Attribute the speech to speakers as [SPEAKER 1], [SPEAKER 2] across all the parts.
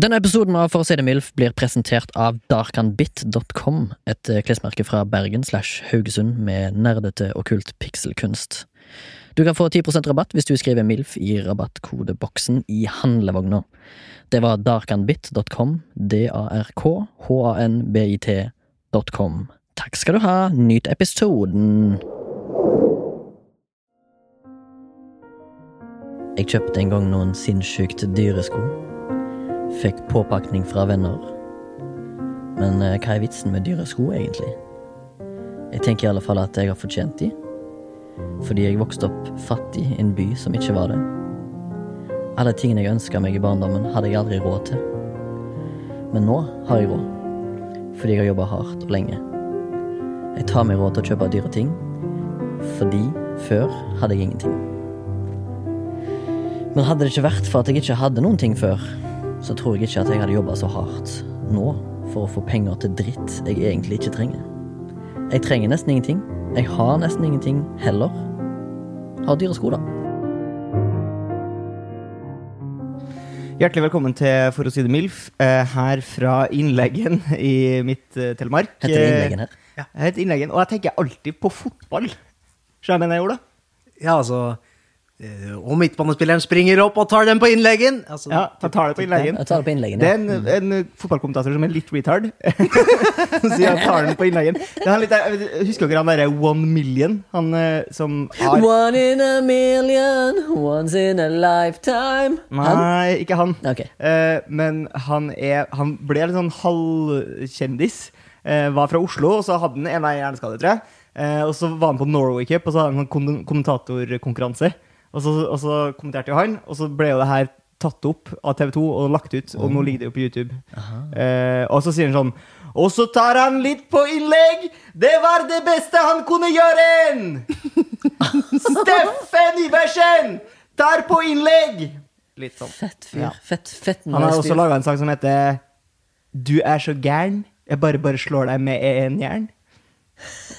[SPEAKER 1] Denne episoden av For å si det mildt blir presentert av darkanbit.com, et eh, klesmerke fra Bergen slash Haugesund med nerdete okkult pikselkunst. Du kan få 10 rabatt hvis du skriver MILF i rabattkodeboksen i handlevogna. Det var darkanbit.com, d-a-r-k-h-a-n-b-i-t.com. Takk skal du ha, nyt episoden! Jeg kjøpte en gang noen sinnssykt dyre sko. Fikk påpakning fra venner. Men eh, hva er vitsen med dyre sko, egentlig? Jeg tenker i alle fall at jeg har fortjent de. Fordi jeg vokste opp fattig i en by som ikke var det. Alle tingene jeg ønska meg i barndommen, hadde jeg aldri råd til. Men nå har jeg råd. Fordi jeg har jobba hardt og lenge. Jeg tar meg råd til å kjøpe dyre ting. Fordi før hadde jeg ingenting. Men hadde det ikke vært for at jeg ikke hadde noen ting før, så tror jeg ikke at jeg hadde jobba så hardt nå for å få penger til dritt jeg egentlig ikke trenger. Jeg trenger nesten ingenting. Jeg har nesten ingenting heller. Har dyre sko, da.
[SPEAKER 2] Hjertelig velkommen til For å si det MILF, eh, her fra Innleggen i mitt eh, Telemark.
[SPEAKER 1] Heter det innleggen her.
[SPEAKER 2] Eh, Jeg heter Innleggen, og jeg tenker alltid på fotball. Skjønner du hva jeg gjorde?
[SPEAKER 3] Ja, altså eh, Og midtbanespilleren springer opp og tar den på innleggen! Altså,
[SPEAKER 2] Ja, jeg tar det på
[SPEAKER 1] Ja,
[SPEAKER 2] Innleggen.
[SPEAKER 1] jeg tar det på innleggen.
[SPEAKER 2] Det
[SPEAKER 1] Ja.
[SPEAKER 2] er en, en eh, fotballkommentator som er litt retard. Så jeg tar den på Innleggen. Det er han litt, jeg husker dere han derre One Million? Han eh, som har
[SPEAKER 1] One in a million, once in a lifetime. Han?
[SPEAKER 2] Nei, ikke han.
[SPEAKER 1] Ok.
[SPEAKER 2] Eh, men han, er, han ble litt sånn halvkjendis. Eh, var fra Oslo, og så hadde han en av hjerneskade, tror jeg. Eh, og så var han på Norway Cup, og så hadde han en sånn kom- kommentatorkonkurranse. Og så, og så kommenterte jo han, og så ble jo det her tatt opp av TV 2 og lagt ut. Og nå ligger det jo på YouTube. Eh, og så sier han sånn Og så tar han litt på innlegg! Det var det beste han kunne gjøre! Steffen Iversen tar på innlegg! Litt sånn.
[SPEAKER 1] Fett fyr.
[SPEAKER 2] Ja.
[SPEAKER 1] Fett, fett
[SPEAKER 2] Han har
[SPEAKER 1] nice
[SPEAKER 2] også
[SPEAKER 1] fyr.
[SPEAKER 2] laga en sang som heter Du er så gæren, jeg bare bare slår deg med en jern.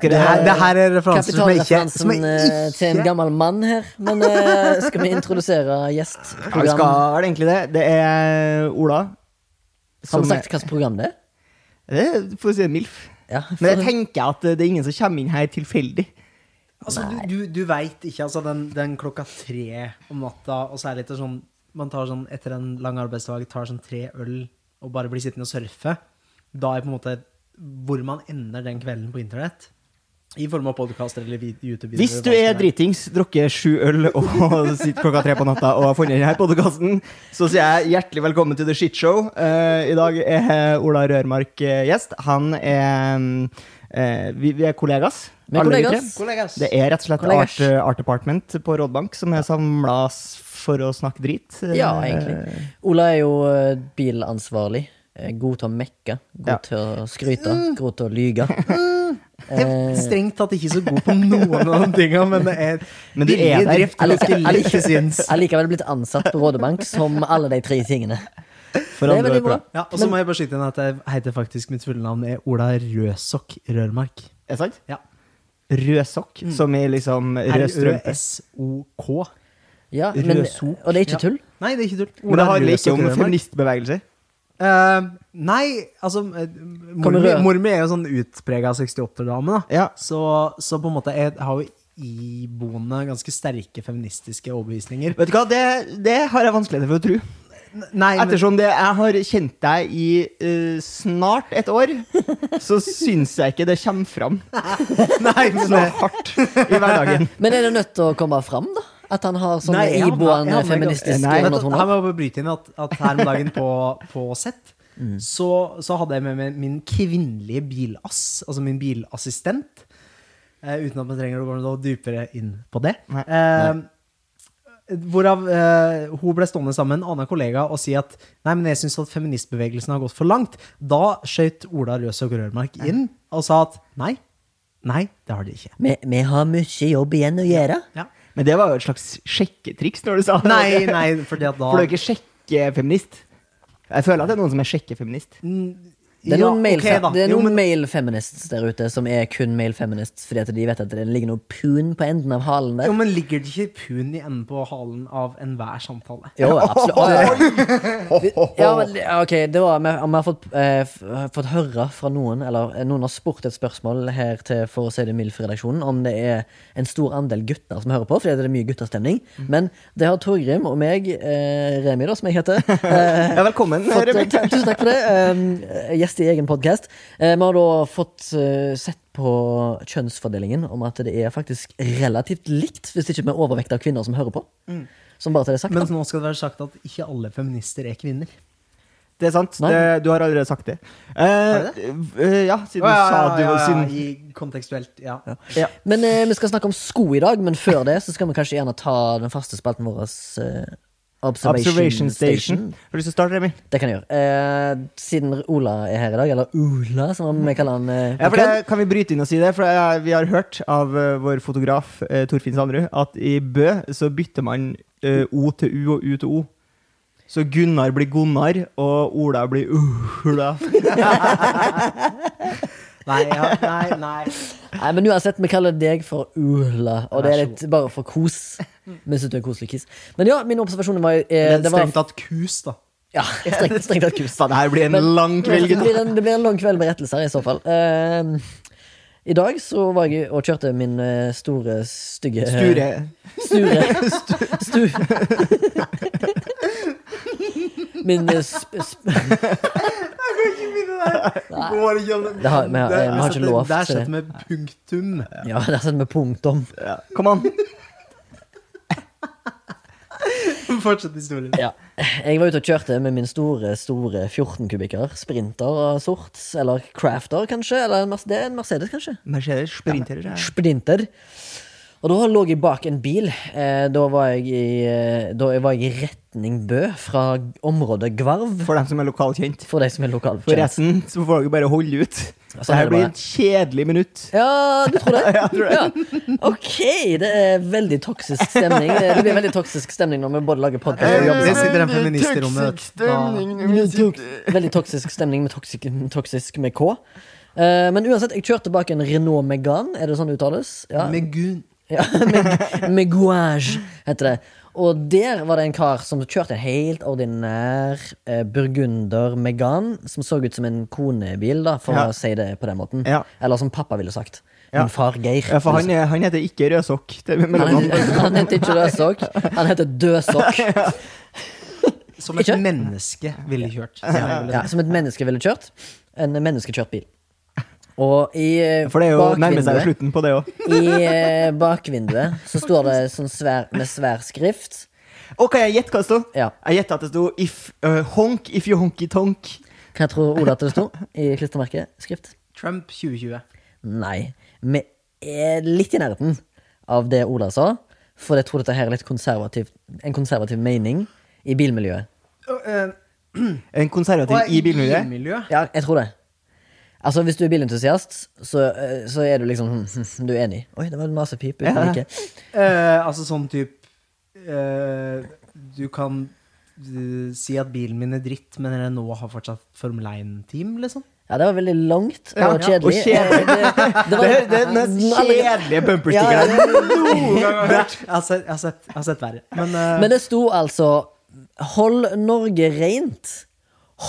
[SPEAKER 3] det, her, det her er referanser som jeg ikke, som
[SPEAKER 1] Kapitalreferansen
[SPEAKER 3] jeg
[SPEAKER 1] eh, til en
[SPEAKER 3] ikke
[SPEAKER 1] gammel mann her. Men eh, skal vi introdusere gjest?
[SPEAKER 2] Ja, vi
[SPEAKER 1] Program?
[SPEAKER 2] skal egentlig det. Det er eh, Ola.
[SPEAKER 1] Har
[SPEAKER 2] som-
[SPEAKER 1] vi sagt hvilket program det er?
[SPEAKER 2] Det er, For å si det mildt.
[SPEAKER 1] Ja,
[SPEAKER 2] Men jeg tenker at det er ingen som kommer inn her tilfeldig.
[SPEAKER 3] altså, Du, du, du veit ikke, altså. Den, den klokka tre om natta, og særlig etter sånn Man tar sånn etter en lang arbeidsdag, tar sånn tre øl og bare blir sittende og surfe. Da er på en måte hvor man ender den kvelden på internett. I form av podkaster eller vid- YouTube-videoer.
[SPEAKER 2] Hvis du er
[SPEAKER 3] hva som
[SPEAKER 2] dritings, drukker sju øl og sitter klokka tre på natta og har funnet denne podkasten, så sier jeg hjertelig velkommen til The Shit Show. Eh, I dag er Ola Rørmark eh, gjest. Han er eh, vi, vi er kollegas.
[SPEAKER 1] Vi er
[SPEAKER 2] alle vi
[SPEAKER 1] kollegas.
[SPEAKER 2] tre.
[SPEAKER 3] Kollegas.
[SPEAKER 2] Det er rett og slett
[SPEAKER 1] Kollegas.
[SPEAKER 2] Art, eh, Art Department på Rådbank som er samla for å snakke drit. Eh,
[SPEAKER 1] Ja, egentlig. Ola er jo eh, bilansvarlig. Eh, God til å mekke, god
[SPEAKER 2] Ja.
[SPEAKER 1] til å skryte,
[SPEAKER 3] Mm.
[SPEAKER 1] god til å lyge.
[SPEAKER 3] Jeg
[SPEAKER 2] Eh.
[SPEAKER 3] er strengt tatt ikke så god på noen av de tinga, men det er
[SPEAKER 2] Men du er
[SPEAKER 3] billig
[SPEAKER 2] der.
[SPEAKER 3] drift
[SPEAKER 1] Jeg liker-
[SPEAKER 3] ganske
[SPEAKER 1] jeg
[SPEAKER 3] lite, syns.
[SPEAKER 1] Jeg er likevel blitt ansatt på Rådebank som alle de tre tingene.
[SPEAKER 2] For
[SPEAKER 1] Det er
[SPEAKER 2] andre
[SPEAKER 1] veldig
[SPEAKER 2] år på
[SPEAKER 1] bra.
[SPEAKER 2] rad.
[SPEAKER 3] Ja, og så må jeg bare skyte inn at jeg heter faktisk mitt fulle navn er Ola Røsokk Rørmark.
[SPEAKER 2] Er det sant?
[SPEAKER 3] Ja.
[SPEAKER 2] Rødsokk,
[SPEAKER 1] Mm.
[SPEAKER 2] som i liksom rød strømpe.
[SPEAKER 3] R-Ø-S-O-K.
[SPEAKER 1] Ja, men,
[SPEAKER 2] Rødsok.
[SPEAKER 1] og det er ikke tull.
[SPEAKER 3] Nei, det er ikke tull.
[SPEAKER 2] Men det handler ikke om
[SPEAKER 3] Røsokk Rørmark.
[SPEAKER 2] feministbevegelser.
[SPEAKER 3] Eh, nei, altså eh, Mor
[SPEAKER 1] Kommer
[SPEAKER 3] mi-
[SPEAKER 1] rød.
[SPEAKER 3] mor mi er jo sånn utprega 68-dame, da.
[SPEAKER 2] Ja.
[SPEAKER 3] Så, så på en måte Jeg har jo iboende ganske sterke feministiske overbevisninger.
[SPEAKER 2] Vet du hva, det, det har jeg vanskeligheter for å tro.
[SPEAKER 3] N- Nei, men-
[SPEAKER 2] Ettersom det, jeg har kjent deg i eh, snart et år, så syns jeg ikke det kommer fram sånn?
[SPEAKER 3] nei, men
[SPEAKER 2] så hardt i hverdagen.
[SPEAKER 1] Men er det nødt til å komme fram, da? At han har sånne
[SPEAKER 3] Nei, jeg havna- jeg
[SPEAKER 1] iboende
[SPEAKER 3] havna i gang-
[SPEAKER 1] feministiske
[SPEAKER 3] Nei, vet du, Her
[SPEAKER 1] undertoner?
[SPEAKER 3] må jeg bare bryte inn at, at her om dagen på, på sett,
[SPEAKER 1] Mm.
[SPEAKER 3] så, så hadde jeg med meg min kvinnelige bilass, altså min bilassistent, eh, uten at man trenger å gå noe dypere inn på det.
[SPEAKER 2] Nei.
[SPEAKER 3] Eh, Hvorav eh, hun ble stående sammen med en annen kollega og si at nei, men jeg syns at feministbevegelsen har gått for langt. Da skjøt Ola Røsåk Rørmark inn og sa at nei, nei, det har de ikke.
[SPEAKER 1] Vi, vi har mye jobb igjen å gjøre.
[SPEAKER 3] Ja.
[SPEAKER 2] Men det var jo et slags sjekketriks når du sa det.
[SPEAKER 3] Nei, nei, fordi at da
[SPEAKER 2] For du er ikke sjekkefeminist. Jeg føler at det er noen som er sjekkefeminist.
[SPEAKER 1] Det er
[SPEAKER 3] Ja,
[SPEAKER 1] noen, male,
[SPEAKER 3] ok da.
[SPEAKER 1] det er
[SPEAKER 3] Jo,
[SPEAKER 1] noen
[SPEAKER 3] men-
[SPEAKER 1] male feminists der ute som er kun male feminists fordi at de vet at det ligger noe pun på enden av halen der.
[SPEAKER 3] Jo, men ligger det ikke pun i enden på halen av enhver samtale?
[SPEAKER 1] Jo, absolutt. Å, ja. Ja, men, ja, ok, det var, vi, vi har fått, eh, f- fått høre fra noen, eller eh, noen har spurt et spørsmål her til For å si det Milf-redaksjonen, om det er en stor andel gutter som hører på, fordi det er mye gutterstemning. Men det har Torgrim og meg, eh, Remi da, som jeg heter, eh,
[SPEAKER 2] Ja, velkommen,
[SPEAKER 1] fått,
[SPEAKER 2] Remi.
[SPEAKER 1] ta- Tusen takk for det. eh, gjest i egen podkast. vi har da fått eh, sett på kjønnsfordelingen om at det er faktisk relativt likt, hvis ikke vi er overvekta av kvinner som hører på. Som bare til det er sagt.
[SPEAKER 3] Men
[SPEAKER 1] da.
[SPEAKER 3] nå skal det være sagt at ikke alle feminister er kvinner.
[SPEAKER 2] Det er sant.
[SPEAKER 1] Nei.
[SPEAKER 2] Det, du har allerede sagt det. Eh,
[SPEAKER 3] det
[SPEAKER 2] eh, ja, siden du sa du var siden
[SPEAKER 3] I kontekstuelt, ja.
[SPEAKER 2] ja.
[SPEAKER 1] Men eh, vi skal snakke om sko i dag, men før det så skal vi kanskje gjerne ta den faste spalten vår eh, Observation,
[SPEAKER 2] Observation
[SPEAKER 1] Station.
[SPEAKER 2] Station. Har du lyst til å starte, Remi?
[SPEAKER 1] Det kan jeg gjøre. Eh, siden Ola er her i dag, eller Ola som vi kaller han eh, på
[SPEAKER 2] Ja, for
[SPEAKER 1] kødd.
[SPEAKER 2] det, kan vi bryte inn og si det? For eh, vi har hørt av eh, vår fotograf eh, Torfinn Sandrud at i Bø så bytter man eh, O til U og U til O. Så Gunnar blir Gunnar, og Ola blir Ola.
[SPEAKER 3] Nei, ja, nei, nei.
[SPEAKER 1] Nei, men uansett, vi kaller deg for Ola, og det er
[SPEAKER 3] Vær så
[SPEAKER 1] litt bare for kos. Vi synes du er en koselig kiss. Men ja, mine observasjoner var, eh,
[SPEAKER 3] Men
[SPEAKER 1] det var
[SPEAKER 3] strengt tatt kus, da.
[SPEAKER 1] Ja, strengt, strengt tatt kos.
[SPEAKER 2] Så det her blir en
[SPEAKER 1] Men-
[SPEAKER 2] lang kveld,
[SPEAKER 1] Det
[SPEAKER 2] gutter.
[SPEAKER 1] blir, en, det blir en lang kveld med rettelser, i så fall. Eh, I dag så var jeg og kjørte min eh, store, stygge
[SPEAKER 2] Sture.
[SPEAKER 1] Sture. Stu. Min eh, sp... sp
[SPEAKER 3] Går ikke an det.
[SPEAKER 1] Det har- men, eh,
[SPEAKER 3] Der-
[SPEAKER 1] vi har ikke lov
[SPEAKER 3] Der
[SPEAKER 1] til det.
[SPEAKER 3] setter vi punktum.
[SPEAKER 1] ja, der setter vi punktum.
[SPEAKER 2] Ja, Kom an.
[SPEAKER 3] Fortsett historien.
[SPEAKER 1] Ja. Jeg var ute og kjørte med min store, store 14-kubikker. Sprinter av sort. Eller Crafter, kanskje. Eller en Merce- det er en Mercedes, kanskje.
[SPEAKER 2] Mercedes sprinter. Ja.
[SPEAKER 1] Sprinter. Og da lå jeg bak en bil. Eh, da, var jeg i, eh, da var jeg i retning Bø, fra området Gvarv.
[SPEAKER 2] For dem som er lokalkjent.
[SPEAKER 1] For de som er lokale.
[SPEAKER 2] For resten så får dere bare holde ut.
[SPEAKER 1] Ja, sånn
[SPEAKER 2] Det
[SPEAKER 1] er
[SPEAKER 2] her
[SPEAKER 1] det
[SPEAKER 2] blir
[SPEAKER 1] bare.
[SPEAKER 2] et kjedelig minutt.
[SPEAKER 1] Ja, du tror det?
[SPEAKER 2] Ja, jeg tror det.
[SPEAKER 1] Ja. Ok, det er veldig toksisk stemning. Det blir veldig toksisk stemning når vi både lager podkast og jobber
[SPEAKER 3] Det
[SPEAKER 1] sammen.
[SPEAKER 3] sitter en feminist i rommet. Da-
[SPEAKER 1] Veldig toksisk stemning med toksisk, toksisk med K. Eh, men uansett, jeg kjørte bak en Renault Megane, er det sånn det uttales? Ja.
[SPEAKER 3] Med Gun
[SPEAKER 1] Ja, Meg- Megouage heter det. Og der var det en kar som kjørte en helt ordinær eh, burgunder Megan, som så ut som en konebil, da, for
[SPEAKER 2] Ja.
[SPEAKER 1] å si det på den måten.
[SPEAKER 2] Ja.
[SPEAKER 1] Eller som pappa ville sagt.
[SPEAKER 2] Ja.
[SPEAKER 1] Min far Geir.
[SPEAKER 2] Ja, for han, er- han heter ikke Rødsokk. Det er
[SPEAKER 1] han,
[SPEAKER 2] mellomnavn.
[SPEAKER 1] heter, han heter ikke Rødsokk, han heter Dødsokk.
[SPEAKER 3] som et
[SPEAKER 1] Ikke?
[SPEAKER 3] menneske ville kjørt.
[SPEAKER 1] Ja, som et menneske ville kjørt. En menneskekjørt bil. Og i eh,
[SPEAKER 2] For det er jo nærmer seg
[SPEAKER 1] bakvinduet-
[SPEAKER 2] jo slutten på det òg.
[SPEAKER 1] I eh, bakvinduet så står det sånn svær, med svær skrift.
[SPEAKER 2] Ok, jeg gjetter hva det sto.
[SPEAKER 1] Ja.
[SPEAKER 2] Jeg gjetter at det sto if, eh, honk if you honky tonk.
[SPEAKER 1] Hva tror Ola at det sto i klistremerket? Skrift?
[SPEAKER 3] Trump 2020.
[SPEAKER 1] Nei. Vi er litt i nærheten av det Ola sa, for jeg tror dette her er litt konservativ, en konservativ mening i bilmiljøet.
[SPEAKER 2] En konservativ i bilmiljøet.
[SPEAKER 1] Ja, jeg tror det. Altså, Hvis du er bilentusiast, så, eh, så er du liksom hm, Du er enig. Oi, det var en masepip uten
[SPEAKER 2] Ja.
[SPEAKER 1] like.
[SPEAKER 3] Eh, altså sånn type eh, Du kan eh, si at bilen min er dritt, men Renault har fortsatt Formel 1-team, liksom.
[SPEAKER 1] Ja, det var veldig langt
[SPEAKER 2] Ja,
[SPEAKER 1] og
[SPEAKER 2] ja, og
[SPEAKER 1] kjedelig.
[SPEAKER 2] kjedelig.
[SPEAKER 1] Eh, det,
[SPEAKER 2] Det, er- det er den mest kjedelige
[SPEAKER 1] Ja,
[SPEAKER 2] bumperstikkeren.
[SPEAKER 1] det-
[SPEAKER 3] Oh, Jeg har sett, jeg har sett, jeg har sett verre. Men, eh,
[SPEAKER 1] Men det sto altså 'Hold Norge rent'.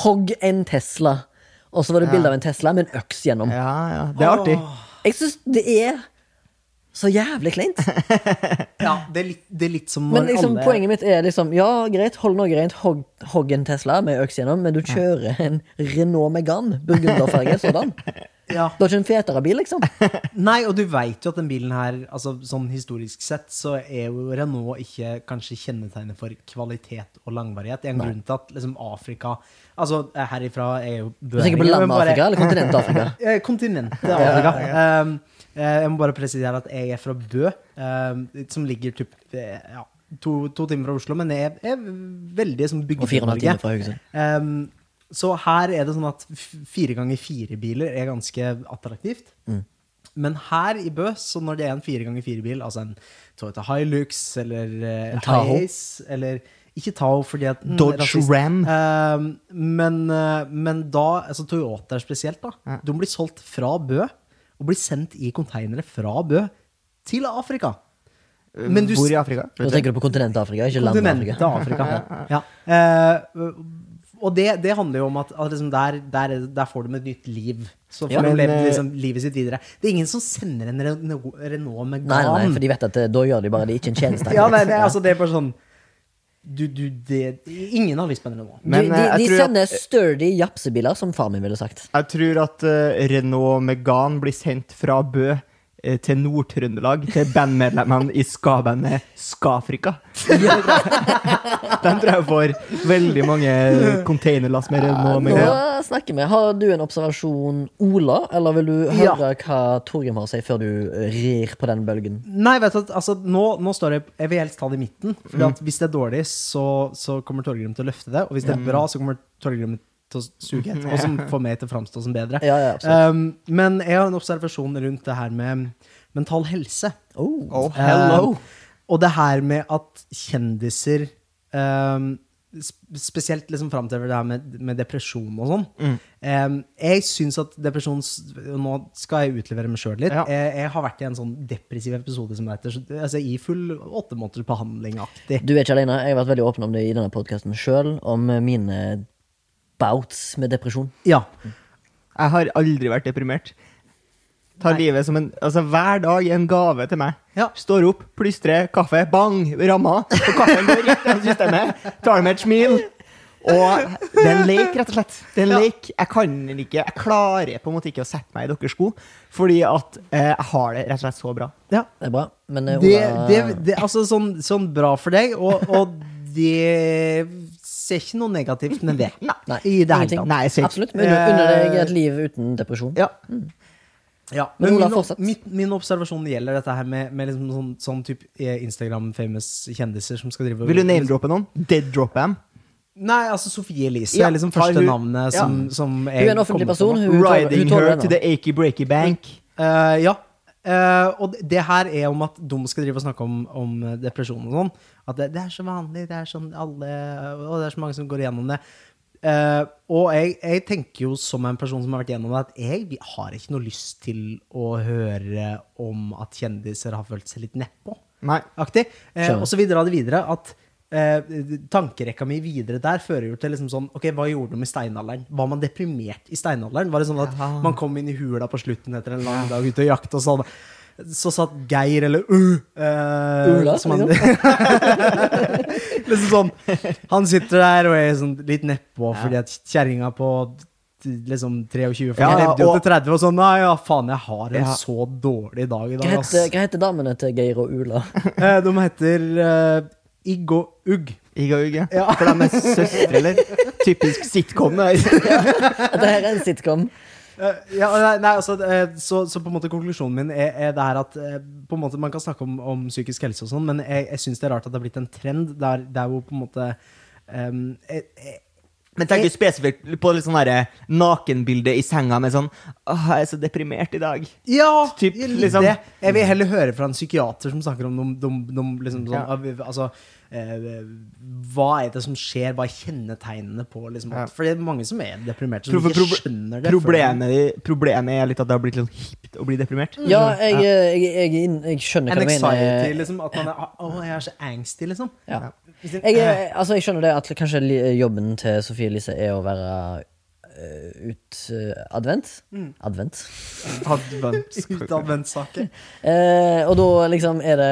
[SPEAKER 1] Hogg en Tesla. Og så var det bilde av en Tesla med en øks gjennom.
[SPEAKER 2] Ja, ja. Det er
[SPEAKER 1] Mm,
[SPEAKER 2] artig.
[SPEAKER 1] Jeg syns det er så jævlig kleint.
[SPEAKER 3] ja, det, er litt, det er litt som når
[SPEAKER 1] Men liksom,
[SPEAKER 3] alle
[SPEAKER 1] poenget mitt er liksom Ja, greit, hold Norge rent, hogg, hogg en Tesla med øks gjennom, men du kjører en Renault Megane, burgunderfarge sådan.
[SPEAKER 3] ja.
[SPEAKER 1] Du har ikke en fetere bil, liksom.
[SPEAKER 3] Nei, og du veit jo at den bilen her, altså sånn historisk sett, så er jo Renault ikke kanskje kjennetegnet for kvalitet og langvarighet. Det er en grunn til at liksom Afrika Altså herifra er jo
[SPEAKER 1] Du tenker på landet Afrika eller kontinentet Afrika?
[SPEAKER 3] Eh, Kontinentet Afrika. Um, eh, jeg må bare presisere at jeg er fra Bø, um, som ligger typ, eh, ja, to, to timer fra Oslo, men jeg er veldig som
[SPEAKER 1] Og 4,5
[SPEAKER 3] bygde-Norge.
[SPEAKER 1] timer fra Haugesund.
[SPEAKER 3] Um, så her er det sånn at f- fire ganger fire biler er ganske attraktivt.
[SPEAKER 1] Mm.
[SPEAKER 3] Men her i Bø, så når det er en fire ganger fire bil, altså en Toyota Hilux eller eh,
[SPEAKER 1] Tahoe.
[SPEAKER 3] Hiace eller Ikke Tao fordi at den er
[SPEAKER 2] Dodge
[SPEAKER 3] rasist.
[SPEAKER 2] Ram.
[SPEAKER 3] Eh, men, eh, men da altså Toyota spesielt, da.
[SPEAKER 2] Ja.
[SPEAKER 3] De blir solgt fra Bø. Og blir sendt i konteinere fra Bø til Afrika.
[SPEAKER 1] Eh,
[SPEAKER 3] Men du-
[SPEAKER 2] Eh, Hvor i Afrika?
[SPEAKER 1] Da tenker du på kontinentet Afrika, ikke landet Afrika.
[SPEAKER 3] Kontinentet Afrika. ja. Eh, og det, det handler jo om at, at liksom der, der, er det- der får de et nytt liv. Så får
[SPEAKER 2] Ja,
[SPEAKER 3] de
[SPEAKER 2] men,
[SPEAKER 3] levd
[SPEAKER 2] eh,
[SPEAKER 3] liksom, livet sitt videre. Det er ingen som sender en Renault, Renault med
[SPEAKER 1] Nei, nei, nei,
[SPEAKER 3] gan.
[SPEAKER 1] for de vet at eh, da gjør de bare det ikke en tjeneste.
[SPEAKER 3] ja, nei, det, er- altså, det er bare sånn du, du, det, Ingen har lyst på en Renault.
[SPEAKER 1] Du,
[SPEAKER 2] Men,
[SPEAKER 1] de,
[SPEAKER 2] eh, jeg
[SPEAKER 1] de
[SPEAKER 2] tror at-
[SPEAKER 1] sender sturdy japsebiler, som far min ville sagt.
[SPEAKER 2] Jeg tror at eh, Renault Megan blir sendt fra Bø eh, til Nord-Trøndelag til bandmedlemmene i ska-bandet Skafrika. De tror jeg får veldig mange containerlass med Renault
[SPEAKER 1] Nå
[SPEAKER 2] Megan.
[SPEAKER 1] snakker vi. Har du en observasjon, Ola? Eller vil du
[SPEAKER 3] Ja.
[SPEAKER 1] høre hva Torgrim har å si, før du eh, rir på den bølgen?
[SPEAKER 3] Nei, vet du, at, altså, nå, nå står det Jeg vil helst ta det i midten. Fordi
[SPEAKER 1] Mm.
[SPEAKER 3] at hvis det er dårlig, så, så kommer Torgrim til å løfte det. Og hvis det
[SPEAKER 1] Mm.
[SPEAKER 3] er bra, så kommer Torgrim til å suge etterpå, som får meg til å framstå som bedre.
[SPEAKER 1] Ja, ja, absolutt.
[SPEAKER 3] um, men jeg har en observasjon rundt det her med mental helse.
[SPEAKER 1] Oh.
[SPEAKER 2] Oh, hello!
[SPEAKER 3] Um, og det her med at kjendiser um, sp- Spesielt liksom framhever det her med, med depresjon og sånn. Um, jeg syns at depresjon s- Nå skal jeg utlevere meg sjøl litt.
[SPEAKER 2] Ja.
[SPEAKER 3] Jeg, jeg har vært i en sånn depressiv episode som heter så- altså, i full åtte måneders behandling-aktig.
[SPEAKER 1] Du er ikke alene. Jeg har vært veldig åpen om det i denne podkasten sjøl, om eh, mine bouts med depresjon.
[SPEAKER 3] Ja.
[SPEAKER 2] Jeg har aldri vært deprimert. Tar livet som en Altså, hver dag er en gave til meg.
[SPEAKER 3] Ja.
[SPEAKER 2] Står opp, plystrer, kaffe, bang, ramma. Og kaffen går rett gjennom systemet. Tar det med et smil. Og det er en lek, rett og slett. Det er en
[SPEAKER 3] Ja.
[SPEAKER 2] lek. Jeg kan ikke Jeg klarer på en måte ikke å sette meg i deres sko, fordi at eh, jeg har det rett og slett så bra.
[SPEAKER 3] ja.
[SPEAKER 1] Det er bra. Men eh,
[SPEAKER 3] det,
[SPEAKER 1] Ola
[SPEAKER 3] det, det, altså sånn, sånn bra for deg, og, og det ser ikke noe negativt med det.
[SPEAKER 1] Nei,
[SPEAKER 3] I det hele
[SPEAKER 1] ingenting.
[SPEAKER 3] tatt.
[SPEAKER 2] Nei, jeg ser ikke-
[SPEAKER 1] Absolutt. Men unner unner deg
[SPEAKER 3] Eh,
[SPEAKER 1] et liv uten depresjon.
[SPEAKER 2] Ja.
[SPEAKER 3] Ja,
[SPEAKER 1] Mm. Men
[SPEAKER 3] men
[SPEAKER 1] Ola,
[SPEAKER 3] min,
[SPEAKER 1] fortsett.
[SPEAKER 3] min, min observasjon gjelder dette her med, med liksom sånn, sånn type Instagram-famous kjendiser som skal drive og- liksom-
[SPEAKER 2] Vil du name-droppe noen? Dead-droppe dem?
[SPEAKER 3] Nei, altså Sofie Elise
[SPEAKER 2] Ja,
[SPEAKER 3] er liksom
[SPEAKER 2] har
[SPEAKER 3] første
[SPEAKER 2] hun-
[SPEAKER 3] navnet som,
[SPEAKER 2] ja.
[SPEAKER 3] som
[SPEAKER 1] Hun er en offentlig
[SPEAKER 3] kommer på nå.
[SPEAKER 1] person. Hun tåler- hun
[SPEAKER 2] Riding her
[SPEAKER 1] tåler
[SPEAKER 2] to
[SPEAKER 1] det. nå.
[SPEAKER 2] the achy-breaky bank.
[SPEAKER 3] Eh, ja. Eh, og det- det her er om at de skal drive og snakke om, om depresjon og sånn. At det, det er så vanlig, det er sånn alle Og det er så mange som går igjennom det. Eh, og jeg, jeg tenker jo som en person som har vært igjennom det, at jeg vi- har ikke noe lyst til å høre om at kjendiser har følt seg litt nedpå.
[SPEAKER 2] Nei.
[SPEAKER 3] Aktig. Eh,
[SPEAKER 1] Skjønner.
[SPEAKER 3] og så videre av det videre at eh, tankerekka mi videre der fører jo til liksom sånn Ok, hva gjorde de i steinalderen? Var man deprimert i steinalderen? Var det sånn at
[SPEAKER 2] Ja.
[SPEAKER 3] man kom inn i hula på slutten etter en lang dag ute og jakte og sånn? Så satt Geir eller uh, eh,
[SPEAKER 1] Ula,
[SPEAKER 3] som han- liksom sånn Han sitter der og er sånn litt nedpå fordi at kjerringa på t- liksom 23 for
[SPEAKER 2] Ja, ja,
[SPEAKER 3] jeg levde jo
[SPEAKER 2] og-
[SPEAKER 3] til 30 og sånn Nei, ja, faen, jeg har en
[SPEAKER 2] Ja.
[SPEAKER 3] så dårlig dag i
[SPEAKER 1] Hva
[SPEAKER 3] dag, ass.
[SPEAKER 1] heter, hva heter damene til Geir og Ula?
[SPEAKER 3] Eh, De heter eh, Igg og Ugg.
[SPEAKER 2] Ikke og ikke?
[SPEAKER 3] Ja.
[SPEAKER 2] For de er søstre, eller? Typisk sitcom. det.
[SPEAKER 1] Dette her er en sitcom.
[SPEAKER 3] Eh, ja, nei, nei, altså, eh, så, så på en måte konklusjonen min er, er det her at eh, på en måte man kan snakke om, om psykisk helse og sånn, men jeg, jeg syns det er rart at det har blitt en trend der, der hvor på en måte ehm, eh, eh,
[SPEAKER 2] Men tenker du spesifikt på litt sånn derre nakenbilde i senga med sånn Åh, jeg er så deprimert i dag.
[SPEAKER 3] Ja,
[SPEAKER 2] Typ,
[SPEAKER 3] litt
[SPEAKER 2] liksom.
[SPEAKER 3] det. Jeg vil heller høre fra en psykiater som snakker om noen, noen, noen liksom sånn,
[SPEAKER 2] Ja.
[SPEAKER 3] av- altså, eh, Hva er det som skjer? Hva er kjennetegnene på liksom,
[SPEAKER 2] Ja.
[SPEAKER 3] at, For det er mange som er deprimerte, som
[SPEAKER 2] Pro-
[SPEAKER 3] ikke
[SPEAKER 2] proble-
[SPEAKER 3] skjønner det. før de-
[SPEAKER 2] Problemet, problemet er litt at det har blitt litt sånn hipt å bli deprimert.
[SPEAKER 1] Ja, jeg, eh, jeg, jeg, er inn- jeg skjønner hva
[SPEAKER 3] En
[SPEAKER 1] du mener.
[SPEAKER 3] anxiety, liksom. At man er Å, jeg er så angsty, liksom.
[SPEAKER 1] Ja.
[SPEAKER 3] Hvis det-
[SPEAKER 1] Jeg, er- altså, jeg skjønner det at kanskje li- jobben til Sofie Elise er å være eh, ut eh, advent.
[SPEAKER 3] Mm.
[SPEAKER 1] Advent.
[SPEAKER 3] Ut av vennsaker.
[SPEAKER 1] Eh, og da liksom er det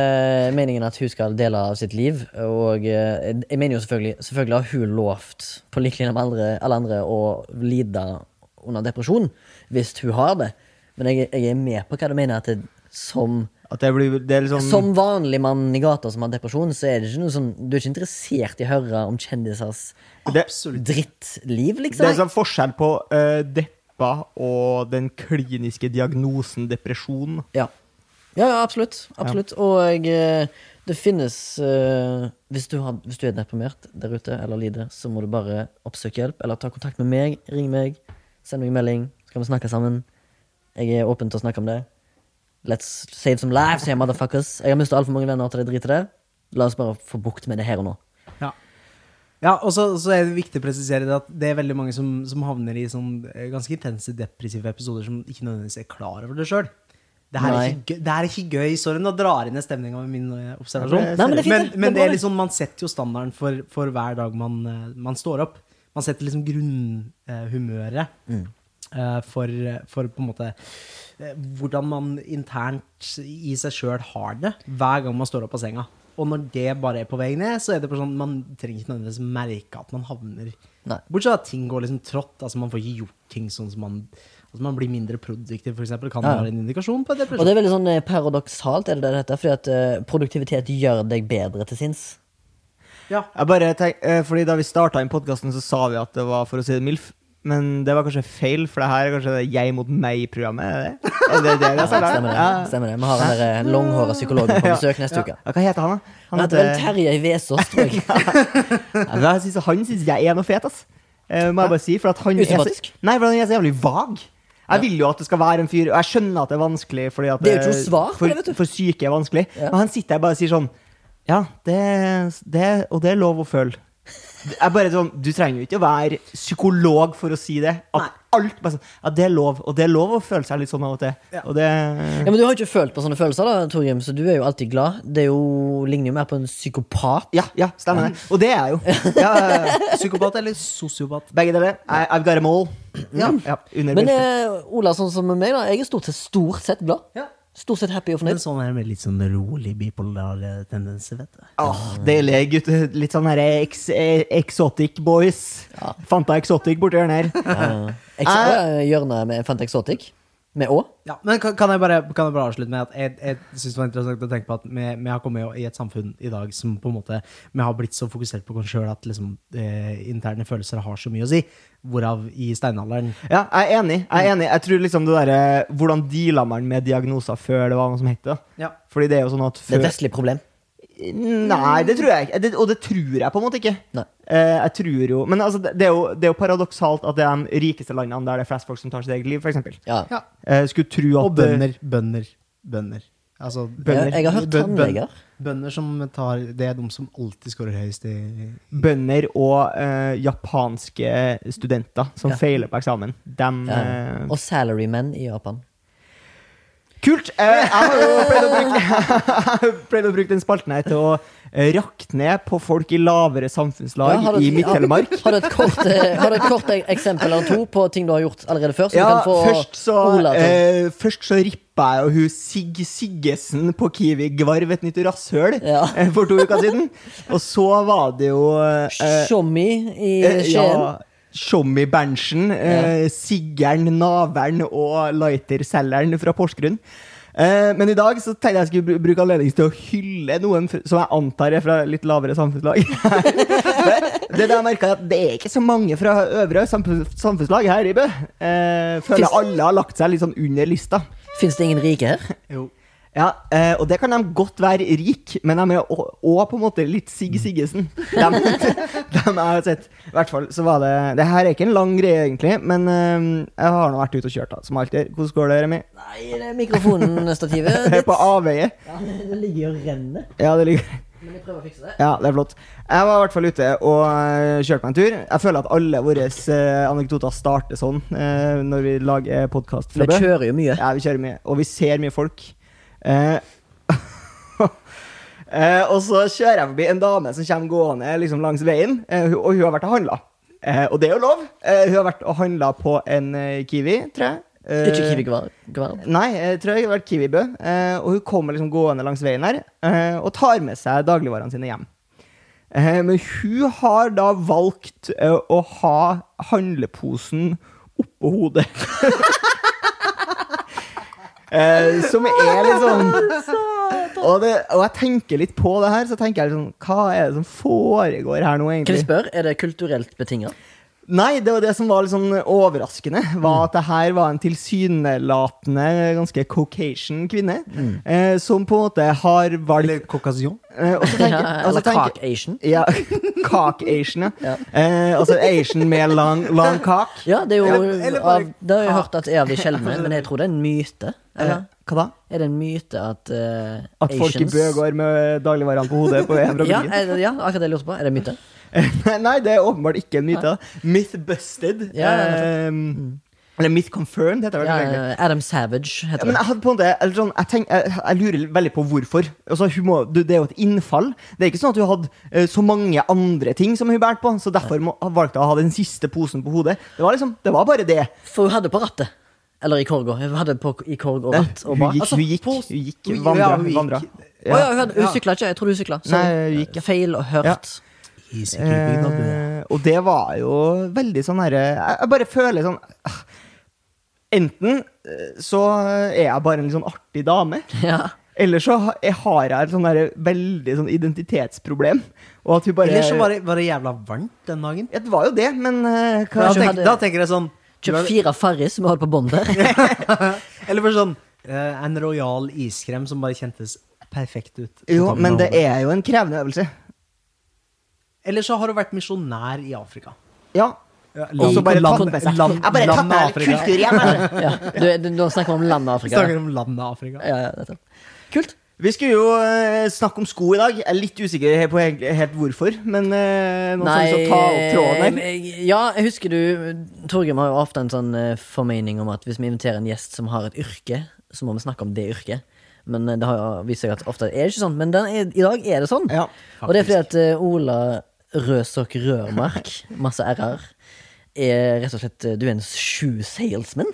[SPEAKER 1] meningen at hun skal dele av sitt liv. Og eh, jeg mener jo selvfølgelig Selvfølgelig har hun lovt, på lik linje med andre, alle andre, å lide under depresjon. Hvis hun har det. Men jeg, jeg er med på hva du mener. At det, som,
[SPEAKER 2] At det, blir, det er litt sånn
[SPEAKER 1] som vanlig mann i gata som har depresjon, så er det ikke noe sånn Du er ikke interessert i å høre om kjendisers
[SPEAKER 2] det,
[SPEAKER 3] Absolutt.
[SPEAKER 1] drittliv,
[SPEAKER 2] det er
[SPEAKER 1] liksom.
[SPEAKER 2] sånn forskjell på eh, deppa og den kliniske diagnosen depresjon.
[SPEAKER 1] Ja. Ja, ja, absolutt. Absolutt. Og eh, det finnes eh, hvis, du har, hvis du er deprimert der ute eller lider, så må du bare oppsøke hjelp. Eller ta kontakt med meg. Ring meg. Send meg en melding. Så kan vi snakke sammen. Jeg er åpen til å snakke om det. Let's save some lives, yeah, motherfuckers. Jeg har mistet altfor mange venner til det dritet der. La oss bare få bukt med det her og nå.
[SPEAKER 3] Ja. Ja, og så, så er det viktig å presisere det at det er veldig mange som, som havner i sånn eh, ganske intense depressive episoder som ikke nødvendigvis er klar over det sjøl. Det, her
[SPEAKER 1] Nei.
[SPEAKER 3] er ikke gøy- det her er ikke gøy. Sorry, nå drar jeg ned stemninga med min eh, observasjon.
[SPEAKER 2] Nei, men
[SPEAKER 1] det er fint,
[SPEAKER 3] men,
[SPEAKER 1] det. Det er
[SPEAKER 3] men det
[SPEAKER 1] bra,
[SPEAKER 3] er liksom, man setter jo standarden for, for hver dag man, eh, man står opp. Man setter liksom grunnhumøret
[SPEAKER 1] Mm.
[SPEAKER 3] eh, for, for på en måte eh, hvordan man internt i seg sjøl har det hver gang man står opp av senga. Og når det bare er på vei ned, så er det bare sånn, man trenger ikke nødvendigvis merke at man havner
[SPEAKER 1] Nei.
[SPEAKER 3] Bortsett fra at ting går liksom trått. altså Man får ikke gjort ting sånn som man Altså man blir mindre produktiv, f.eks. Kan
[SPEAKER 1] Ja, ja.
[SPEAKER 3] være en indikasjon på
[SPEAKER 1] Og
[SPEAKER 3] depresjon.
[SPEAKER 1] det er veldig sånn eh, paradoksalt, er det det dette? Fordi at eh, produktivitet gjør deg bedre til sinns.
[SPEAKER 3] Ja.
[SPEAKER 2] Jeg bare tenk, eh, fordi Da vi starta inn podkasten, så sa vi at det var for å si det MILF. Men det var kanskje feil, for det her er kanskje det jeg mot meg-programmet? Er det er det? det vi
[SPEAKER 1] Ja,
[SPEAKER 2] har sagt her?
[SPEAKER 1] stemmer det.
[SPEAKER 2] Ja.
[SPEAKER 1] stemmer det. Vi har den der langhåra psykologen på besøk neste uke.
[SPEAKER 2] Ja, Hva heter han, da?
[SPEAKER 1] Han heter vel Terje Vesaas, tror jeg.
[SPEAKER 2] Ja, men jeg synes, han syns jeg er noe fet, ass. Eh, må jeg bare si. For at han er så,
[SPEAKER 1] Usympatisk.
[SPEAKER 2] nei, for han er så jævlig vag. Jeg vil jo at det skal være en fyr, og jeg skjønner at det er vanskelig. Fordi at eh,
[SPEAKER 1] Det er jo ikke noe svar på
[SPEAKER 2] for,
[SPEAKER 1] det, vet du.
[SPEAKER 2] For syke er vanskelig.
[SPEAKER 1] Ja.
[SPEAKER 2] Men han sitter her bare og sier sånn Ja, det, det Og det er lov å føle. Jeg er bare sånn, Du trenger jo ikke å være psykolog for å si det. At alt bare sånn, ja, det er lov. Og det er lov å føle seg litt sånn av og til.
[SPEAKER 3] Ja.
[SPEAKER 2] Og det
[SPEAKER 1] Ja, men Du har jo ikke følt på sånne følelser, da, Torgrim, så du er jo alltid glad. Det er jo, ligner jo mer på en psykopat.
[SPEAKER 2] Ja, ja, stemmer det. Og det er jeg jo. Ja, ja, ja.
[SPEAKER 3] Psykopat eller sosiopat?
[SPEAKER 2] begge deler. I, I've got them all. Ja, ja, under
[SPEAKER 1] Men
[SPEAKER 2] beltet.
[SPEAKER 1] eh, Ola, sånn som meg, da. Jeg er stort sett, stort sett glad.
[SPEAKER 3] Ja.
[SPEAKER 1] Stort sett happy og
[SPEAKER 3] Men
[SPEAKER 1] fornøyd.
[SPEAKER 3] sånn her med litt sånn rolig bipolar eh, tendenser, vet du.
[SPEAKER 2] Åh, Deilige gutter. Litt sånn her eks, eh, exotic boys. Fanta Exotic borti hjørnet her.
[SPEAKER 1] Jeg ser eh, hjørnet med Fant Exotic. Med Å.
[SPEAKER 3] Ja, men kan, kan, jeg bare, kan jeg bare avslutte med at jeg, jeg synes det var interessant å tenke på at vi, vi har kommet jo i et samfunn i dag som på en måte Vi har blitt så fokusert på oss sjøl at liksom, eh, interne følelser har så mye å si. Hvorav i steinalderen
[SPEAKER 2] Ja, jeg er enig. Jeg er enig Jeg tror liksom det derre Hvordan deala man med diagnoser før det var noe som het det?
[SPEAKER 3] Ja.
[SPEAKER 2] Fordi det er jo sånn at
[SPEAKER 1] Det er
[SPEAKER 2] før
[SPEAKER 1] et vestlig problem.
[SPEAKER 2] Nei, det tror jeg ikke. Det- Og det tror jeg på en måte ikke.
[SPEAKER 1] Nei.
[SPEAKER 2] Eh, jeg tror jo Men altså, det det er jo, det er jo paradoksalt at det er de rikeste landene der det er flest folk som tar sitt eget liv, f.eks.
[SPEAKER 1] Ja.
[SPEAKER 3] Ja.
[SPEAKER 2] Eh, skulle tro at
[SPEAKER 3] Og bønder, bønder, bønder. Altså,
[SPEAKER 1] Jeg- jeg har hørt
[SPEAKER 3] bø- bø-
[SPEAKER 1] tannleger.
[SPEAKER 3] Bønder som tar Det er de som alltid scorer høyest i
[SPEAKER 2] bønder og eh, japanske studenter som
[SPEAKER 1] Ja.
[SPEAKER 2] feiler på eksamen, dem
[SPEAKER 1] Ja.
[SPEAKER 2] eh,
[SPEAKER 1] Og salarymen i Japan.
[SPEAKER 2] Kult! Eh, jeg har jo pleid å bruke, jeg pleide å bruke den spalten her til å eh, rakte ned på folk i lavere samfunnslag
[SPEAKER 1] Ja, har du-
[SPEAKER 2] i Midt-Telemark.
[SPEAKER 1] Har du et kort, eh, har du et kort eh, eksempel eller to på ting du har gjort allerede før? Så
[SPEAKER 2] Ja,
[SPEAKER 1] du kan få
[SPEAKER 2] først så,
[SPEAKER 1] Ola til
[SPEAKER 2] eh, først så rippa jeg jo hun Sig Siggesen på Kiwi Gvarv et nytt rasshøl
[SPEAKER 1] Ja.
[SPEAKER 2] eh, for to uker siden. Og så var det jo eh,
[SPEAKER 1] Tjommi i
[SPEAKER 2] eh,
[SPEAKER 1] Skien.
[SPEAKER 2] ja, Tjommi Berntsen, eh, Siggern, Navern og Lighter-selgeren fra Porsgrunn. Eh, men i dag så tenkte jeg jeg skulle bru- bruke anledningen til å hylle noen fr- som jeg antar er fra litt lavere samfunnslag. det der merket jeg at det er ikke så mange fra øvre samfunn- samfunnslag her i Bø. Eh, føler
[SPEAKER 1] Fins-
[SPEAKER 2] alle har lagt seg litt sånn under lista.
[SPEAKER 1] Fins det ingen rike her?
[SPEAKER 3] Jo.
[SPEAKER 2] Ja, eh, og det kan de godt være rik, men de er òg på en måte litt Sig Siggesen. De, de jeg har sett. I hvert fall så var det Det her er ikke en lang greie, egentlig, men eh, jeg har nå vært ute og kjørt, da, som alltid. Hvordan går det, Remi?
[SPEAKER 1] Nei, det er mikrofonstativet
[SPEAKER 2] Jeg er
[SPEAKER 1] ditt.
[SPEAKER 2] på avveie.
[SPEAKER 1] Ja, det ligger og renner.
[SPEAKER 2] Ja, det ligger
[SPEAKER 1] Men jeg prøver å fikse det.
[SPEAKER 2] Ja, det er flott. Jeg var i hvert fall ute og eh, kjørte meg en tur. Jeg føler at alle våre eh, anekdoter starter sånn eh, når vi lager podkast.
[SPEAKER 1] Vi kjører jo mye.
[SPEAKER 2] Ja, vi kjører mye. Og vi ser mye folk. Eh, eh, og så kjører jeg forbi en dame som kommer gående liksom, langs veien, eh, hun- og hun har vært og handla. Eh, og det er jo lov. Eh, hun har vært og handla på en eh, Kiwi, tror jeg. Eh,
[SPEAKER 1] Ikke Kiwi Gvarv. Gvarv.
[SPEAKER 2] Nei, jeg tror jeg har vært Kiwi-bø. Eh, og hun kommer liksom gående langs veien her eh, og tar med seg dagligvarene sine hjem. Eh, men hun har da valgt eh, å ha handleposen oppå hodet. eh, som er litt sånn og, det, og jeg tenker litt på det her, så tenker jeg liksom Hva er det som foregår her nå,
[SPEAKER 1] Kan jeg
[SPEAKER 2] egentlig?
[SPEAKER 1] spørre, er det kulturelt betinga?
[SPEAKER 2] Nei, det var det som var litt sånn overraskende. Var at det her var en tilsynelatende ganske caucasian kvinne. Eh, som på en måte har valgt
[SPEAKER 3] Eller Caucasian.
[SPEAKER 2] eh, og så tenker-
[SPEAKER 1] Ja,
[SPEAKER 2] og så
[SPEAKER 1] eller
[SPEAKER 2] tenker-
[SPEAKER 1] kak-Asian?
[SPEAKER 2] Ja, kak-Asian, ja.
[SPEAKER 1] Ja.
[SPEAKER 2] Eh, altså Asian med lang, lang kak.
[SPEAKER 1] Ja, det er jo
[SPEAKER 3] Eller- eller bare
[SPEAKER 1] av, Det har jeg
[SPEAKER 3] kak.
[SPEAKER 1] hørt at er av de sjeldne, men jeg tror det er en myte.
[SPEAKER 2] Eh,
[SPEAKER 1] Eller?
[SPEAKER 2] hva da?
[SPEAKER 1] Er det en myte at eh,
[SPEAKER 2] At folk i
[SPEAKER 1] Asians
[SPEAKER 2] Bø går med dagligvarene på hodet på en fra
[SPEAKER 1] ja,
[SPEAKER 2] butikken?
[SPEAKER 1] er det, ja, akkurat det jeg lurte på. Er det en myte?
[SPEAKER 2] Nei, det er åpenbart ikke en myte. da. Myth busted.
[SPEAKER 1] Ja, ja, Mm.
[SPEAKER 2] eh, eller myth confirmed, heter det vel
[SPEAKER 1] Ja, eh,
[SPEAKER 2] egentlig.
[SPEAKER 1] Adam Savage
[SPEAKER 2] Ja,
[SPEAKER 1] heter
[SPEAKER 2] men
[SPEAKER 1] det.
[SPEAKER 2] jeg, hadde på en måte, eller sånn, jeg, tenk, jeg, jeg lurer veldig på hvorfor. Altså, hun må, du- det er jo et innfall. Det er ikke sånn at hun hadde eh, så mange andre ting som hun bærte på, så derfor må, valgte hun å ha den siste posen på hodet. Det var liksom, det var bare det.
[SPEAKER 1] For hun hadde på rattet. Eller i korga. Hun hadde på, i korg og
[SPEAKER 2] Nei,
[SPEAKER 1] ratt og
[SPEAKER 2] hun
[SPEAKER 1] bak.
[SPEAKER 2] gikk,
[SPEAKER 1] Altså,
[SPEAKER 2] hun gikk,
[SPEAKER 1] på-
[SPEAKER 2] hun gikk,
[SPEAKER 3] Hun- ja,
[SPEAKER 2] vandra. Hun
[SPEAKER 3] hun gikk.
[SPEAKER 2] vandra.
[SPEAKER 1] Å ja, hun, hadde, hun
[SPEAKER 3] Ja.
[SPEAKER 1] sykla ikke. Jeg trodde hun sykla.
[SPEAKER 2] Nei, hun gikk, ja.
[SPEAKER 1] Feil og hørt.
[SPEAKER 2] Ja.
[SPEAKER 3] Eh,
[SPEAKER 2] Eh, og det var jo veldig sånn herre jeg, jeg bare føler sånn ah, Enten eh, så er jeg bare en litt sånn artig dame.
[SPEAKER 1] Ja.
[SPEAKER 2] Eller så ha- jeg har jeg et sånn derre veldig sånn identitetsproblem. Og at hun bare
[SPEAKER 3] Eller så var det, var det jævla varmt den dagen.
[SPEAKER 2] Ja, det var jo det, men eh, hva,
[SPEAKER 3] Da
[SPEAKER 1] Kanskje hun
[SPEAKER 3] tenker,
[SPEAKER 1] hadde-
[SPEAKER 3] da tenker jeg sånn du
[SPEAKER 1] Kjøpt
[SPEAKER 3] er-
[SPEAKER 1] fire Farris som hun hadde på bånd der.
[SPEAKER 3] Eller bare sånn eh, En rojal iskrem som bare kjentes perfekt ut. på
[SPEAKER 2] Jo,
[SPEAKER 3] toppen
[SPEAKER 2] men
[SPEAKER 3] av
[SPEAKER 2] det
[SPEAKER 3] hodet.
[SPEAKER 2] er jo en krevende øvelse.
[SPEAKER 3] Eller så har hun vært misjonær i Afrika.
[SPEAKER 2] Ja. Og så bare tatt med seg
[SPEAKER 3] land-
[SPEAKER 2] Jeg bare tatt
[SPEAKER 3] landet
[SPEAKER 2] med
[SPEAKER 3] Afrika.
[SPEAKER 2] kultur altså. hjem. jeg.
[SPEAKER 1] Ja. Du, du, nå snakker vi om landet
[SPEAKER 3] Vi
[SPEAKER 1] Afrika.
[SPEAKER 3] snakker om landet Afrika.
[SPEAKER 1] Ja, ja, nettopp. Kult.
[SPEAKER 2] Vi skulle jo eh, snakke om sko i dag. Jeg er litt usikker he- på helt, helt hvorfor, men eh, noen som vil ta opp tråden her.
[SPEAKER 1] jeg- eh, ja, jeg husker du Torgrim har jo ofte en sånn eh, formening om at hvis vi inviterer en gjest som har et yrke, så må vi snakke om det yrket. Men eh, det har jo vist seg at ofte er det ikke sånn. Men den er, i dag er det sånn.
[SPEAKER 2] Ja,
[SPEAKER 1] og det er fordi at eh, Ola Røsok Rørmark, masse r-er, er rett og slett eh, Du er en shoe-salesman.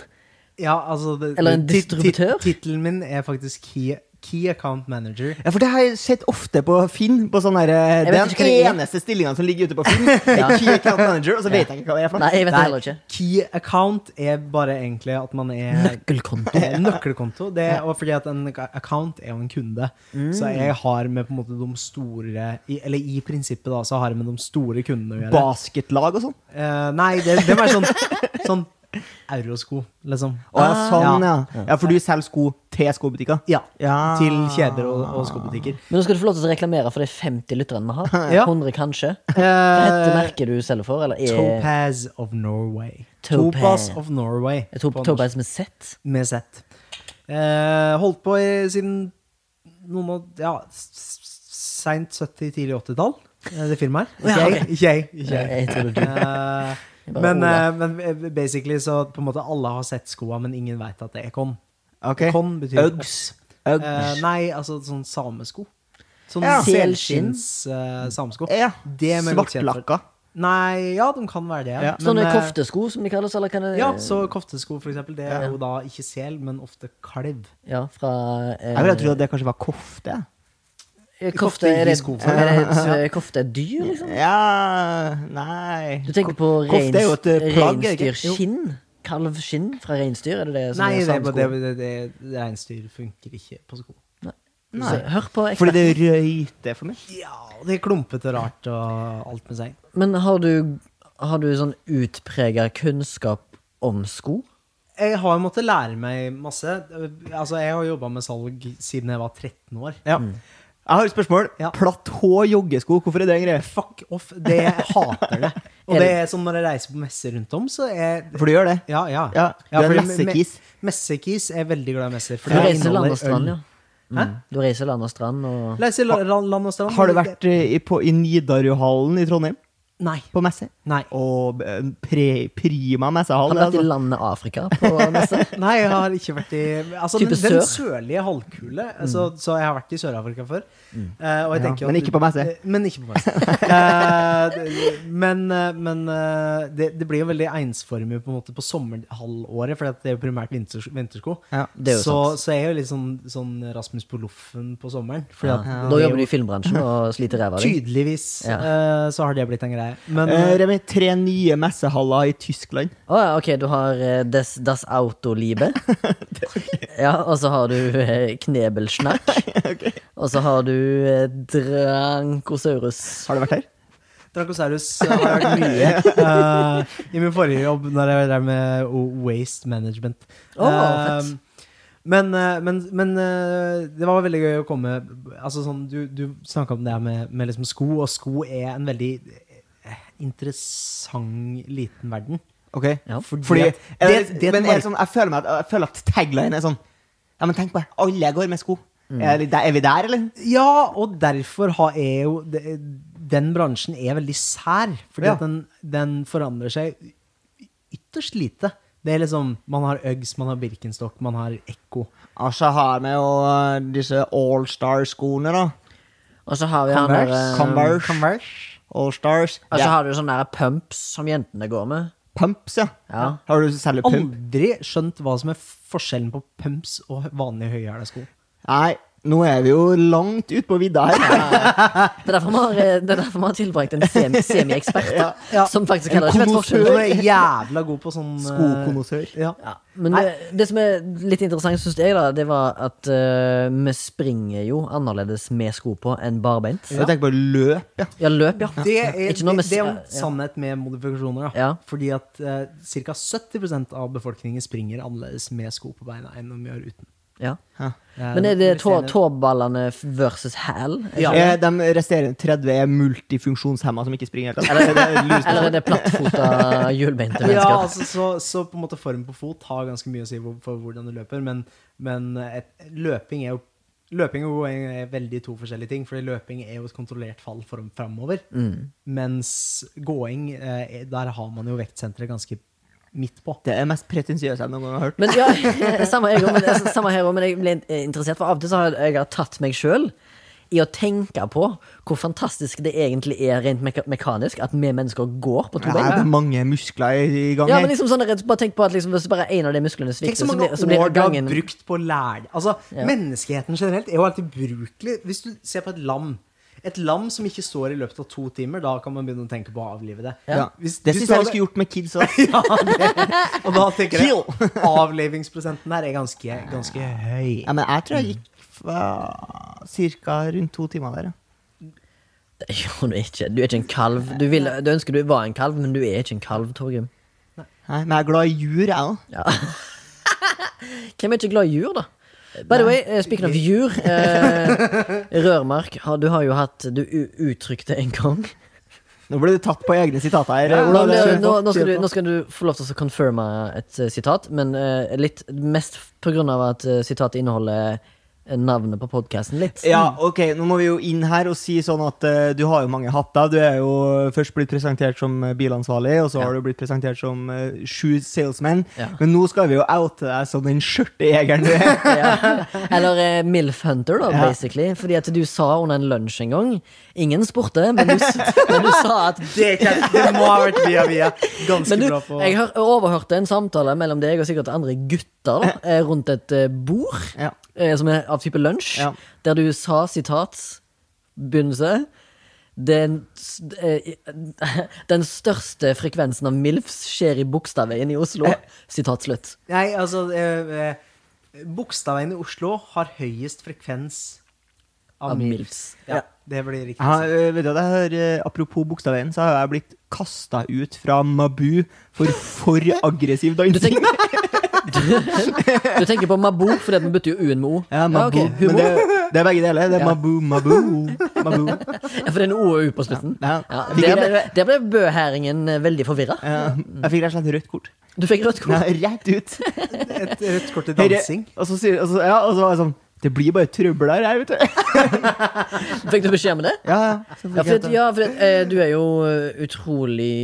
[SPEAKER 3] Ja, altså det,
[SPEAKER 1] Eller en
[SPEAKER 3] tit- tit-
[SPEAKER 1] distributør.
[SPEAKER 3] Tittelen min er faktisk Key, key Account Manager.
[SPEAKER 2] Ja, for det har jeg sett ofte på Finn. På sånn her, eh,
[SPEAKER 1] Jeg
[SPEAKER 2] det
[SPEAKER 1] vet
[SPEAKER 2] er
[SPEAKER 1] ikke hva
[SPEAKER 2] den
[SPEAKER 1] det er.
[SPEAKER 2] eneste stillinga som ligger ute på Finn. er Key Account Manager, og så vet jeg ikke hva det er for
[SPEAKER 1] Nei,
[SPEAKER 2] noe.
[SPEAKER 1] jeg vet det heller ikke.
[SPEAKER 3] Key Account er bare egentlig at man er
[SPEAKER 1] Nøkkelkonto.
[SPEAKER 3] Eh, nøkkelkonto. Det, og fordi at en ak- account er jo en kunde.
[SPEAKER 1] Mm.
[SPEAKER 3] Så jeg har med på en måte de store i, Eller i prinsippet da, så har jeg med de store kundene å gjøre.
[SPEAKER 2] Basketlag og sånn.
[SPEAKER 3] Eh, nei, det, det var sånn, sånn eurosko, liksom.
[SPEAKER 2] Å, ja,
[SPEAKER 1] Ah.
[SPEAKER 2] sånn, ja. ja. For du selger sko til skobutikker?
[SPEAKER 3] Ja.
[SPEAKER 2] Ja.
[SPEAKER 3] Til
[SPEAKER 1] Ah.
[SPEAKER 3] kjeder og, og skobutikker.
[SPEAKER 1] Men nå skal du få lov til å reklamere for de 50 lytterne vi har.
[SPEAKER 3] Ja.
[SPEAKER 1] 100 kanskje. Hva heter
[SPEAKER 3] Eh,
[SPEAKER 1] merket du selger for? Eller er
[SPEAKER 3] Topaz of Norway.
[SPEAKER 1] Topaz.
[SPEAKER 3] Topaz of Norway.
[SPEAKER 1] Jeg tror
[SPEAKER 3] på norsk.
[SPEAKER 1] Topaz med Z?
[SPEAKER 3] Med Z. Eh, holdt på i, siden noen av Ja, seint 70-, tidlig 80-tall, eh, det firmaet her. Ikke
[SPEAKER 1] Ja,
[SPEAKER 3] jeg. Ikke jeg. Ikke jeg.
[SPEAKER 1] Jeg tror det er du.
[SPEAKER 3] Eh,
[SPEAKER 1] Bare
[SPEAKER 3] men,
[SPEAKER 1] Ola.
[SPEAKER 3] eh, men basically så på en måte alle har sett skoa, men ingen veit at det er kon.
[SPEAKER 2] Ok.
[SPEAKER 3] Kon betyr
[SPEAKER 2] Uggs. Uggs.
[SPEAKER 3] Eh, nei, altså sånn samesko. Sånn
[SPEAKER 2] Ja.
[SPEAKER 3] selskins eh, samesko.
[SPEAKER 2] Ja.
[SPEAKER 3] Det er meg godt kjent for.
[SPEAKER 2] Svartlakka.
[SPEAKER 3] Nei, ja, de kan være det.
[SPEAKER 2] Ja.
[SPEAKER 1] Sånne
[SPEAKER 3] men, eh,
[SPEAKER 1] koftesko, som de kalles? Eller kan det,
[SPEAKER 3] Ja, så koftesko, for eksempel. Det er jo da ikke sel, men ofte kalv.
[SPEAKER 1] Ja, fra eh,
[SPEAKER 2] Jeg ville tro at det kanskje var kofte.
[SPEAKER 1] Kofte er det,
[SPEAKER 3] kofte i sko.
[SPEAKER 1] er det et eh, kofte er dyr, liksom?
[SPEAKER 2] Ja Nei
[SPEAKER 1] Du tenker på
[SPEAKER 2] Ko- kofte er jo et, eh, plagg, er det ikke?
[SPEAKER 1] reinsdyrskinn? Kalvskinn fra reinsdyr? Er det Altså, det som
[SPEAKER 3] Nei,
[SPEAKER 1] er
[SPEAKER 3] det,
[SPEAKER 1] samsko?
[SPEAKER 3] det, det, det, det reinsdyr funker ikke på sko.
[SPEAKER 1] Så, hør på
[SPEAKER 2] Fordi
[SPEAKER 1] eksperten.
[SPEAKER 2] det røyter for meg.
[SPEAKER 3] Ja, det er klumpete og rart og alt med seg.
[SPEAKER 1] Men har du, har du sånn utprega kunnskap om sko?
[SPEAKER 3] Jeg har måttet lære meg masse. Altså, jeg har jobba med salg siden jeg var 13 år.
[SPEAKER 2] Ja. Jeg har et spørsmål.
[SPEAKER 3] Ja.
[SPEAKER 2] Platt hå joggesko, hvorfor er det en greie?
[SPEAKER 3] Fuck off. Det jeg hater det.
[SPEAKER 1] Er
[SPEAKER 3] Og det
[SPEAKER 1] det-
[SPEAKER 3] er sånn når jeg reiser på messer rundt om, så er
[SPEAKER 2] For du gjør det?
[SPEAKER 3] Ja, ja.
[SPEAKER 2] Ja, du er
[SPEAKER 3] fordi
[SPEAKER 2] en messekis.
[SPEAKER 3] me- Messekis er veldig glad i messer. for
[SPEAKER 1] Du
[SPEAKER 3] det
[SPEAKER 1] reiser
[SPEAKER 3] inneholder
[SPEAKER 1] land og strand,
[SPEAKER 3] øl.
[SPEAKER 1] ja.
[SPEAKER 3] Hæ?
[SPEAKER 1] Mm. Du reiser land og strand og
[SPEAKER 3] Reiser la- la- land og strand.
[SPEAKER 2] Har du vært eh, i, på, i Nidarjohallen i Trondheim?
[SPEAKER 3] Nei.
[SPEAKER 2] På messe?
[SPEAKER 3] Nei.
[SPEAKER 2] Og eh, pre, prima altså.
[SPEAKER 1] Har
[SPEAKER 2] messehall?
[SPEAKER 1] du vært i landet Afrika på messe?
[SPEAKER 3] Nei, jeg har ikke vært i altså,
[SPEAKER 1] Type
[SPEAKER 3] den, den
[SPEAKER 1] sør. Mm.
[SPEAKER 3] sørlige halvkule. Altså, så jeg har vært i Sør-Afrika før. Eh, og jeg
[SPEAKER 2] Ja,
[SPEAKER 3] tenker jo
[SPEAKER 2] men
[SPEAKER 3] at-
[SPEAKER 2] ikke på messe.
[SPEAKER 3] Eh, Men ikke på messe. Eh, det- men eh, men eh, det, det blir jo veldig ensformig på, en måte på sommerhalvåret, for det er jo primært vinters, vintersko.
[SPEAKER 2] Ja,
[SPEAKER 1] det er jo
[SPEAKER 3] så,
[SPEAKER 1] sant.
[SPEAKER 3] så jeg er jo litt sånn, sånn Rasmus på loffen på sommeren. Fordi
[SPEAKER 1] Ja.
[SPEAKER 3] at
[SPEAKER 1] Nå
[SPEAKER 3] det er
[SPEAKER 1] jobber du
[SPEAKER 3] jo
[SPEAKER 1] i filmbransjen og sliter ræva av deg.
[SPEAKER 3] Tydeligvis eh, så har det blitt en greie. Men
[SPEAKER 2] Eh,
[SPEAKER 3] eh,
[SPEAKER 2] Remi, tre nye messehaller i Tyskland.
[SPEAKER 1] Å ja, ok, du har eh, des, Das Autoliebe. Ja, og så har du eh, Knebelschnack. Og så har du eh, Drankosaurus.
[SPEAKER 2] Har du vært her?
[SPEAKER 3] Dracosaurus eh, har vært mye eh, i min forrige jobb, når jeg drev med o- waste management.
[SPEAKER 1] Å,
[SPEAKER 3] Eh, men eh, men, men eh, det var veldig gøy å komme altså sånn, Du, du snakka om det her med, med liksom sko, og sko er en veldig eh, interessant liten verden.
[SPEAKER 2] Ok.
[SPEAKER 1] Ja.
[SPEAKER 2] Fordi,
[SPEAKER 3] Fordi at-
[SPEAKER 2] er det,
[SPEAKER 3] det- det
[SPEAKER 2] men
[SPEAKER 3] er et
[SPEAKER 2] er det sånn, jeg, føler meg, at- jeg føler at tagline er sånn Ja, men tenk på det. Alle går med sko. Er, vi der, er vi der, eller?
[SPEAKER 3] Ja, og derfor har jeg jo E det, den bransjen er veldig sær, fordi
[SPEAKER 2] Ja.
[SPEAKER 3] at den, den forandrer seg y- ytterst lite. Det er liksom, Man har Uggs, man har Birkenstock, man har Ekko.
[SPEAKER 2] Og så har vi jo eh, disse Allstar-skoene, da.
[SPEAKER 1] Og så har vi han der eh,
[SPEAKER 2] Converse.
[SPEAKER 3] Converse.
[SPEAKER 2] Allstars.
[SPEAKER 1] Og så
[SPEAKER 2] Ja.
[SPEAKER 1] har du sånne der pumps som jentene går med.
[SPEAKER 2] Pumps, ja.
[SPEAKER 1] Ja.
[SPEAKER 2] Har du selger pump?
[SPEAKER 3] Aldri skjønt hva som er forskjellen på pumps og vanlige høyhæla sko.
[SPEAKER 2] Nei, nå er vi jo langt ut på vidda her.
[SPEAKER 1] Det er derfor vi har, eh, det er derfor vi har tilbrakt en semi- semi-ekspert
[SPEAKER 3] ja.
[SPEAKER 1] som faktisk
[SPEAKER 2] En
[SPEAKER 1] heller ikke vet
[SPEAKER 2] konnoisseur.
[SPEAKER 1] forskjell.
[SPEAKER 3] Hun er jævla god på sånn eh,
[SPEAKER 2] Skokonnoissør.
[SPEAKER 3] Ja.
[SPEAKER 1] Ja, men det, det som er litt interessant, syns jeg, da, det var at eh, vi springer jo annerledes med sko på enn barbeint.
[SPEAKER 2] Jeg tenker på løp, ja.
[SPEAKER 1] Ja, løp, ja.
[SPEAKER 3] Det er, det,
[SPEAKER 1] Ikke noe med
[SPEAKER 3] det er jo en
[SPEAKER 1] s- ja.
[SPEAKER 3] sannhet med modifikasjoner. Da.
[SPEAKER 1] Ja.
[SPEAKER 3] Fordi at eh, ca. 70 av befolkningen springer annerledes med sko på beina enn om vi gjør uten.
[SPEAKER 1] ja.
[SPEAKER 2] Ja.
[SPEAKER 3] Eh,
[SPEAKER 1] Men er det
[SPEAKER 3] hvis
[SPEAKER 1] tå,
[SPEAKER 3] jeg-
[SPEAKER 1] tåballene versus hæl?
[SPEAKER 3] Ja.
[SPEAKER 2] Eh, De resterende 30 er multifunksjonshemma som ikke springer. helt. Det er lurest.
[SPEAKER 1] Eller er det plattfota, hjulbeinte
[SPEAKER 3] Ja,
[SPEAKER 1] mennesker?
[SPEAKER 3] altså, så, så på en måte form på fot har ganske mye å si for, for hvordan du løper, men, men et, løping er jo Løping og gåing er veldig to forskjellige ting, fordi løping er jo et kontrollert fall form framover.
[SPEAKER 1] Mm.
[SPEAKER 3] Mens gåing, eh, der har man jo vektsenteret ganske midt på.
[SPEAKER 2] Det er mest pretensiøse jeg noen gang har hørt.
[SPEAKER 1] Men ja, samme, jeg, også, men, altså, samme her òg, men jeg ble eh, interessert, for av og til så har jeg, jeg har tatt meg sjøl i å tenke på hvor fantastisk det egentlig er rent meka mekanisk at vi mennesker går på to
[SPEAKER 2] Nei, det
[SPEAKER 1] bein.
[SPEAKER 2] er mange muskler i i gang
[SPEAKER 1] Ja,
[SPEAKER 2] her.
[SPEAKER 1] men liksom sånn, rett- bare tenk på at liksom, hvis bare en av de musklene
[SPEAKER 3] Tenk
[SPEAKER 1] svikter, så
[SPEAKER 3] så mange
[SPEAKER 1] blir, så blir
[SPEAKER 3] år du har
[SPEAKER 1] gangen
[SPEAKER 3] brukt på å lære Altså, Menneskeheten generelt er jo helt ubrukelig. Hvis du ser på et lam Et lam som ikke står i løpet av to timer, da kan man begynne å tenke på å avlive det.
[SPEAKER 2] Ja.
[SPEAKER 3] Hvis-
[SPEAKER 2] Det
[SPEAKER 3] hvis
[SPEAKER 2] syns jeg
[SPEAKER 3] du
[SPEAKER 2] vi
[SPEAKER 3] hadde-
[SPEAKER 2] skulle gjort med kids òg.
[SPEAKER 3] Ja, det, og da tenker jeg avlevingsprosenten her er ganske, ganske høy.
[SPEAKER 2] Ja, men jeg tror jeg gikk ca. rundt to timer der. ja.
[SPEAKER 1] Det gjør du ikke. Du er ikke en kalv. Du, vil, du ønsker du var en kalv, men du er ikke en kalv, Torgrim.
[SPEAKER 2] Nei, men jeg er glad i jur, jeg òg.
[SPEAKER 1] Ja. Hvem er ikke glad i jur, da? By the way, eh, speaking of jur eh, Rørmark, har- du har jo hatt Du u- uttrykte en gang
[SPEAKER 2] Nå ble du tatt på egne sitater her.
[SPEAKER 1] nå,
[SPEAKER 2] Olav. Kjør
[SPEAKER 1] nå,
[SPEAKER 2] på,
[SPEAKER 1] nå, skal
[SPEAKER 2] kjør
[SPEAKER 1] du,
[SPEAKER 2] på.
[SPEAKER 1] nå skal du få lov til å confirme et eh, sitat, men eh, litt mest på grunn av at eh, sitatet inneholder eh, navnet på podkasten litt.
[SPEAKER 2] Ja, ok, nå må vi jo inn her og si sånn at eh, du har jo mange hatter. Du er jo først blitt presentert som eh, bilansvarlig, og så har
[SPEAKER 1] Ja.
[SPEAKER 2] du blitt presentert som eh, shoe salesman.
[SPEAKER 1] Ja.
[SPEAKER 2] Men nå skal vi jo oute deg som den skjørtejegeren du er.
[SPEAKER 1] Ja. Eller eh, Milf Hunter, da,
[SPEAKER 2] Ja.
[SPEAKER 1] basically. Fordi at du sa under en lunsj en gang Ingen spurte, men du, s- men du sa at
[SPEAKER 3] Det, kan, det må ha vært via via. Ganske
[SPEAKER 1] men du,
[SPEAKER 3] bra på
[SPEAKER 1] jeg hør, overhørte en samtale mellom deg og sikkert andre gutter da, eh, rundt et eh, bord,
[SPEAKER 2] Ja.
[SPEAKER 1] eh, som er av type lunsj,
[SPEAKER 2] Ja.
[SPEAKER 1] der du sa sitat, begynnelse, den, s- eh, den største frekvensen av MILFs skjer i Bogstadveien i Oslo.
[SPEAKER 2] Eh.
[SPEAKER 1] Sitat slutt.
[SPEAKER 3] Nei, altså eh, eh, Bogstadveien i Oslo har høyest frekvens av
[SPEAKER 1] Av
[SPEAKER 3] MILFs.
[SPEAKER 1] milfs.
[SPEAKER 3] Ja, det blir riktig.
[SPEAKER 2] Jeg har, eh, vet du, at jeg har, eh, apropos bokstaven, så har jeg blitt kasta ut fra Mabu for for aggressiv
[SPEAKER 1] Du
[SPEAKER 2] dansing.
[SPEAKER 1] tenker, du, du tenker på Mabo, fordi at vi bytter jo U-en med O.
[SPEAKER 2] Ja, Mabu.
[SPEAKER 1] ok, humor.
[SPEAKER 2] Men det, det er begge deler. Det er
[SPEAKER 1] Ja.
[SPEAKER 2] Mabu, Mabu, Mabu.
[SPEAKER 1] Ja, for det er en O og U på slutten.
[SPEAKER 2] Ja.
[SPEAKER 1] Ja,
[SPEAKER 2] Fikk
[SPEAKER 1] der,
[SPEAKER 2] jeg-
[SPEAKER 1] ble, der ble bøhæringen eh, veldig forvirra.
[SPEAKER 2] Ja, jeg fikk rett og slett rødt kort.
[SPEAKER 1] Du fikk rødt
[SPEAKER 2] Ja,
[SPEAKER 1] kort.
[SPEAKER 2] rett ut.
[SPEAKER 3] Et rødt kort til
[SPEAKER 2] Høyre-
[SPEAKER 3] dansing.
[SPEAKER 2] Og så, sier, og så, ja, og så var jeg sånn Det blir bare trøbbel her, jeg, vet du.
[SPEAKER 1] Fikk du beskjed om det?
[SPEAKER 2] Ja, ja.
[SPEAKER 1] Ja,
[SPEAKER 2] Så fikk
[SPEAKER 1] for,
[SPEAKER 2] jeg
[SPEAKER 1] at,
[SPEAKER 2] ta-
[SPEAKER 1] ja, for at, eh, du er jo eh, utrolig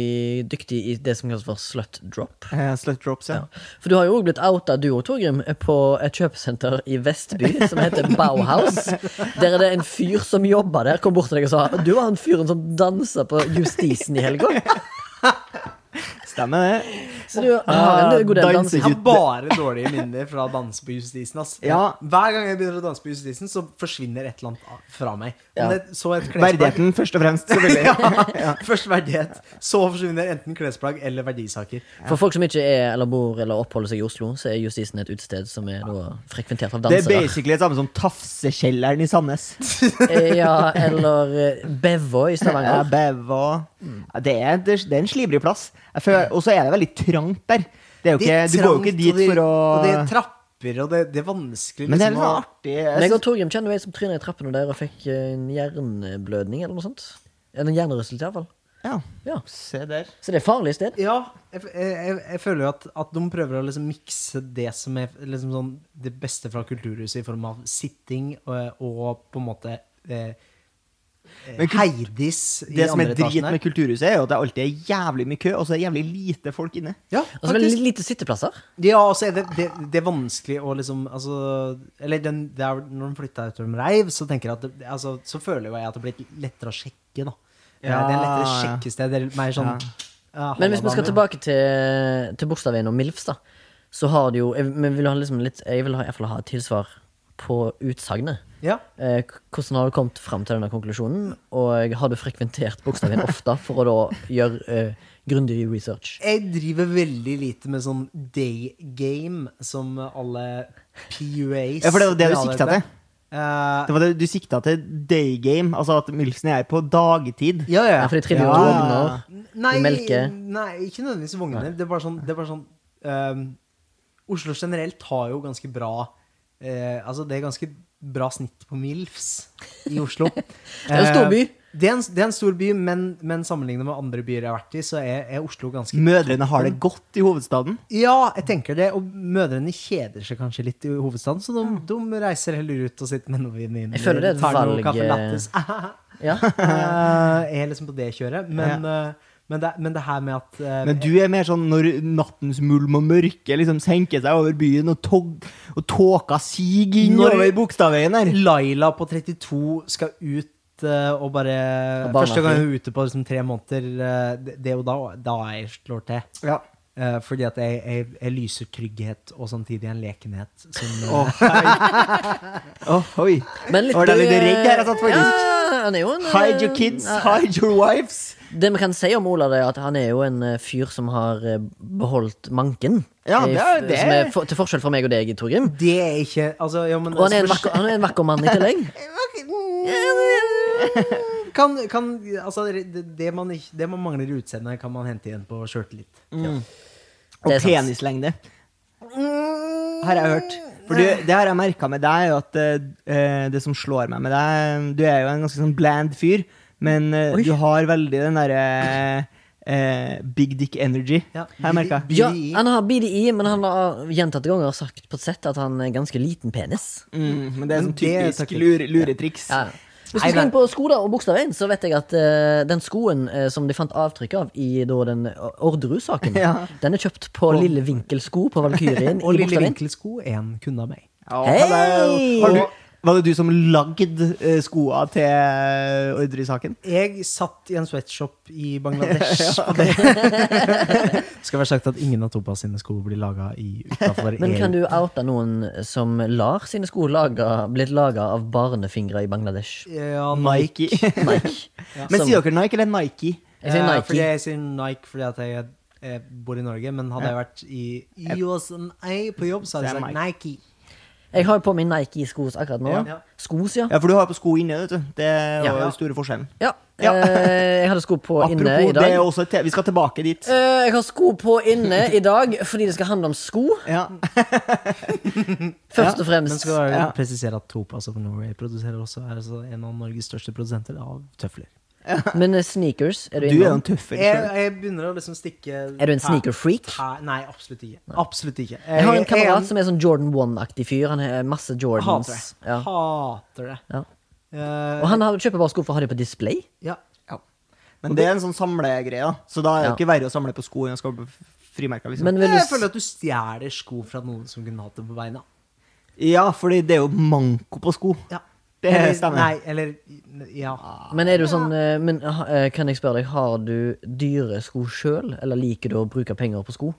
[SPEAKER 1] dyktig i det som kalles for slut drop.
[SPEAKER 2] Eh, Slut drops, ja.
[SPEAKER 1] Ja. For du har jo òg blitt outa, du òg, Torgrim, på et kjøpesenter i Vestby som heter Bauhaus. Der er det en fyr som jobber der, kom bort til deg og sa Du var han fyren som dansa på Justisen i helga.
[SPEAKER 2] Stemmer det.
[SPEAKER 1] Så du
[SPEAKER 2] Ah,
[SPEAKER 1] har en god del dans.
[SPEAKER 2] Dansegutt.
[SPEAKER 3] Jeg har bare dårlige minner fra å danse på Justisen. Ass.
[SPEAKER 2] Ja.
[SPEAKER 3] Hver gang jeg begynner å danse på Justisen, så forsvinner et eller annet av- fra meg.
[SPEAKER 1] Ja.
[SPEAKER 3] Om det, så et klesplagg,
[SPEAKER 2] Verdigheten, først og fremst. Selvfølgelig.
[SPEAKER 3] ja. Først verdighet, så forsvinner enten klesplagg eller verdisaker.
[SPEAKER 1] For folk som ikke er eller bor eller oppholder seg i Oslo, så er Justisen et utested som er da frekventert av
[SPEAKER 2] Det er
[SPEAKER 1] dansere.
[SPEAKER 2] basically det samme som Tafsekjelleren i Sandnes.
[SPEAKER 1] Eh, Ja, eller eh, Bevå i
[SPEAKER 2] Ja,
[SPEAKER 1] Stavanger.
[SPEAKER 2] Beva. Ja, Det er, det er en slibrig plass. Jeg føler- Og så er det veldig trangt der. Det er jo
[SPEAKER 3] Det er
[SPEAKER 2] ikke, du går jo
[SPEAKER 3] trangt,
[SPEAKER 2] ikke dit
[SPEAKER 3] og det,
[SPEAKER 2] for
[SPEAKER 3] Og det er
[SPEAKER 2] å
[SPEAKER 3] trapper, og det, det er vanskelig
[SPEAKER 2] Men det er litt
[SPEAKER 3] liksom
[SPEAKER 2] sånn
[SPEAKER 3] å-
[SPEAKER 2] artig. Jeg
[SPEAKER 1] Meg
[SPEAKER 2] synes-
[SPEAKER 1] og Torgrim kjenner jo en som tryna i trappene der og fikk eh, en jernblødning eller noe sånt. Eller en hjernerystelse, iallfall.
[SPEAKER 2] Ja,
[SPEAKER 1] Ja.
[SPEAKER 2] se der.
[SPEAKER 1] Så det er farlig sted.
[SPEAKER 3] Ja, jeg, jeg, jeg- jeg føler jo at, at de prøver å liksom mikse det som er liksom sånn, det beste fra Kulturhuset i form av sitting og, og på en måte eh,
[SPEAKER 2] Men kul-
[SPEAKER 3] Heidis i
[SPEAKER 2] Det som
[SPEAKER 3] andre
[SPEAKER 2] er drit
[SPEAKER 3] etasjen her.
[SPEAKER 2] med Kulturhuset, er jo at det alltid er jævlig mye kø, og så er det jævlig lite folk inne.
[SPEAKER 3] Ja,
[SPEAKER 1] Og så veldig lite sitteplasser.
[SPEAKER 3] Ja, og så er det, det, det er vanskelig å liksom altså, Eller den, det er, når de flytta utover med Reiv, så, tenker jeg at det, altså, så føler jo jeg at det blir lettere å sjekke, da. Eh,
[SPEAKER 2] Ja,
[SPEAKER 3] det er lettere
[SPEAKER 2] ja.
[SPEAKER 3] sjekkested. Det er mer sånn ja,
[SPEAKER 1] Men hvis vi skal
[SPEAKER 3] Hallandane.
[SPEAKER 1] tilbake til, til Bogstadveien og Milfs, da, så har det jo Jeg men vil ha, liksom litt, jeg vil ha, i hvert fall ha et tilsvar på utsagnet.
[SPEAKER 3] Ja.
[SPEAKER 1] Eh, k- hvordan har du kommet fram til denne konklusjonen? Og har du frekventert Bogstadveien ofte for å da gjøre eh, grundig research?
[SPEAKER 3] Jeg driver veldig lite med sånn day game som alle PUAs.
[SPEAKER 2] Ja, for det var det du
[SPEAKER 3] Ja,
[SPEAKER 2] sikta til.
[SPEAKER 3] Eh,
[SPEAKER 2] Det var det du sikta til daygame, altså at Milfsen er på dagtid.
[SPEAKER 3] ja, ja, ja.
[SPEAKER 1] Ja, for de triller jo
[SPEAKER 2] Ja.
[SPEAKER 1] vogner.
[SPEAKER 3] Nei,
[SPEAKER 1] melke.
[SPEAKER 3] nei, ikke nødvendigvis vogner. Det er bare sånn, det er bare sånn ehm, Oslo generelt har jo ganske bra eh, Altså, det er ganske bra snitt på MILFs i Oslo. det
[SPEAKER 1] er en stor by.
[SPEAKER 3] Det er en, det er en stor by, men, men sammenlignet med andre byer jeg har vært i, så er, er Oslo ganske
[SPEAKER 1] Mm.
[SPEAKER 2] Mødrene har det godt i hovedstaden.
[SPEAKER 3] Ja, jeg tenker det. Og mødrene kjeder seg kanskje litt i hovedstaden, så de, de reiser heller ut og sitter med noe vin inn.
[SPEAKER 1] Jeg føler det er et
[SPEAKER 3] tar noe
[SPEAKER 1] valg,
[SPEAKER 3] kaffe
[SPEAKER 1] eh,
[SPEAKER 3] lattes.
[SPEAKER 1] Ja.
[SPEAKER 3] Eh, jeg er liksom på det kjøret. Men, eh, men, det, men det her med at eh,
[SPEAKER 2] Men du er mer sånn når nattens mulm og mørke liksom senker seg over byen, og, tog, og tåka siger
[SPEAKER 3] Når-
[SPEAKER 2] innover Bogstadveien her.
[SPEAKER 3] Laila på 32 skal ut eh, og bare
[SPEAKER 1] Og barna
[SPEAKER 3] Første gang hun er ute på liksom, tre måneder, eh, det, det er jo da, da jeg slår til. Eh, fordi at jeg, jeg, jeg lyser trygghet og samtidig en lekenhet som eh,
[SPEAKER 2] Å, hei. Å, oi.
[SPEAKER 1] Men litt
[SPEAKER 2] Å, da er du
[SPEAKER 1] eh,
[SPEAKER 2] redd her, altså, faktisk.
[SPEAKER 1] Ja, han er jo en eh,
[SPEAKER 2] Hide your kids, hide your wives.
[SPEAKER 1] Det vi kan si om Olav, er at han er jo en eh, fyr som har eh, beholdt manken.
[SPEAKER 2] Ja, det er-
[SPEAKER 1] Eh,
[SPEAKER 2] det er-
[SPEAKER 1] Som er for, til forskjell fra meg og deg, Torgrim.
[SPEAKER 3] Det er ikke altså, ja, men,
[SPEAKER 1] Og han er en vakker, han er en vakker mann i tillegg.
[SPEAKER 3] kan, kan, altså, det, det, man ikke, det man mangler i utseendet, kan man hente igjen på sjøltillit.
[SPEAKER 1] Mm.
[SPEAKER 2] Og
[SPEAKER 1] Det er sant.
[SPEAKER 2] penislengde. Har jeg hørt. For du, det har jeg merka med deg, er jo at eh, det som slår meg med deg Du er jo en ganske sånn bland fyr, men eh,
[SPEAKER 1] Oi.
[SPEAKER 2] du har veldig den derre eh, big dick energy,
[SPEAKER 3] Ja.
[SPEAKER 2] har jeg merka.
[SPEAKER 3] BDI.
[SPEAKER 1] Ja, han har BDI, men han har gjentatte ganger sagt på et sett at han er ganske liten penis.
[SPEAKER 2] Mm, men det er
[SPEAKER 3] Men
[SPEAKER 2] sånn
[SPEAKER 3] det er
[SPEAKER 2] typisk
[SPEAKER 3] taktikk.
[SPEAKER 2] lure, luretriks.
[SPEAKER 1] Ja. Hvis
[SPEAKER 3] Nei,
[SPEAKER 1] vi skal
[SPEAKER 3] men-
[SPEAKER 1] inn på sko da, og Bogstadveien, så vet jeg at eh, den skoen eh, som de fant avtrykk av i da, den eh, Orderud-saken,
[SPEAKER 2] Ja.
[SPEAKER 1] den er kjøpt på Lille Vinkel-sko på Valkyrien i
[SPEAKER 3] Og Lille
[SPEAKER 1] Bogstadveien.
[SPEAKER 3] Vinkelsko er en kunde av meg.
[SPEAKER 2] Ja,
[SPEAKER 1] Hei!
[SPEAKER 2] hello. Har du, var det du som lagde eh, skoa til eh, ordresaken?
[SPEAKER 3] Jeg satt i en sweatshop i Bangladesh. på det. Skal være sagt at ingen av Tobas sine sko blir laga utafor
[SPEAKER 1] Men kan
[SPEAKER 3] EU.
[SPEAKER 1] du oute noen som lar sine sko laga, blitt laga av barnefingre i Bangladesh?
[SPEAKER 3] Ja,
[SPEAKER 2] Nike.
[SPEAKER 1] Nike.
[SPEAKER 2] men
[SPEAKER 1] Som-
[SPEAKER 2] sier dere Nike eller Nike?
[SPEAKER 1] Jeg sier
[SPEAKER 3] Eh,
[SPEAKER 1] Nike.
[SPEAKER 3] Fordi jeg sier Nike fordi at jeg, eh, bor i Norge, men hadde jeg vært i USA på jobb, så
[SPEAKER 2] Så
[SPEAKER 3] hadde jeg
[SPEAKER 2] er
[SPEAKER 3] sagt Nike.
[SPEAKER 1] Jeg har jo på meg Nike-skos akkurat nå.
[SPEAKER 3] Ja.
[SPEAKER 1] Skos, ja.
[SPEAKER 2] Ja, for du har på sko inne, vet du. Det er jo
[SPEAKER 1] Ja.
[SPEAKER 2] den store forskjellen.
[SPEAKER 1] ja.
[SPEAKER 2] Ja.
[SPEAKER 1] Eh, jeg hadde sko på inne
[SPEAKER 2] Apropos,
[SPEAKER 1] i dag.
[SPEAKER 2] det er også et te- vi skal tilbake dit.
[SPEAKER 1] Eh, jeg har sko på inne i dag fordi det skal handle om sko.
[SPEAKER 2] Ja.
[SPEAKER 1] Først og
[SPEAKER 3] Men
[SPEAKER 1] fremst.
[SPEAKER 3] skal jeg
[SPEAKER 2] Ja.
[SPEAKER 3] presisere at Topaz of Norway produserer også er altså en av Norges største produsenter av tøfler.
[SPEAKER 1] Men eh, sneakers, er
[SPEAKER 2] Du
[SPEAKER 1] du
[SPEAKER 2] er jo
[SPEAKER 1] innom?
[SPEAKER 2] en tøffel
[SPEAKER 3] Jeg,
[SPEAKER 2] sjøl.
[SPEAKER 3] jeg begynner å liksom stikke
[SPEAKER 1] Er du en sneaker-freak?
[SPEAKER 3] Tæ- Nei, absolutt ikke. Absolutt ikke.
[SPEAKER 1] Jeg har en
[SPEAKER 3] er
[SPEAKER 1] kamerat som er sånn Jordan 1-aktig fyr. Han har masse
[SPEAKER 3] Hater
[SPEAKER 1] Jordans.
[SPEAKER 3] det.
[SPEAKER 1] Ja.
[SPEAKER 3] Hater det.
[SPEAKER 1] Ja.
[SPEAKER 3] Eh,
[SPEAKER 1] Og han har- kjøper bare sko for å ha dem på display.
[SPEAKER 3] ja.
[SPEAKER 2] Men det er en sånn samlegreie, da. Så da er det jo
[SPEAKER 1] Ja.
[SPEAKER 2] ikke verre å samle på sko enn å skape frimerker, liksom.
[SPEAKER 1] Men vil du
[SPEAKER 3] Jeg
[SPEAKER 1] s-
[SPEAKER 3] føler at du stjeler sko fra noen som kunne hatt dem på beina.
[SPEAKER 2] ja, fordi det er jo manko på sko.
[SPEAKER 3] Ja.
[SPEAKER 2] Det
[SPEAKER 3] eller,
[SPEAKER 2] stemmer.
[SPEAKER 3] Nei, eller Ja.
[SPEAKER 1] Men er du sånn eh, men, ha- eh, Kan jeg spørre deg, har du dyre sko sjøl, eller liker du å bruke penger på sko?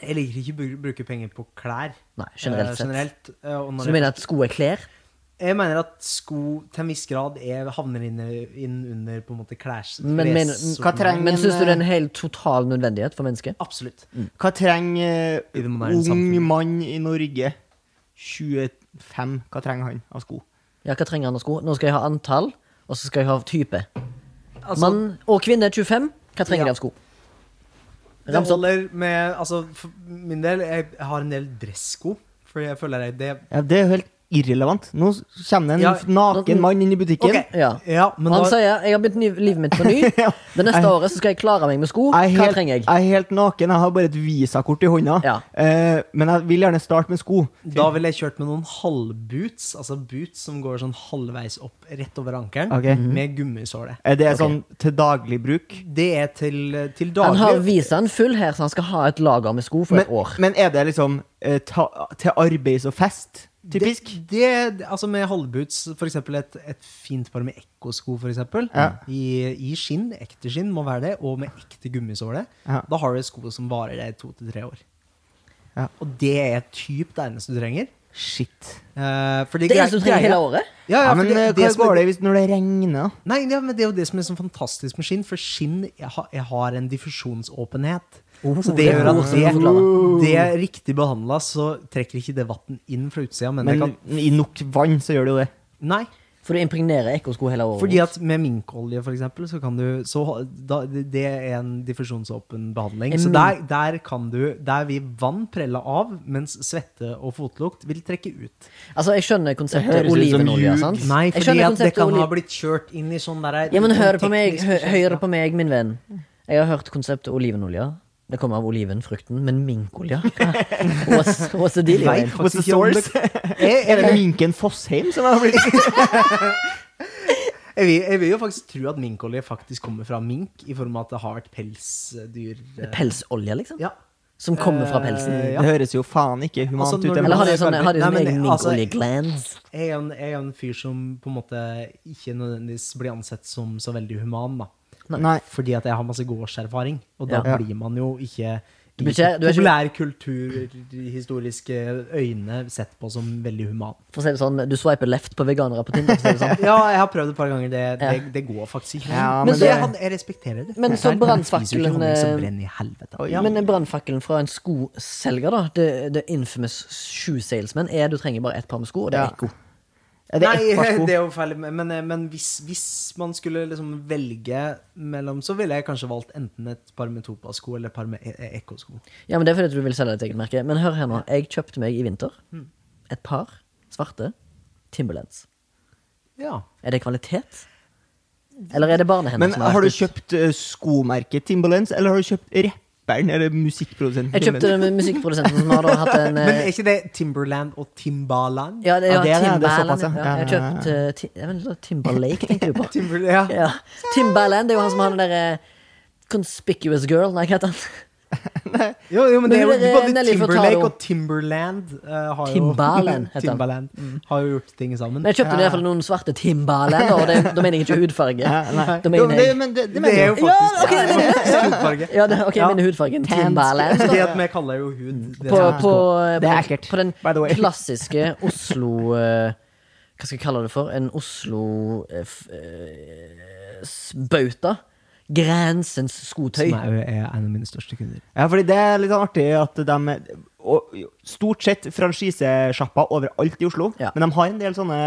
[SPEAKER 3] Jeg liker ikke å bru- bruke penger på klær.
[SPEAKER 1] Nei, generelt
[SPEAKER 3] eh,
[SPEAKER 1] sett.
[SPEAKER 3] generelt. eh, og når
[SPEAKER 1] Så du
[SPEAKER 3] jeg-
[SPEAKER 1] mener at sko er klær?
[SPEAKER 3] Jeg mener at sko til en viss grad er, havner inn, inn under på en måte klærs...
[SPEAKER 1] Men, men,
[SPEAKER 3] kles-
[SPEAKER 2] Hva trenger
[SPEAKER 1] men
[SPEAKER 2] en,
[SPEAKER 1] syns du det er
[SPEAKER 2] eh,
[SPEAKER 1] en eh, helt total nødvendighet for mennesket?
[SPEAKER 3] Absolutt.
[SPEAKER 2] Hva trenger
[SPEAKER 3] I det
[SPEAKER 2] ung
[SPEAKER 3] moderne samfunnet.
[SPEAKER 2] mann i Norge? 25. Hva trenger han av sko?
[SPEAKER 1] Ja, hva trenger han av sko? Nå skal jeg ha antall, og så skal jeg ha type.
[SPEAKER 3] Altså,
[SPEAKER 1] Mann og kvinne 25, hva trenger
[SPEAKER 3] Ja.
[SPEAKER 1] de av sko?
[SPEAKER 3] det
[SPEAKER 1] Rams opp.
[SPEAKER 3] holder med Altså, for min del, jeg har en del dressko. For jeg føler jeg det
[SPEAKER 2] Ja, det er jo helt irrelevant. Nå kommer det en
[SPEAKER 3] Ja.
[SPEAKER 2] naken mann inn i butikken.
[SPEAKER 3] Ok.
[SPEAKER 1] Ja.
[SPEAKER 3] Ja, men
[SPEAKER 1] Han
[SPEAKER 3] da,
[SPEAKER 1] sier jeg har begynt ny- livet mitt på ny. Det neste året så skal jeg klare meg med sko. Hva
[SPEAKER 2] Jeg er, helt,
[SPEAKER 1] trenger jeg?
[SPEAKER 2] jeg er helt naken, jeg har bare et visakort i hånda.
[SPEAKER 1] Ja.
[SPEAKER 2] Eh, men jeg vil gjerne starte med sko.
[SPEAKER 3] da ville jeg kjørt med noen halvboots, altså boots som går sånn halvveis opp, rett over ankelen,
[SPEAKER 2] Ok.
[SPEAKER 1] Mhm.
[SPEAKER 3] med gummisåle.
[SPEAKER 2] Eh, det er sånn til daglig bruk.
[SPEAKER 3] Det er til, til
[SPEAKER 1] Han har
[SPEAKER 3] daglig.
[SPEAKER 1] visaen full her, så han skal ha et lager med sko for
[SPEAKER 2] Men,
[SPEAKER 1] et år.
[SPEAKER 2] men er det liksom eh, ta, til arbeids og fest? Typisk?
[SPEAKER 3] Det, det, altså med halvboots, for eksempel et, et fint par med ekkosko, for eksempel.
[SPEAKER 2] Ja.
[SPEAKER 3] I, I skinn, ekte skinn må være det, og med ekte gummisåle.
[SPEAKER 2] Ja.
[SPEAKER 3] Da har du et sko som varer deg to til tre år.
[SPEAKER 2] Ja.
[SPEAKER 3] Og det er typ det eneste du trenger.
[SPEAKER 2] Shit.
[SPEAKER 3] Eh, fordi
[SPEAKER 1] Det
[SPEAKER 3] grei-
[SPEAKER 1] eneste du trenger hele året.
[SPEAKER 3] Ja, ja,
[SPEAKER 2] Ja,
[SPEAKER 3] for
[SPEAKER 2] men
[SPEAKER 3] det,
[SPEAKER 2] eh,
[SPEAKER 3] det
[SPEAKER 2] hva
[SPEAKER 3] som er-
[SPEAKER 2] går det hvis når det regner? da?
[SPEAKER 3] Nei, ja, men det er jo det som er så fantastisk med skinn, for skinn jeg har, jeg har en diffusjonsåpenhet. så Oh, det
[SPEAKER 1] det er
[SPEAKER 3] gjør
[SPEAKER 1] ord som
[SPEAKER 3] at
[SPEAKER 1] du
[SPEAKER 3] det,
[SPEAKER 1] forklarer.
[SPEAKER 3] det er riktig behandla, så trekker ikke det vann inn fra utsida. Men, det
[SPEAKER 2] Men
[SPEAKER 3] kan,
[SPEAKER 2] i nok vann så gjør det jo det.
[SPEAKER 3] nei,
[SPEAKER 1] For du impregnerer ekkosko hele året.
[SPEAKER 3] fordi at med minkolje, for eksempel, så kan du så, ha- da, Det er en diffusjonsåpen behandling.
[SPEAKER 1] En
[SPEAKER 3] Så
[SPEAKER 1] min-
[SPEAKER 3] der, der kan du Der vil vann prelle av, mens svette og fotlukt vil trekke ut.
[SPEAKER 1] Altså, jeg skjønner konseptet
[SPEAKER 2] høres ut som
[SPEAKER 1] olivenolje,
[SPEAKER 2] ljug.
[SPEAKER 1] sant?
[SPEAKER 3] Nei,
[SPEAKER 1] jeg
[SPEAKER 3] fordi
[SPEAKER 1] skjønner
[SPEAKER 3] at
[SPEAKER 1] konseptet
[SPEAKER 3] det kan ha
[SPEAKER 1] oli-
[SPEAKER 3] blitt kjørt inn i sånn derre
[SPEAKER 1] Ja, men hør på meg,
[SPEAKER 3] teknisk
[SPEAKER 1] hø hør
[SPEAKER 3] prosjekt,
[SPEAKER 1] på meg, min venn. Jeg har hørt konseptet olivenolje. Det kommer av olivenfrukten, men minkolje? Hva- What's, what's the deal?
[SPEAKER 3] Jeg vet
[SPEAKER 1] Joel?
[SPEAKER 2] What's the
[SPEAKER 3] faktisk ikke om
[SPEAKER 2] source? er, er det minken Fossheim som har blitt
[SPEAKER 3] Jeg vil, jeg vil jo faktisk tro at minkolje faktisk kommer fra mink, i form av at det har vært pelsdyr eh,
[SPEAKER 1] Pelsolje, liksom?
[SPEAKER 3] Ja.
[SPEAKER 1] Som kommer fra pelsen?
[SPEAKER 3] Eh,
[SPEAKER 2] Det høres jo faen ikke humant
[SPEAKER 3] Altså, når
[SPEAKER 2] ut.
[SPEAKER 3] du-
[SPEAKER 2] det
[SPEAKER 1] Eller har
[SPEAKER 2] må
[SPEAKER 1] de
[SPEAKER 2] jeg
[SPEAKER 1] sånn,
[SPEAKER 2] svelge.
[SPEAKER 1] har de
[SPEAKER 3] Nei,
[SPEAKER 1] sånn
[SPEAKER 3] men,
[SPEAKER 1] egen
[SPEAKER 3] altså,
[SPEAKER 1] minkoljeglans?
[SPEAKER 3] Jeg er, en, jeg er en fyr som på en måte ikke nødvendigvis blir ansett som så veldig human, da.
[SPEAKER 2] Nei.
[SPEAKER 3] Fordi at jeg har masse gårdserfaring, og da
[SPEAKER 2] Ja.
[SPEAKER 3] blir man jo ikke
[SPEAKER 1] Du blir ikke- du er ikke-
[SPEAKER 3] populærkulturhistoriske øyne sett på som veldig human.
[SPEAKER 1] For å si det sånn, du swiper left på veganere på Tinder. For å si det sånn.
[SPEAKER 3] Ja, jeg har prøvd et par ganger. Det, det, det går faktisk ikke.
[SPEAKER 2] Ja,
[SPEAKER 3] men
[SPEAKER 2] men
[SPEAKER 3] det,
[SPEAKER 2] det-
[SPEAKER 3] han, jeg respekterer det.
[SPEAKER 1] Men så
[SPEAKER 3] Nei, han spiser jo
[SPEAKER 1] brannfakkelen,
[SPEAKER 3] ikke honning, så
[SPEAKER 1] eh,
[SPEAKER 3] brenner i helvete.
[SPEAKER 1] Men brannfakkelen fra en skoselger, da, the, the infamous shoe salesman, er du trenger bare ett par med sko, og det
[SPEAKER 2] Ja.
[SPEAKER 1] er ekko.
[SPEAKER 2] Er det ett par
[SPEAKER 3] Nei,
[SPEAKER 2] sko?
[SPEAKER 3] det er jo feil. Men, eh, men hvis, hvis man skulle liksom velge mellom, så ville jeg kanskje valgt enten et par med topasko eller et par med e- e- ekkosko.
[SPEAKER 1] Ja, men det er fordi at du vil selge ditt eget merke. Men hør her nå. Jeg kjøpte meg i vinter et par svarte Timberlands.
[SPEAKER 3] Ja.
[SPEAKER 1] Er det kvalitet? Eller er det barnehender
[SPEAKER 2] Men
[SPEAKER 1] som
[SPEAKER 2] har du
[SPEAKER 1] vært ut?
[SPEAKER 2] kjøpt eh, skomerket Timberlands, eller har du kjøpt rapperen eller musikkprodusenten?
[SPEAKER 1] Jeg kjøpte det med musikkprodusenten som har da hatt en eh,
[SPEAKER 3] Men er ikke det Timberland og Timbaland?
[SPEAKER 1] Ja, det,
[SPEAKER 2] Ja,
[SPEAKER 1] ja,
[SPEAKER 2] det er det, det er
[SPEAKER 1] Timbaland.
[SPEAKER 2] såpass, ja.
[SPEAKER 1] ja. Jeg
[SPEAKER 2] Ja, ja,
[SPEAKER 1] kjøpte eh, ti, jeg vet ikke, Timberlake, tenkte du på.
[SPEAKER 3] Timber, ja.
[SPEAKER 1] Ja. Timbaland det er jo han som har den derre Conspicuous Girl, nei, hva heter han?
[SPEAKER 3] Jo, jo, men det er jo
[SPEAKER 1] Men dere,
[SPEAKER 3] både
[SPEAKER 1] Nelly
[SPEAKER 3] Timberlake
[SPEAKER 1] Furtado.
[SPEAKER 3] og Timberland eh, har jo
[SPEAKER 1] Timbaland heter han.
[SPEAKER 3] Timbaland har jo gjort ting sammen.
[SPEAKER 1] Men jeg kjøpte i hvert fall noen svarte Timbaland, og det, da mener jeg ikke hudfarge. Da
[SPEAKER 2] Jo, men
[SPEAKER 1] mener
[SPEAKER 2] det,
[SPEAKER 1] jeg
[SPEAKER 2] men det, det
[SPEAKER 3] Det
[SPEAKER 2] mener
[SPEAKER 3] er
[SPEAKER 2] jeg jo.
[SPEAKER 3] jo faktisk
[SPEAKER 1] Ja, ok, det mener
[SPEAKER 3] Hudfarge.
[SPEAKER 1] Ja, det, ok,
[SPEAKER 3] Ja.
[SPEAKER 1] jeg mener hudfargen. Timbaland.
[SPEAKER 3] Fordi at vi kaller jo hud det
[SPEAKER 1] på,
[SPEAKER 3] som-
[SPEAKER 1] på,
[SPEAKER 2] Det er
[SPEAKER 1] på,
[SPEAKER 2] ekkelt,
[SPEAKER 1] på den
[SPEAKER 2] by the way.
[SPEAKER 1] klassiske Oslo eh, Hva skal jeg kalle det for? En Oslo eh, f- eh, s- bauta. Grensens skotøy.
[SPEAKER 3] Som er jo er en av mine største kunder.
[SPEAKER 2] Ja, fordi det er litt sånn artig at de og, Stort sett franchisesjappa overalt i Oslo,
[SPEAKER 1] Ja.
[SPEAKER 2] men de har en del sånne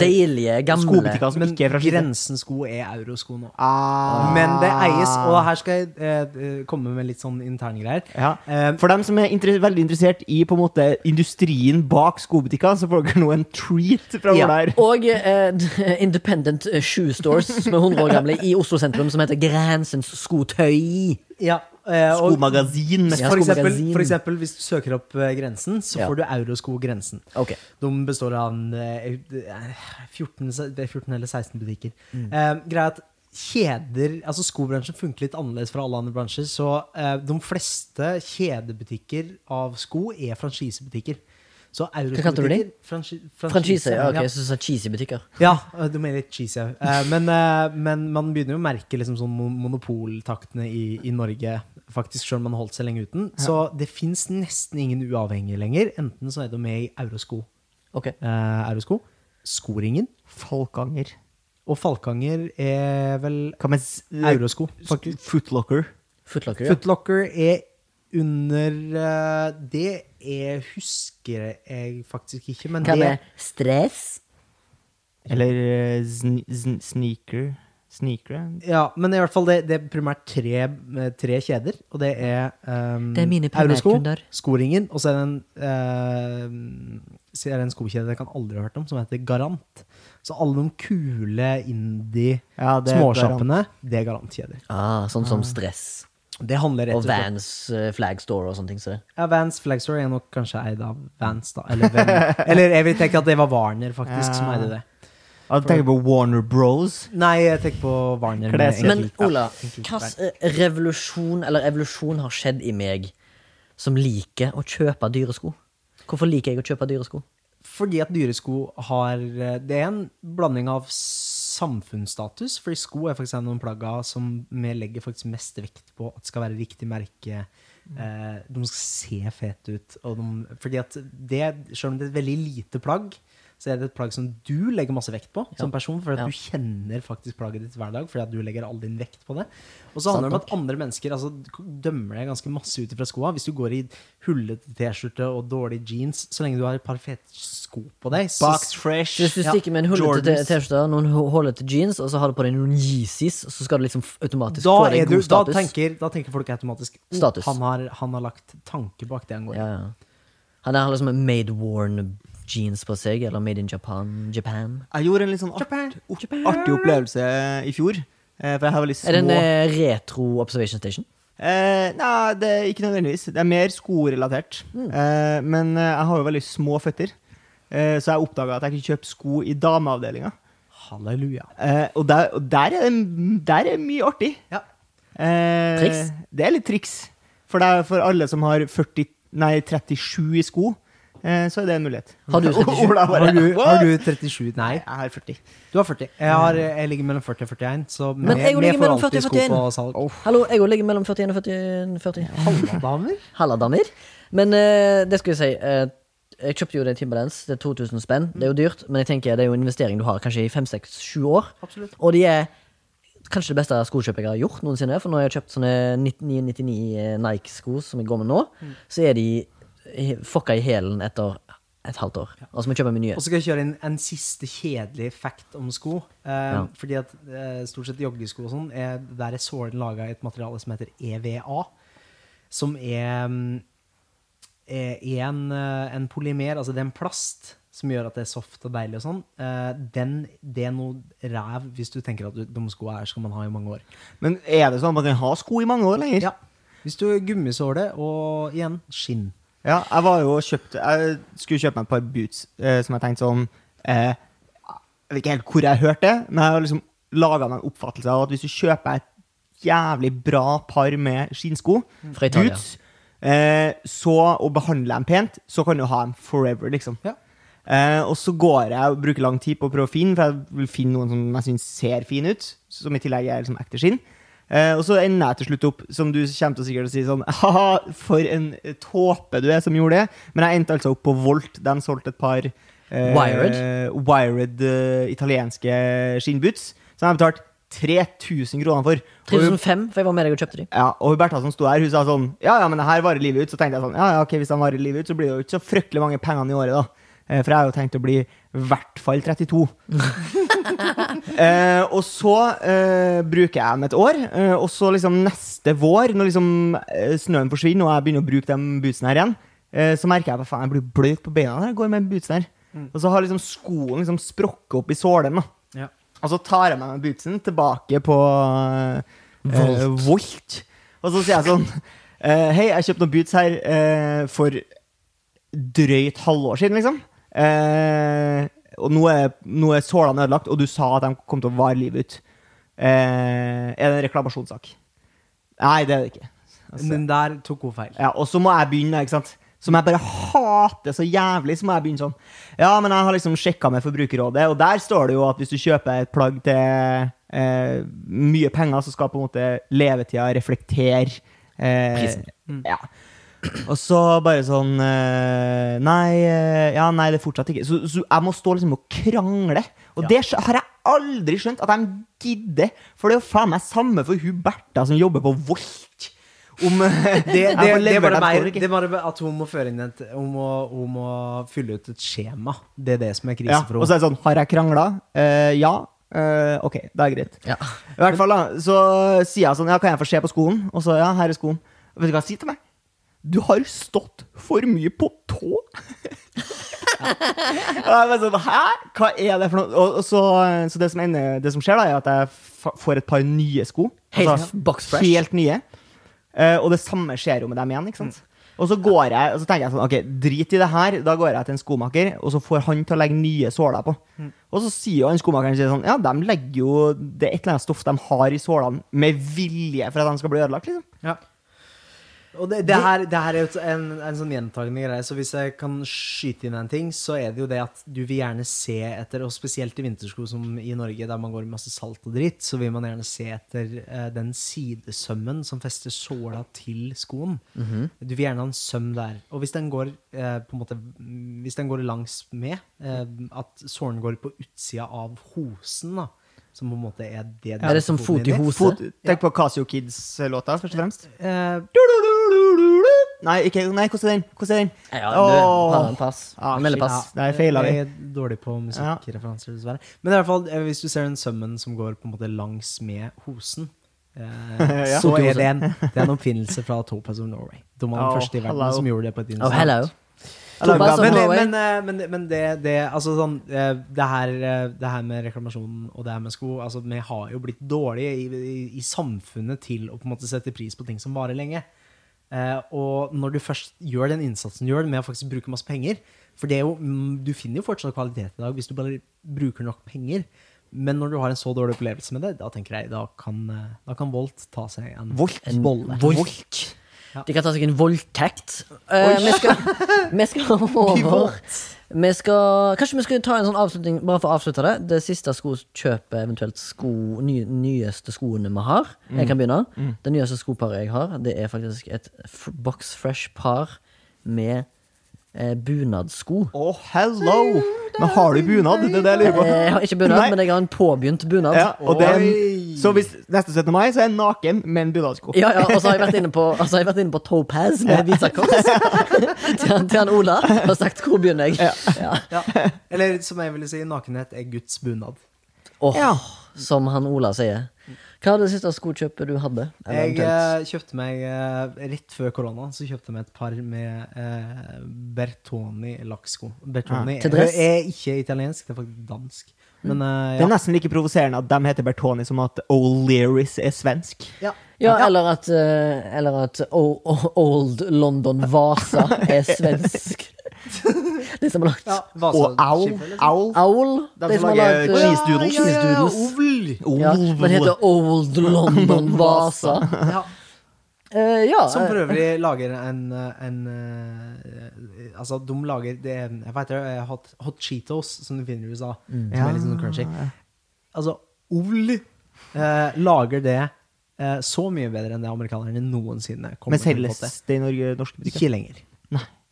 [SPEAKER 1] Deilige, gamle
[SPEAKER 2] skobutikker som
[SPEAKER 3] Men
[SPEAKER 2] ikke er franchise.
[SPEAKER 3] Altså, grensen sko er eurosko nå.
[SPEAKER 2] Ah.
[SPEAKER 3] Men det eies, og her skal jeg eh, komme med litt sånn interngreier.
[SPEAKER 2] ja.
[SPEAKER 3] Eh,
[SPEAKER 2] For dem som er inter veldig interessert i på en måte industrien bak skobutikker, så får dere nå en treat fra
[SPEAKER 3] Ja.
[SPEAKER 2] vår der.
[SPEAKER 1] Og eh, d- Independent eh, Shoe Stores, som er 100 år gamle, i Oslo sentrum, som heter Grensens skotøy.
[SPEAKER 3] ja, eh, og
[SPEAKER 2] Skomagasin.
[SPEAKER 1] Ja,
[SPEAKER 3] for, eksempel,
[SPEAKER 1] skomagasin.
[SPEAKER 3] for eksempel, hvis du søker opp eh, grensen, så
[SPEAKER 1] Ja.
[SPEAKER 3] får du eurosko grensen.
[SPEAKER 1] Ok.
[SPEAKER 3] De består av en, eh, eh, 14, se- det er 14 eller 16 butikker.
[SPEAKER 1] Mm.
[SPEAKER 3] Eh, greia er at kjeder, altså Skobransjen funker litt annerledes fra alle andre bransjer. Så eh, de fleste kjedebutikker av sko er franchisebutikker. Så eurosko
[SPEAKER 1] kalte du de?
[SPEAKER 3] butikker- franchi-
[SPEAKER 1] Franchise. ja, Ok,
[SPEAKER 3] ja.
[SPEAKER 1] jeg synes det er cheesy butikker.
[SPEAKER 3] Ja, du mener litt cheesy. ja. Eh, Men, eh, men man begynner jo å merke liksom sånn mon- monopoltaktene i, i Norge, faktisk, selv om man har holdt seg lenge uten. Så det fins nesten ingen uavhengige lenger. Enten så er de med i Eurosko,
[SPEAKER 1] Ok.
[SPEAKER 3] eh, Eurosko Skoringen.
[SPEAKER 2] Falkanger.
[SPEAKER 3] Og Falkanger er vel
[SPEAKER 2] Hva med s-
[SPEAKER 3] Eurosko, faktisk.
[SPEAKER 2] Footlocker.
[SPEAKER 1] Footlocker, ja.
[SPEAKER 3] Footlocker er under eh, Det er husker jeg faktisk ikke, men
[SPEAKER 1] Hva
[SPEAKER 3] det
[SPEAKER 1] med stress?
[SPEAKER 2] Eller eh, sn sn sneaker. Sneaker?
[SPEAKER 3] Ja, men i hvert fall det, det er primært tre, eh, tre kjeder, og det er um,
[SPEAKER 1] Det er mine
[SPEAKER 3] Eurosko,
[SPEAKER 1] primærkunder.
[SPEAKER 3] Skoringen, og så er det en eh, så er det en skokjede jeg kan aldri ha hørt om, som heter Garant. Så alle de kule
[SPEAKER 2] Ja, det er
[SPEAKER 3] indie-småsjappene, det er Garantkjeder.
[SPEAKER 1] Ah, sånn som Stress
[SPEAKER 3] Det handler rett
[SPEAKER 1] og
[SPEAKER 3] og slett
[SPEAKER 1] Vans eh, Flag Store og sånne ting. Så.
[SPEAKER 3] Ja, Vans Flagstore er nok kanskje eid av Vans, da. Eller, hvem. eller jeg vil tenke at det var Warner, faktisk, som
[SPEAKER 2] Ja.
[SPEAKER 3] eide det.
[SPEAKER 2] Jeg tenker på Warner Bros.
[SPEAKER 3] Nei, jeg tenker på Warner. med
[SPEAKER 2] Klesvett.
[SPEAKER 3] enkelt-
[SPEAKER 1] Men Ola,
[SPEAKER 3] ja, enkelt-
[SPEAKER 1] hva slags revolusjon eller evolusjon har skjedd i meg som liker å kjøpe dyre sko? Hvorfor liker jeg å kjøpe dyre sko?
[SPEAKER 3] Fordi at dyresko har eh, Det er en blanding av samfunnsstatus, fordi sko er faktisk en av de plagga som vi legger faktisk mest vekt på at skal være riktig merke.
[SPEAKER 1] Mm.
[SPEAKER 3] Eh, de skal se fete ut. Og de, fordi at det, selv om det er et veldig lite plagg, så er det et plagg som du legger masse vekt på som person, fordi at
[SPEAKER 1] Ja.
[SPEAKER 3] du kjenner faktisk plagget ditt hver dag, fordi at du legger all din vekt på det. Og så handler det om at andre mennesker altså, dømmer deg ganske masse ut ifra skoa. Hvis du går i hullete T-skjorte og dårlige jeans, så lenge du har et par fete sko på deg, så
[SPEAKER 2] Boxed Fresh.
[SPEAKER 1] Hvis du
[SPEAKER 3] Ja,
[SPEAKER 1] stikker med en hullete
[SPEAKER 2] Jordans.
[SPEAKER 1] T-skjorte, noen hu- hullete jeans, og så har du på deg noen Yeezys, så skal du liksom f- automatisk
[SPEAKER 3] da,
[SPEAKER 1] få
[SPEAKER 3] er
[SPEAKER 1] deg
[SPEAKER 3] du,
[SPEAKER 1] god
[SPEAKER 3] da,
[SPEAKER 1] status.
[SPEAKER 3] tenker, da tenker folk automatisk «Å,
[SPEAKER 1] Status.
[SPEAKER 3] Han, har, han har lagt tanke bak det han går i.
[SPEAKER 1] Ja, ja. Han der har liksom en made worn jeans på seg, eller made in Japan. Japan.
[SPEAKER 2] Jeg gjorde en litt sånn art, opp- artig opplevelse i fjor. eh, For jeg har veldig små
[SPEAKER 1] Er det en eh, retro observation station?
[SPEAKER 2] Eh, nei, det er ikke nødvendigvis. Det er mer skorelatert.
[SPEAKER 1] Mm.
[SPEAKER 2] Eh, men eh, jeg har jo veldig små føtter, eh, så jeg oppdaga at jeg kunne kjøpe sko i dameavdelinga.
[SPEAKER 3] Halleluja.
[SPEAKER 2] Eh, og der, og der, er det, der er mye artig.
[SPEAKER 3] Ja.
[SPEAKER 2] Eh,
[SPEAKER 1] Triks?
[SPEAKER 2] Det er litt triks. For, det er for alle som har 40, nei, 37 i sko, eh, så er det en mulighet.
[SPEAKER 1] Har du 37?
[SPEAKER 2] Ola bare,
[SPEAKER 3] Har du,
[SPEAKER 2] "What?"
[SPEAKER 3] har du 37? Nei,
[SPEAKER 2] Jeg har 40.
[SPEAKER 3] du har 40. Jeg, har, jeg ligger mellom 40 og 41, så
[SPEAKER 1] Men
[SPEAKER 3] vi-
[SPEAKER 1] jeg
[SPEAKER 3] vi
[SPEAKER 1] ligger
[SPEAKER 3] får
[SPEAKER 1] mellom
[SPEAKER 3] alltid
[SPEAKER 1] 40 og
[SPEAKER 3] sko
[SPEAKER 1] 41.
[SPEAKER 3] på salg.
[SPEAKER 1] Hallo, jeg òg ligger mellom 41 og 40. 40.
[SPEAKER 3] Halvdamer?
[SPEAKER 1] Halladammer. Men eh, det skal jeg si. eh, jeg kjøpte jo det Timberlands. Det er 2000 spenn. Det er jo dyrt, men jeg tenker det er jo en investering du har kanskje i 5-6-7 år.
[SPEAKER 3] Absolutt.
[SPEAKER 1] Og de er kanskje det beste skokjøpet jeg har gjort noensinne. For når jeg har kjøpt sånne 9999 Nike-sko som jeg går med nå, så er de eh, fucka i hælen etter et halvt år. Og så må jeg kjøpe meg nye.
[SPEAKER 3] Og så skal jeg kjøre inn en siste kjedelig fact om sko. Eh, Fordi at eh, stort sett joggesko og sånn, er, der er sålen laga i et materiale som heter EVA. Som er, mm, er er en, eh, en polymer, altså det er en plast som gjør at det er soft og deilig og sånn. Eh, den, det er noe ræv hvis du tenker at du, de skoa her skal man ha i mange år.
[SPEAKER 2] Men er det sånn at man kan ha sko i mange år lenger?
[SPEAKER 3] Ja. Hvis du er gummisåle og igjen skinn.
[SPEAKER 2] Ja, jeg var jo og kjøpte Jeg skulle kjøpe meg et par boots eh, som jeg tenkte sånn eh, Jeg vet ikke helt hvor jeg hørte det, men jeg har liksom laga meg en oppfattelse av at hvis du kjøper et jævlig bra par med skinnsko,
[SPEAKER 1] Fra Italia.
[SPEAKER 2] boots, eh, så, og behandler dem pent, så kan du ha dem forever, liksom.
[SPEAKER 3] Ja.
[SPEAKER 2] Eh, og så går jeg og bruker lang tid på å prøve å finne, for jeg vil finne noen som jeg syns ser fin ut. Som i tillegg er liksom ekte skinn. Eh, og så ender jeg til slutt opp, som du kommer til å sikkert å si sånn Haha, for en tåpe du er som gjorde det. Men jeg endte altså opp på Volt. De solgte et par eh,
[SPEAKER 1] Wired?
[SPEAKER 2] wired, eh, italienske skinnboots. Som jeg betalte 3000 kroner for. Og hun-
[SPEAKER 1] 3005, for jeg var med deg og kjøpte de.
[SPEAKER 2] ja, og hun Bertha som sto her, hun sa sånn Ja, ja, men det her varer livet ut. Så tenkte jeg sånn Ja, ja, ok, hvis han varer livet ut, så blir det jo ikke så fryktelig mange pengene i året, da. Eh, For jeg har jo tenkt å bli i hvert fall 32. eh, og så eh, bruker jeg dem et år, eh, og så liksom neste vår, når liksom eh, snøen forsvinner og jeg begynner å bruke de bootsene her igjen, eh, så merker jeg at faen, jeg blir bløt på beina når jeg går med bootsene her. Og så har liksom skoen liksom sprukket opp i sålen, da.
[SPEAKER 3] Ja.
[SPEAKER 2] Og så tar jeg meg med bootsen tilbake på eh, Volt. Og så sier jeg sånn eh, Hei, jeg kjøpte noen boots her eh, for drøyt halvår siden, liksom. Eh, og nå er, nå er sålene ødelagt, og du sa at de kom til å vare livet ut. Eh, er det en reklamasjonssak? Nei, det er det ikke. Altså,
[SPEAKER 3] Men der tok hun feil.
[SPEAKER 2] ja, og så må jeg begynne, ikke sant? Som jeg bare hater så jævlig, så må jeg begynne sånn. Ja, men jeg har liksom sjekka med Forbrukerrådet, og der står det jo at hvis du kjøper et plagg til eh, mye penger, så skal på en måte levetida reflektere eh,
[SPEAKER 1] Prisen.
[SPEAKER 2] Ja. Og så bare sånn eh, Nei, eh, ja, nei, det er fortsatt ikke Så, så jeg må stå liksom og krangle. Og det skj- har jeg aldri skjønt at de gidder. For det er jo faen meg samme for hun Bertha som jobber på Volt. Om eh,
[SPEAKER 3] det,
[SPEAKER 2] jeg
[SPEAKER 3] det,
[SPEAKER 2] får
[SPEAKER 3] det er
[SPEAKER 2] levert
[SPEAKER 3] bare
[SPEAKER 2] dem
[SPEAKER 3] meg,
[SPEAKER 2] korrekt.
[SPEAKER 3] det er bare at hun må føre inn et hun må, hun må fylle ut et skjema. Det er det som er krise
[SPEAKER 2] Ja,
[SPEAKER 3] for
[SPEAKER 2] og så
[SPEAKER 3] henne.
[SPEAKER 2] er det sånn, har jeg krangla? Eh, ja. Eh, ok, det er greit.
[SPEAKER 1] Ja.
[SPEAKER 2] I hvert fall da, så sier jeg sånn, ja, kan jeg få se på skoen? Og så, ja, her er skoen. Vet du hva jeg sier til meg? Du har stått for mye på tå. Og jeg bare sånn, Hæ? Hva er det for noe? Og, og så, eh, så det, som ender, det som skjer, da, er at jeg fa- får et par nye sko. Altså,
[SPEAKER 1] Helt box fresh.
[SPEAKER 2] Helt nye. Eh, og det samme skjer jo med dem igjen. ikke
[SPEAKER 1] Mm.
[SPEAKER 2] sant? Og så går jeg, og så tenker jeg sånn, ok, drit i det her. Da går jeg til en skomaker, og så får han til å legge nye såler på.
[SPEAKER 1] Mm.
[SPEAKER 2] Og så sier jo han skomakeren sier sånn, ja, de legger jo det er et eller annet stoff de har i sålene, med vilje for at de skal bli ødelagt. liksom.
[SPEAKER 3] Ja. Og det, det, her, det her er jo en, en sånn gjentagende greie, så hvis jeg kan skyte inn en ting, så er det jo det at du vil gjerne se etter, og spesielt i vintersko som i Norge, der man går med masse salt og dritt, så vil man gjerne se etter eh, den sidesømmen som fester såla til skoen. Du vil gjerne ha en søm der. Og hvis den går, eh, på en måte, hvis den går langs med, eh, at sålen går på utsida av hosen, da, som på en måte er det
[SPEAKER 1] Er det som fot i hose?
[SPEAKER 2] Fot, tenk på Casio Kids-låta, først og fremst.
[SPEAKER 3] Eh,
[SPEAKER 2] Nei, ikke, nei, hvordan er den? Hvordan er den?
[SPEAKER 1] Ja,
[SPEAKER 2] Åh.
[SPEAKER 1] du, pass.
[SPEAKER 2] Ah,
[SPEAKER 1] Melder
[SPEAKER 2] shit.
[SPEAKER 1] pass.
[SPEAKER 2] Ja, nei, feila vi.
[SPEAKER 3] Jeg er dårlig på musikkreferanser, dessverre. Men i hvert fall, eh, hvis du ser en sømmen som går på en måte langs med hosen, eh,
[SPEAKER 2] Ja.
[SPEAKER 3] så
[SPEAKER 2] Sort i
[SPEAKER 3] er det en, det er en oppfinnelse fra Topaz of Norway. De var den
[SPEAKER 2] Oh,
[SPEAKER 3] første i verden
[SPEAKER 2] hello.
[SPEAKER 3] som gjorde det på et
[SPEAKER 1] Oh,
[SPEAKER 3] instrument.
[SPEAKER 1] hello.
[SPEAKER 2] Jeg lager
[SPEAKER 1] Topaz
[SPEAKER 2] gaven.
[SPEAKER 1] of
[SPEAKER 3] Men, det,
[SPEAKER 1] Norway.
[SPEAKER 3] men, eh, men, det- men det, det, altså sånn, eh, det, her, eh, det her med reklamasjonen og det her med sko altså, Vi har jo blitt dårlige i, i, i samfunnet til å på en måte sette pris på ting som varer lenge. Eh, og når du først gjør den innsatsen du gjør med å faktisk bruke masse penger For det er jo, mm, du finner jo fortsatt kvalitet i dag hvis du bare bruker nok penger. Men når du har en så dårlig opplevelse med det, da tenker jeg, da kan, eh, da kan Volt ta seg en
[SPEAKER 2] Volt?
[SPEAKER 1] En
[SPEAKER 3] bolle.
[SPEAKER 1] volk. De kan ta seg en voldtekt. Eh, vi, skal, vi skal over vi skal, Kanskje vi skal ta en sånn avslutning Bare for å avslutte det. Det siste skokjøpet, eventuelt sko, ny, nyeste skoene vi har. Jeg kan begynne. Det nyeste skoparet jeg har, det er faktisk et f Box Fresh-par med eh, bunadssko.
[SPEAKER 2] Å, hello! Men har du bunad? Det er det jeg lurer på.
[SPEAKER 1] Eh, Jeg har ikke bunad,
[SPEAKER 2] Nei.
[SPEAKER 1] men jeg har en påbegynt bunad.
[SPEAKER 2] Ja, og det er
[SPEAKER 3] Oi.
[SPEAKER 2] en, så hvis neste 17. mai, så er jeg naken med en bunadsko.
[SPEAKER 1] Ja, ja, og så har jeg vært inne på, og så har jeg vært inne på Topaz med visakort til, han- til han Ola og sagt 'hvor begynner jeg'? Ja.
[SPEAKER 3] Ja. Eller som jeg ville si, nakenhet er Guds bunad.
[SPEAKER 1] Åh, Som han Ola sier. Hva var det siste skokjøpet du hadde? Eller
[SPEAKER 3] Jeg
[SPEAKER 1] eventuelt?
[SPEAKER 3] eh, kjøpte meg eh, Rett før korona så kjøpte jeg meg et par med eh, Bertoni lakksko. Bertoni
[SPEAKER 1] Ah, til
[SPEAKER 3] er,
[SPEAKER 1] dress? Mm.
[SPEAKER 3] er ikke italiensk, det er faktisk dansk. Men eh,
[SPEAKER 2] Det er nesten like provoserende at de heter Bertoni som at O'Learys er svensk.
[SPEAKER 3] ja.
[SPEAKER 1] ja, eller at, eh, eller at o o Old London Vasa er svensk. De som har lagt
[SPEAKER 3] ja.
[SPEAKER 2] Og Owl.
[SPEAKER 3] liksom.
[SPEAKER 2] Owl.
[SPEAKER 1] Owl.
[SPEAKER 2] De
[SPEAKER 1] De
[SPEAKER 2] som
[SPEAKER 1] som har
[SPEAKER 2] lager
[SPEAKER 1] lagt eh,
[SPEAKER 2] cheese doodles.
[SPEAKER 1] Ja, ja, ja, ja, men
[SPEAKER 2] Owl.
[SPEAKER 1] heter Old London Vasa.
[SPEAKER 3] Ja.
[SPEAKER 1] Eh, ja,
[SPEAKER 3] Som for
[SPEAKER 1] eh,
[SPEAKER 3] øvrig lager en, eh, en eh, Altså, de lager det, Jeg vet det, eh, hot, hot Cheetos, som du finner i USA. Som
[SPEAKER 2] Mm. Ja.
[SPEAKER 3] er litt sånn crunchy. Altså, Ol eh, lager det eh, så mye bedre enn det amerikanerne noensinne kommer
[SPEAKER 2] Men
[SPEAKER 3] til å få til.
[SPEAKER 2] selges det i Norge, norske butikker?
[SPEAKER 3] Ikke lenger.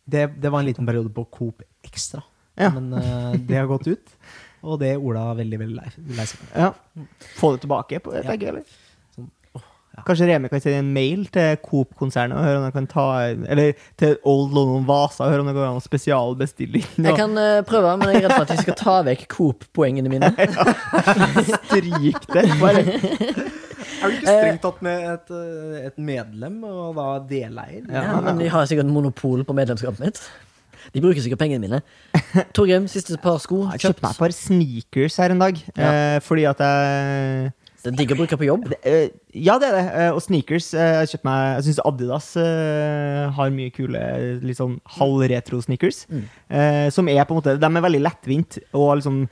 [SPEAKER 3] Det, det var en liten periode på Coop Extra.
[SPEAKER 2] Ja.
[SPEAKER 3] Men eh, det har gått ut, og det er Ola veldig veldig lei- lei seg for.
[SPEAKER 2] Ja. Få det tilbake, på, tenker jeg. eller?
[SPEAKER 3] Sånn, åh, ja.
[SPEAKER 2] Kanskje Remi kan sende en mail til Coop-konsernet og høre om de kan ta Eller til Old London Vasa og høre om det går an å spesialbestille inn.
[SPEAKER 1] jeg kan eh, prøve, men jeg er redd for at de skal ta vekk Coop-poengene mine.
[SPEAKER 2] Stryk det. Bare
[SPEAKER 3] Er du ikke strengt tatt med et, eh, et medlem og da deleier?
[SPEAKER 1] Ja, men de har sikkert monopol på medlemskapet mitt. De bruker sikkert pengene mine. Torgrim, siste par sko
[SPEAKER 2] Jeg kjøpte
[SPEAKER 1] kjøpt.
[SPEAKER 2] meg et par sneakers her en dag,
[SPEAKER 1] Ja.
[SPEAKER 2] eh, fordi at jeg
[SPEAKER 1] Det er digg å bruke på jobb.
[SPEAKER 2] det, eh, Ja, det er det. eh, og sneakers eh, Jeg, kjøpte meg- jeg syns Adidas eh, har mye kule litt sånn halvretro-sneakers.
[SPEAKER 3] Mm.
[SPEAKER 2] eh, som er på en måte De er veldig lettvint og liksom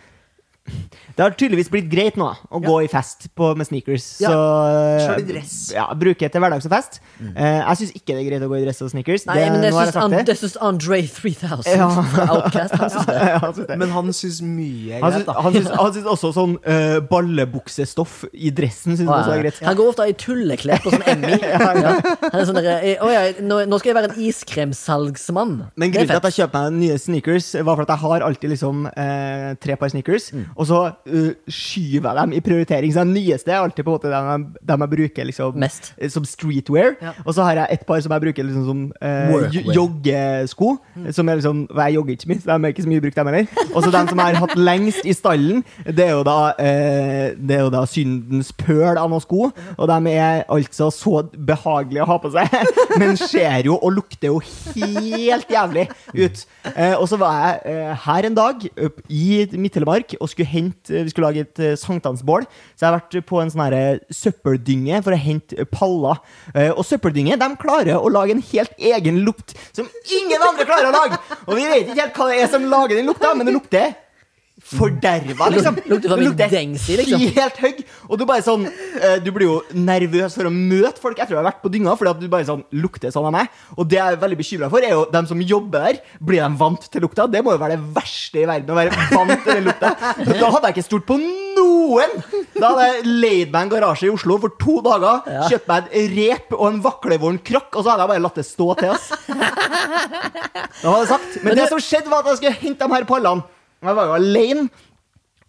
[SPEAKER 2] Det har tydeligvis blitt greit nå å gå i fest på, med sneakers.
[SPEAKER 3] Ja.
[SPEAKER 2] Så eh,
[SPEAKER 3] Selv i dress. Mm.
[SPEAKER 2] Ja, bruker til hverdags og fest. Eh, jeg syns ikke det er greit å gå i dress og sneakers.
[SPEAKER 1] Nei, men det
[SPEAKER 2] nå har
[SPEAKER 1] syns,
[SPEAKER 2] jeg sagt
[SPEAKER 1] And
[SPEAKER 2] det.
[SPEAKER 1] det syns Andre 3000
[SPEAKER 2] Ja.
[SPEAKER 1] fra Outcast. Han syns det.
[SPEAKER 2] Ja, jeg synes det.
[SPEAKER 3] Men han syns mye er
[SPEAKER 2] Han syns,
[SPEAKER 3] greit, da.
[SPEAKER 2] han, syns, han syns også sånn eh, ballebuksestoff i dressen syns han også er greit.
[SPEAKER 1] Han går ofte i tulleklær på sånn Emmy. Ja. Han er sånn derre eh, Å ja, nå, nå skal jeg være en iskremsalgsmann.
[SPEAKER 2] Men
[SPEAKER 1] Det er
[SPEAKER 2] grunnen til
[SPEAKER 1] fett.
[SPEAKER 2] at
[SPEAKER 1] Mm.
[SPEAKER 2] jeg kjøper meg nye sneakers, var for at jeg har alltid liksom eh, tre par sneakers. Og så eh, skyver jeg dem i prioritering. Så den nyeste er alltid på en måte den jeg, den jeg bruker liksom,
[SPEAKER 1] Mest.
[SPEAKER 2] eh, som streetwear.
[SPEAKER 3] Ja.
[SPEAKER 2] Og så har jeg et par som jeg bruker liksom, som eh, jo-
[SPEAKER 4] Workwear.
[SPEAKER 2] joggesko. Som er liksom, og Jeg jogger ikke så mye, så de er ikke så mye brukt, dem heller. Og så den som jeg har hatt lengst i stallen, det er jo da, eh, det er jo da syndens pøl av noen sko. Og de er altså så behagelige å ha på seg, men ser jo og lukter jo helt jævlig ut. Eh, og så var jeg eh, her en dag opp i Midt-Telemark og skulle hente eh, Vi skulle lage et eh, sankthansbål, så jeg har vært på en sånn her søppeldynge for å hente eh, paller. Eh, og søppeldynge de klarer å lage en helt egen lukt som ingen andre klarer å lage! Og vi vet ikke helt hva det er som lager den lukta, men det lukter Forderva, liksom.
[SPEAKER 1] Luk- lukter som
[SPEAKER 2] Det
[SPEAKER 1] en dengs i, liksom.
[SPEAKER 2] Helt høgg. Og du bare sånn eh, Du blir jo nervøs for å møte folk etter å ha vært på dynga, fordi at du bare sånn lukter sånn av meg. Og det jeg er veldig bekymra for, er jo dem som jobber der. Blir de vant til lukta? Det må jo være det verste i verden, å være vant til den lukta. Så Da hadde jeg ikke stolt på noen! Da hadde jeg leid meg en garasje i Oslo for to dager, kjøpt meg et rep og en vaklevorn krokk, og så hadde jeg bare latt det stå til, ass. Da var det sagt. Men, det som skjedde, var at jeg skulle hente de her pallene. Jeg var jo alene.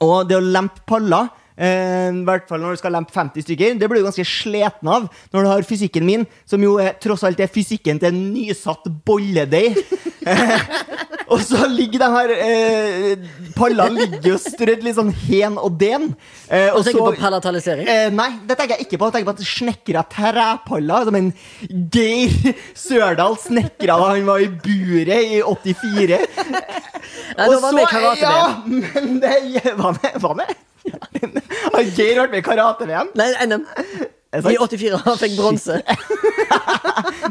[SPEAKER 2] Og det å lempe paller eh, i hvert fall når du skal lempe 50 stykker. Det blir du ganske sliten av når du har fysikken min, som jo er, tross alt er fysikken til en nysatt bolledeig. Eh, Og så ligger de her eh, Pallene ligger jo strødd litt sånn hen og den. Eh, og
[SPEAKER 1] Og tenker på palatalisering.
[SPEAKER 2] Eh, nei, det tenker jeg ikke på. Jeg tenker på at snekra trepaller, som en Geir Sørdal snekra da han var i buret i 84.
[SPEAKER 1] Nei, da var vi i karate-VM.
[SPEAKER 2] ja, men det Hva med? Hva med? Har Geir vært med i karate-VM?
[SPEAKER 1] Nei, NM.
[SPEAKER 2] Er det
[SPEAKER 1] I
[SPEAKER 2] sant?
[SPEAKER 1] 84 han fikk bronse.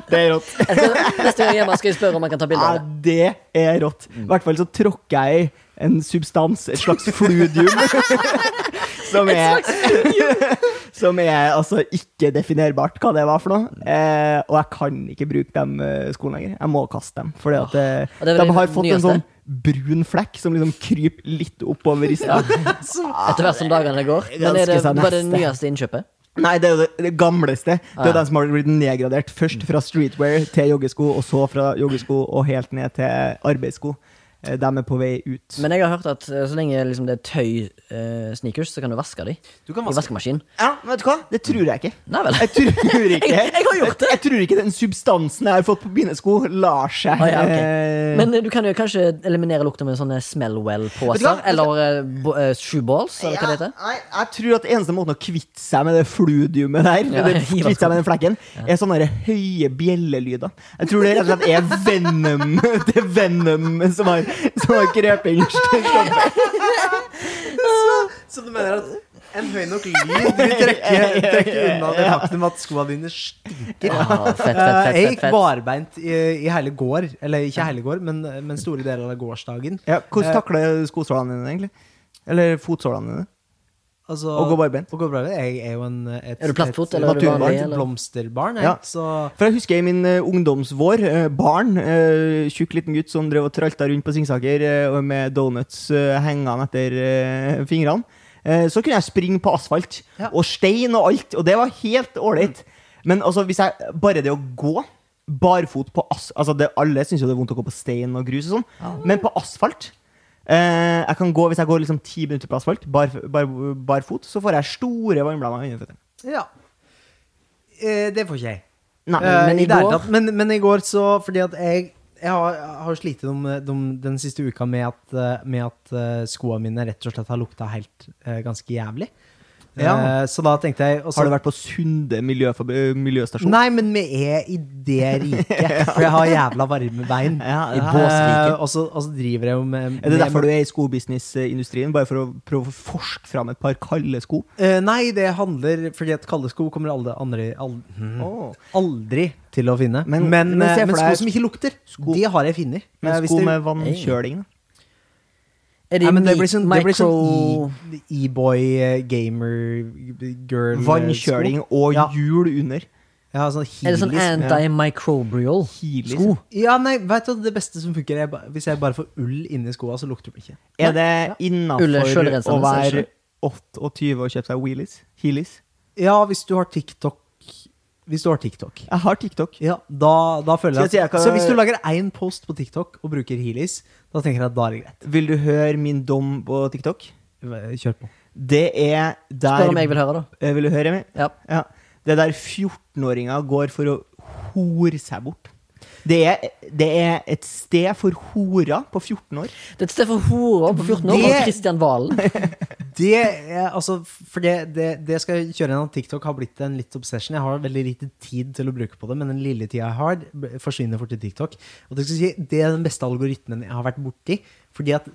[SPEAKER 2] Det er rått.
[SPEAKER 1] Jeg skal- Neste gang jeg er hjemme skal jeg spørre om han kan ta bilde
[SPEAKER 2] Ja,
[SPEAKER 1] av det.
[SPEAKER 2] det er rått. I hvert fall så tråkker jeg i en substans, et slags fludium. som er, som er altså ikke definerbart hva det var for noe. Eh, og jeg kan ikke bruke dem eh, skoene lenger. Jeg må kaste dem. Fordi at eh,
[SPEAKER 1] Og det er vel
[SPEAKER 2] de har
[SPEAKER 1] den
[SPEAKER 2] fått en
[SPEAKER 1] nyeste?
[SPEAKER 2] sånn brun flekk som liksom kryper litt oppover rista.
[SPEAKER 1] Etter hvert som dagene går. Men er det
[SPEAKER 2] Ganske så
[SPEAKER 1] bare det
[SPEAKER 2] neste.
[SPEAKER 1] nyeste innkjøpet?
[SPEAKER 2] Nei, det er jo det, det gamleste. Det
[SPEAKER 1] Ah, ja.
[SPEAKER 2] er den som har blitt nedgradert. Først fra streetwear til joggesko, og så fra joggesko og helt ned til arbeidssko. Eh, De er på vei ut.
[SPEAKER 1] Men jeg har hørt at eh, så lenge liksom, det er tøy-sneakers, så kan du vaske dem.
[SPEAKER 3] Du kan
[SPEAKER 1] I
[SPEAKER 3] vaske
[SPEAKER 1] vaskemaskinen.
[SPEAKER 2] Ja, men vet du hva? Det tror jeg ikke.
[SPEAKER 1] Nei vel.
[SPEAKER 2] Jeg tror ikke
[SPEAKER 1] Jeg- jeg har gjort det.
[SPEAKER 2] Jeg, jeg tror ikke den substansen jeg har fått på mine sko, lar seg
[SPEAKER 1] Ah, ja, ok.
[SPEAKER 2] eh,
[SPEAKER 1] Men eh, du kan jo kanskje eliminere lukta med sånne
[SPEAKER 2] Vet du hva?
[SPEAKER 1] Smellwell-poser. Eller eh, bo- eh, shoeballs, eller hva det heter.
[SPEAKER 2] Ja, nei, jeg tror at eneste måten å kvitte seg med det fludiumet der,
[SPEAKER 1] Ja,
[SPEAKER 2] eller
[SPEAKER 1] i
[SPEAKER 2] kvitte seg med den flekken, er sånne der høye bjellelyder. Jeg tror det rett og slett er Venom Det er Venom som har, som har krøpet inn stoffet.
[SPEAKER 3] Så du mener at en høy nok lyd vil trekke, trekke unna det faktum at skoene dine stinker?
[SPEAKER 1] Ah, fett, fett,
[SPEAKER 3] Eh,
[SPEAKER 1] fett,
[SPEAKER 3] Jeg
[SPEAKER 1] fett,
[SPEAKER 3] gikk
[SPEAKER 1] fett.
[SPEAKER 3] barbeint i, i hele går, eller ikke hele går, men, men store deler av gårsdagen.
[SPEAKER 2] Ja,
[SPEAKER 3] Eh,
[SPEAKER 2] hvordan takler skosålene dine, egentlig? Eller fotsålene dine?
[SPEAKER 3] Altså,
[SPEAKER 2] Å gå barbeint?
[SPEAKER 3] Å gå barbeint. Jeg er jo en et,
[SPEAKER 1] Er du plattfot,
[SPEAKER 3] et-
[SPEAKER 1] eller er
[SPEAKER 2] du vanlig,
[SPEAKER 3] naturbarn,
[SPEAKER 1] eller?
[SPEAKER 3] blomsterbarn, jeg.
[SPEAKER 2] Ja.
[SPEAKER 3] Så
[SPEAKER 2] For jeg husker i min eh, ungdomsvår, eh, barn, eh, tjukk liten gutt som drev og tralta rundt på Singsaker eh, og med donuts eh, hengende etter eh, fingrene, eh, så kunne jeg springe på asfalt
[SPEAKER 3] Ja.
[SPEAKER 2] og stein og alt, og det var helt ålreit. Men altså, hvis jeg bare det å gå barfot på as... Altså, det, alle syns jo det er vondt å gå på stein og grus og sånn, men på asfalt eh, jeg kan gå, Hvis jeg går liksom ti minutter på asfalt, bar, bar, barfot, så får jeg store vannblemmer under føttene.
[SPEAKER 3] ja. Eh, Det får ikke jeg.
[SPEAKER 2] Nei,
[SPEAKER 3] Eh,
[SPEAKER 1] men
[SPEAKER 3] i
[SPEAKER 1] i
[SPEAKER 3] det hele
[SPEAKER 1] går-
[SPEAKER 3] tatt. men, men i går så Fordi at jeg, jeg har, har slitt de, de, den siste uka med at, eh, med at eh, skoene mine rett og slett har lukta helt eh, ganske jævlig.
[SPEAKER 2] Ja.
[SPEAKER 3] Eh, så da tenkte jeg
[SPEAKER 2] Har du vært på Sunde miljøforb- miljøstasjon?
[SPEAKER 3] Nei, men vi er i det riket, for jeg har jævla varme bein.
[SPEAKER 2] Ja,
[SPEAKER 1] I
[SPEAKER 2] ja.
[SPEAKER 1] båsriket.
[SPEAKER 3] Eh, og så og så driver jeg jo med
[SPEAKER 2] Er det derfor du er i skobusinessindustrien? Bare for å prøve å forske fram et par kalde sko?
[SPEAKER 3] Eh, Nei, det handler Fordi at kalde sko kommer alle andre aldri, aldri til å finne. Men,
[SPEAKER 2] Mhm. Men-
[SPEAKER 3] men,
[SPEAKER 2] men
[SPEAKER 3] eh,
[SPEAKER 2] se for
[SPEAKER 3] men
[SPEAKER 2] deg-
[SPEAKER 3] sko som ikke lukter,
[SPEAKER 2] Sko-
[SPEAKER 3] de har jeg funnet. Eh,
[SPEAKER 2] Men
[SPEAKER 3] hvis
[SPEAKER 2] sko
[SPEAKER 3] det-
[SPEAKER 2] med vannkjøling, da?
[SPEAKER 1] Er
[SPEAKER 3] Nei,
[SPEAKER 1] det,
[SPEAKER 3] men det
[SPEAKER 1] mi-
[SPEAKER 3] blir sånn, det blir
[SPEAKER 1] micro...
[SPEAKER 3] sånn e- e-boy, eh, gamer, girl eh,
[SPEAKER 2] Vannkjøling og
[SPEAKER 3] Ja.
[SPEAKER 2] hjul under.
[SPEAKER 3] sko. Ja, sånn
[SPEAKER 1] Er det sånn
[SPEAKER 3] Heelys.
[SPEAKER 1] antimicrobial
[SPEAKER 2] Heelys.
[SPEAKER 1] sko?
[SPEAKER 3] Ja, nei, vet du hva, det beste som funker, er ba- hvis jeg bare får ull inni skoa, så lukter det ikke.
[SPEAKER 2] Er det
[SPEAKER 1] Ulle
[SPEAKER 2] innafor
[SPEAKER 1] sjølrensende,
[SPEAKER 2] å
[SPEAKER 1] så er
[SPEAKER 2] være
[SPEAKER 1] det
[SPEAKER 2] 28 og kjøpe seg wheelies? Heelys?
[SPEAKER 3] Ja, hvis du har TikTok Hvis du har TikTok.
[SPEAKER 2] Jeg har TikTok.
[SPEAKER 3] Ja, da, da
[SPEAKER 2] Skal
[SPEAKER 3] føler jeg,
[SPEAKER 2] jeg
[SPEAKER 3] at
[SPEAKER 2] si, jeg kan-
[SPEAKER 3] Så hvis du lager én post på TikTok og bruker Heelys, da tenker jeg at da er det greit.
[SPEAKER 2] Vil du høre min dom på TikTok?
[SPEAKER 3] Kjør på.
[SPEAKER 2] Det er der
[SPEAKER 1] Spør om jeg vil høre, da.
[SPEAKER 2] Eh, Vil du høre, Emil?
[SPEAKER 1] Ja.
[SPEAKER 2] Det er der 14-åringer går for å hore seg bort. Det er, det er et sted for horer på 14 år.
[SPEAKER 1] Det er et sted for horer på 14 år,
[SPEAKER 3] Det-
[SPEAKER 1] og Christian Valen.
[SPEAKER 3] Det, er, altså, for det, det, det skal jeg kjøre gjennom. TikTok har blitt en litt obsession. Jeg har veldig lite tid til å bruke på det, men den lille tida jeg har, b- forsvinner fort i TikTok. Og det, skal jeg si, det er den beste algoritmen jeg har vært borti. Fordi at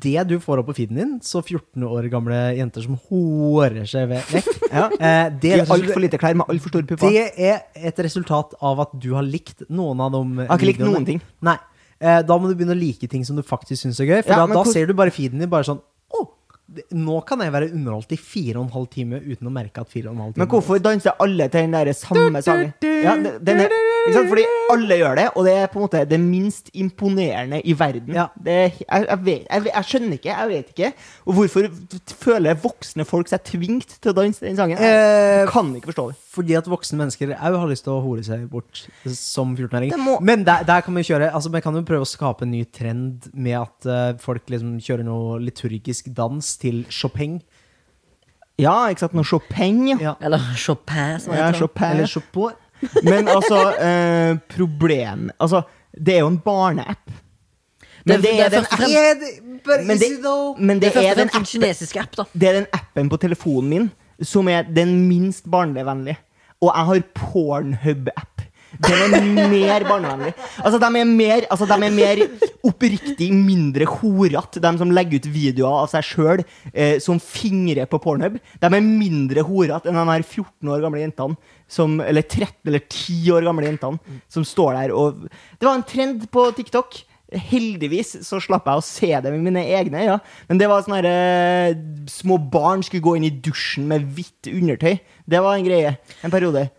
[SPEAKER 3] det du får opp på feeden din, så 14 år gamle jenter som horer seg ve- vekk
[SPEAKER 2] Ja.
[SPEAKER 3] eh,
[SPEAKER 2] De
[SPEAKER 3] det,
[SPEAKER 2] har altfor lite klær med altfor store pupper.
[SPEAKER 3] det er et resultat av at du har likt noen av dem.
[SPEAKER 2] har ikke likt noen ting.
[SPEAKER 3] Nei. Eh, Da må du begynne å like ting som du faktisk syns er gøy. For
[SPEAKER 2] Ja,
[SPEAKER 3] da,
[SPEAKER 2] men
[SPEAKER 3] da
[SPEAKER 2] hvor-
[SPEAKER 3] ser du bare feeden din bare sånn Å, det- nå kan jeg være underholdt i fire og en halv time uten å merke at fire og en halv
[SPEAKER 2] Men
[SPEAKER 3] time
[SPEAKER 2] hvorfor danser alle til den der samme sangen? Ja, det- den er, ikke sant? Fordi alle gjør det, og det er på en måte det minst imponerende i verden.
[SPEAKER 3] Ja.
[SPEAKER 2] Det, er- jeg, jeg, vet, jeg, vet- jeg skjønner ikke, jeg vet ikke. Og hvorfor føler voksne folk seg tvingt til å danse den sangen?
[SPEAKER 3] Eh,
[SPEAKER 2] Jeg kan ikke forstå det.
[SPEAKER 3] Fordi at voksne mennesker òg har lyst til å hore seg bort som 14-åring.
[SPEAKER 2] Det må-
[SPEAKER 3] Men der, der kan vi kjøre Altså Man kan jo prøve å skape en ny trend med at eh, folk liksom kjører noe liturgisk dans til Chopin.
[SPEAKER 2] Ja, ikke sant? Noe Chopin, ja.
[SPEAKER 3] Ja.
[SPEAKER 1] Eller Chopin, som han
[SPEAKER 2] Ja,
[SPEAKER 1] heter.
[SPEAKER 2] Chopin.
[SPEAKER 3] Eller Chopin.
[SPEAKER 2] Men altså, eh, problem Altså, det er jo en barneapp. Men det er den
[SPEAKER 1] først og fremst-
[SPEAKER 3] Yeah, but
[SPEAKER 2] Men
[SPEAKER 3] is
[SPEAKER 2] det-
[SPEAKER 3] it though?
[SPEAKER 2] men
[SPEAKER 1] det
[SPEAKER 2] det
[SPEAKER 1] er først
[SPEAKER 2] er
[SPEAKER 1] og
[SPEAKER 2] den
[SPEAKER 1] fremst en
[SPEAKER 2] appen,
[SPEAKER 1] kinesisk app, da.
[SPEAKER 2] det er den appen på telefonen min som er den minst barnevennlige. Og jeg har Pornhub-app. Den er mer barnevennlig. Altså, de er mer, altså, de er mer oppriktig mindre horete, de som legger ut videoer av seg sjøl eh, som fingrer på Pornhub. De er mindre horete enn de her 14 år gamle jentene som, eller 13 eller 10 år gamle jentene som står der og Det var en trend på TikTok. Heldigvis så slapp jeg å se det med mine egne øyne. Men det var sånn herre Små barn skulle gå inn i dusjen med hvitt undertøy. Det var en greie. En periode.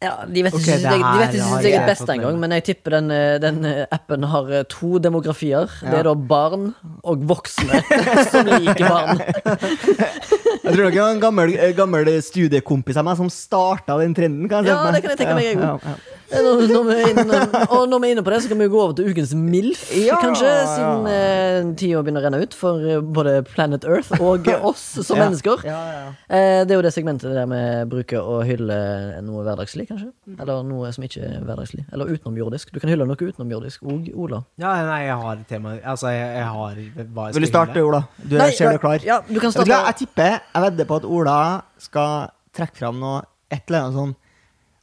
[SPEAKER 1] Ja, de vet
[SPEAKER 3] Ok,
[SPEAKER 1] ikke
[SPEAKER 3] det
[SPEAKER 1] sitt eget- de vet
[SPEAKER 3] her
[SPEAKER 1] ikke
[SPEAKER 3] har
[SPEAKER 1] sitt eget
[SPEAKER 3] jeg
[SPEAKER 1] beste
[SPEAKER 3] fått med
[SPEAKER 1] engang, men jeg tipper den, eh, den eh, appen har eh, to demografier. Det
[SPEAKER 2] Ja.
[SPEAKER 1] er da barn og voksne som liker barn.
[SPEAKER 2] Jeg tror det var en gammel, eh, gammel studiekompis av meg som starta den trenden. Kan
[SPEAKER 1] Ja, det kan jeg tenke meg, jeg òg. Når, når vi er inne, og når vi er inne på det, så kan vi jo gå over til ukens MILF,
[SPEAKER 2] Ja,
[SPEAKER 1] kanskje.
[SPEAKER 2] ja.
[SPEAKER 1] Siden eh, tida begynner å renne ut for eh, både Planet Earth og eh, oss som
[SPEAKER 2] Ja.
[SPEAKER 1] mennesker.
[SPEAKER 2] Ja, ja, ja.
[SPEAKER 1] Eh, det er jo det segmentet der vi bruker å hylle noe hverdagslig, kanskje. Eller noe som ikke er hverdagslig. Eller utenomjordisk. Du kan hylle noe utenomjordisk òg, Ola.
[SPEAKER 3] Ja, nei, jeg har temaet. Altså, jeg, jeg har hva jeg
[SPEAKER 2] Vil du
[SPEAKER 3] skal
[SPEAKER 2] starte,
[SPEAKER 3] hylle.
[SPEAKER 2] Ola? Du
[SPEAKER 1] Nei,
[SPEAKER 2] er, ser du er klar?
[SPEAKER 1] Ja, du kan
[SPEAKER 2] Vet du hva,
[SPEAKER 1] starte.
[SPEAKER 2] Jeg tipper, jeg vedder på at Ola skal trekke fram noe et eller annet sånn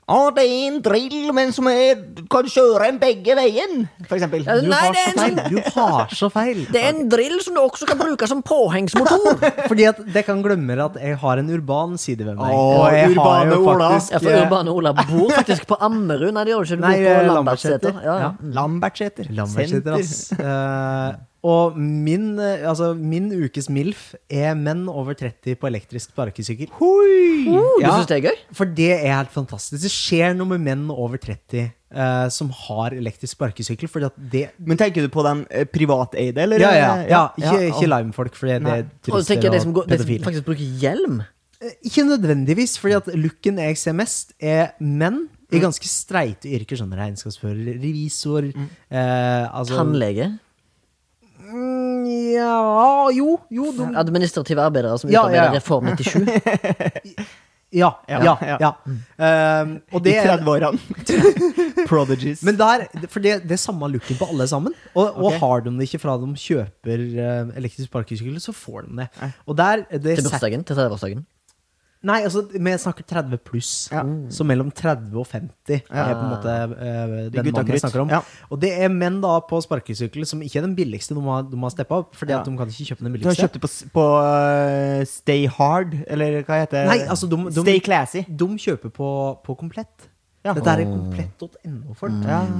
[SPEAKER 2] Å, det er en drill, men som er, kan kjøre en begge veien, for eksempel.
[SPEAKER 1] Ja,
[SPEAKER 3] Du
[SPEAKER 1] Nei,
[SPEAKER 3] har
[SPEAKER 1] det er
[SPEAKER 3] så
[SPEAKER 1] en sånn-
[SPEAKER 3] feil! Du har så feil!
[SPEAKER 1] Det er en drill som du også kan bruke som påhengsmotor.
[SPEAKER 3] Fordi at dere kan glemme at jeg har en urban side ved
[SPEAKER 2] Åh,
[SPEAKER 3] meg. og jeg
[SPEAKER 2] urbane Ola.
[SPEAKER 1] Ja,
[SPEAKER 3] eh,
[SPEAKER 1] for Urbane Ola bor faktisk på Ammerud. Nei, det gjør du ikke. Du bor
[SPEAKER 3] Nei,
[SPEAKER 1] på
[SPEAKER 2] eh,
[SPEAKER 3] Lambertseter.
[SPEAKER 1] Lambertseter. Ja, ja.
[SPEAKER 3] Ja.
[SPEAKER 2] Lambertseter.
[SPEAKER 3] Lambertseter, ass. Eh, og min, eh, altså, min ukes MILF er menn over 30 på elektrisk sparkesykkel.
[SPEAKER 2] Hoi!
[SPEAKER 1] Oh, Du
[SPEAKER 3] Ja.
[SPEAKER 1] syns det er gøy?
[SPEAKER 3] For det er helt fantastisk. Det skjer noe med menn over 30 eh, som har elektrisk sparkesykkel. Fordi at det
[SPEAKER 2] Men tenker du på de eh, privateide, eller?
[SPEAKER 3] Ja, ja. ja, ikke,
[SPEAKER 2] Ja,
[SPEAKER 3] ikke Lime-folk, for det det
[SPEAKER 2] Nei.
[SPEAKER 3] er
[SPEAKER 1] Og så tenker jeg
[SPEAKER 3] turister
[SPEAKER 1] de som,
[SPEAKER 3] og
[SPEAKER 1] går, de som
[SPEAKER 3] pedofile.
[SPEAKER 1] faktisk bruker hjelm.
[SPEAKER 3] Eh, Ikke nødvendigvis, fordi at looken jeg ser mest, er menn i ganske streite yrker. Sånn regnskapsfører, revisor eh, altså,
[SPEAKER 1] Tannlege.
[SPEAKER 3] Mm, Ja Jo, jo. Du,
[SPEAKER 1] Administrative arbeidere som
[SPEAKER 3] Ja,
[SPEAKER 1] utarbeider
[SPEAKER 3] ja, ja.
[SPEAKER 1] Reform 97.
[SPEAKER 3] ja, ja,
[SPEAKER 2] Ja,
[SPEAKER 3] ja.
[SPEAKER 2] ja.
[SPEAKER 3] Eh, og det
[SPEAKER 2] I
[SPEAKER 3] er
[SPEAKER 2] 30-årene. Prodigies.
[SPEAKER 3] men der, for det, det er samme looken på alle sammen. Og, og
[SPEAKER 2] Ok.
[SPEAKER 3] har de det ikke fra de kjøper eh, elektrisk sparkesykkel, så får de det. Og der, det
[SPEAKER 1] Til bursdagen. Til 30-årsdagen.
[SPEAKER 3] Nei, altså, vi snakker 30 pluss.
[SPEAKER 2] Ja.
[SPEAKER 3] Så mellom 30 og 50 er på en måte eh, den
[SPEAKER 2] gutta
[SPEAKER 3] mannen
[SPEAKER 2] krutt.
[SPEAKER 3] jeg snakker om.
[SPEAKER 2] Ja.
[SPEAKER 3] Og det er menn da på sparkesykkel som ikke er den billigste de har, de har steppa opp. Fordi
[SPEAKER 2] Ja.
[SPEAKER 3] at de kan ikke kjøpe den
[SPEAKER 2] Du har
[SPEAKER 3] billigste.
[SPEAKER 2] kjøpt det på, s- på eh, Stay Hard, eller hva heter det?
[SPEAKER 3] Nei, altså, de, de,
[SPEAKER 2] Stay Classy.
[SPEAKER 3] De kjøper på, på komplett.
[SPEAKER 2] Ja.
[SPEAKER 3] Dette er komplett.no folk.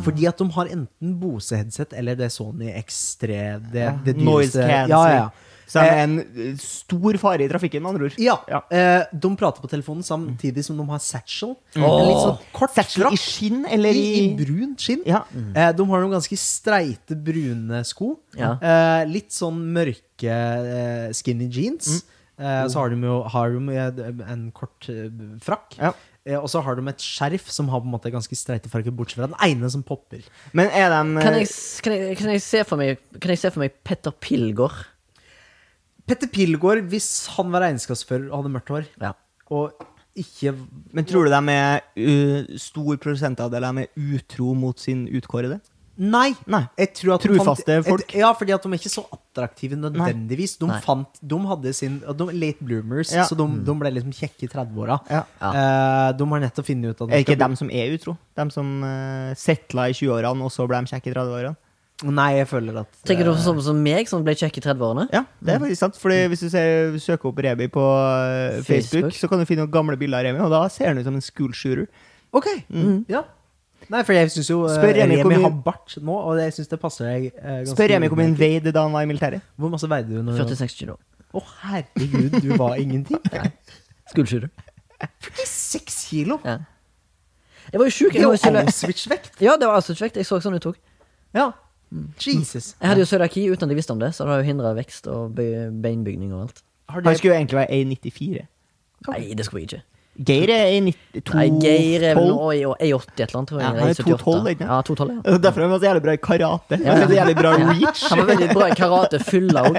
[SPEAKER 3] Fordi at de har enten Bose-headset eller det Sony X3. Det, det
[SPEAKER 2] Noise
[SPEAKER 3] dyreste.
[SPEAKER 2] cancelling.
[SPEAKER 3] Ja, ja, ja.
[SPEAKER 2] Så de
[SPEAKER 3] Eh,
[SPEAKER 2] er en eh, stor fare i trafikken, med andre ord.
[SPEAKER 3] Ja,
[SPEAKER 2] Ja.
[SPEAKER 3] eh, De prater på telefonen samtidig som de har satchel. En
[SPEAKER 1] Åh.
[SPEAKER 3] litt sånn kort
[SPEAKER 2] Mm. Satchel
[SPEAKER 3] frakk.
[SPEAKER 2] i skinn, eller
[SPEAKER 3] I,
[SPEAKER 2] i
[SPEAKER 3] I brunt skinn.
[SPEAKER 2] Ja.
[SPEAKER 3] Eh, de har noen ganske streite, brune sko.
[SPEAKER 1] Ja.
[SPEAKER 3] Eh, litt sånn mørke eh, skinny jeans. Eh, så har de jo har de eh, en kort eh, frakk.
[SPEAKER 2] Ja.
[SPEAKER 3] Eh, og så har de et skjerf som har på en måte ganske streite farger, bortsett fra den ene som popper.
[SPEAKER 2] Men er de
[SPEAKER 1] Kan jeg, s- kan, jeg, kan, jeg se for meg, kan jeg se for meg Petter Pilgaard?
[SPEAKER 3] Petter Pilgaard, hvis han var regnskapsfører og hadde mørkt hår,
[SPEAKER 1] Ja.
[SPEAKER 3] og ikke
[SPEAKER 2] eh, Men tror du de er uh, stor prosentandel er med utro mot sin utkårede?
[SPEAKER 3] Nei!
[SPEAKER 2] Nei.
[SPEAKER 3] Jeg tror at de
[SPEAKER 2] Trufaste
[SPEAKER 3] fant,
[SPEAKER 2] folk.
[SPEAKER 3] Et, ja, fordi at de er ikke så attraktive nødvendigvis. De,
[SPEAKER 1] Nei.
[SPEAKER 3] fant, de hadde sin og de, Late bloomers,
[SPEAKER 2] Ja. Mm.
[SPEAKER 3] så de, de ble liksom kjekke i 30-åra.
[SPEAKER 2] Ja.
[SPEAKER 3] Eh, de har nettopp funnet ut at de
[SPEAKER 2] Er det
[SPEAKER 3] skal
[SPEAKER 2] ikke dem som er utro? Dem som uh, settla i 20-årene, og så ble de kjekke i 30-årene?
[SPEAKER 3] bli- Nei, jeg føler at eh,
[SPEAKER 1] Tenker du på sånn som meg, som ble kjekk i 30-årene?
[SPEAKER 2] Ja, det er faktisk sant. Fordi hvis du ser, søker opp Remi på eh, Facebook,
[SPEAKER 1] Facebook.
[SPEAKER 2] så kan du finne noen gamle bilder av Remi, og da ser han ut som en school shooter.
[SPEAKER 3] Ok! Ja. Nei, for jeg syns jo eh,
[SPEAKER 2] Mm. Spør Remi
[SPEAKER 3] Remi
[SPEAKER 2] hvor mye-
[SPEAKER 3] har bart nå, og jeg syns det passer deg eh, ganske
[SPEAKER 2] Spør Remi hvor mye
[SPEAKER 3] utmerket.
[SPEAKER 2] han veide da han var i militæret.
[SPEAKER 3] Hvor masse veide du når
[SPEAKER 1] 46 kilo.
[SPEAKER 3] Å, herregud, du var ingenting.
[SPEAKER 1] Skuldskyter.
[SPEAKER 3] 46 kilo!
[SPEAKER 1] Ja. Jeg var jo sjuk.
[SPEAKER 3] Det
[SPEAKER 1] Jeg,
[SPEAKER 3] er
[SPEAKER 1] var jo
[SPEAKER 3] jo
[SPEAKER 1] cøliak-
[SPEAKER 3] Auschwitz-vekt.
[SPEAKER 1] ja, det var Auschwitz-vekt. Jeg så sånn ut òg.
[SPEAKER 3] Ja.
[SPEAKER 2] Mm.
[SPEAKER 3] Jesus.
[SPEAKER 1] Jeg hadde jo cøliaki uten at jeg visste om det, så det har jo hindra vekst og be- beinbygning og alt.
[SPEAKER 3] Har
[SPEAKER 2] Han
[SPEAKER 3] det,
[SPEAKER 2] skulle jo egentlig være 1,94.
[SPEAKER 1] Nei, det skulle jeg ikke.
[SPEAKER 2] Geir er 1,92.
[SPEAKER 1] Nei, Geir er vel nå i i 80 et eller annet, tror jeg.
[SPEAKER 2] Ja,
[SPEAKER 1] Eller i
[SPEAKER 2] han er
[SPEAKER 1] 78.
[SPEAKER 2] 2,12, ikke sant?
[SPEAKER 1] Ja, 2,12, ja.
[SPEAKER 2] Derfor er han så jævlig bra i karate. Han er så jævlig bra reach.
[SPEAKER 1] Han var veldig bra i karate, fylla òg.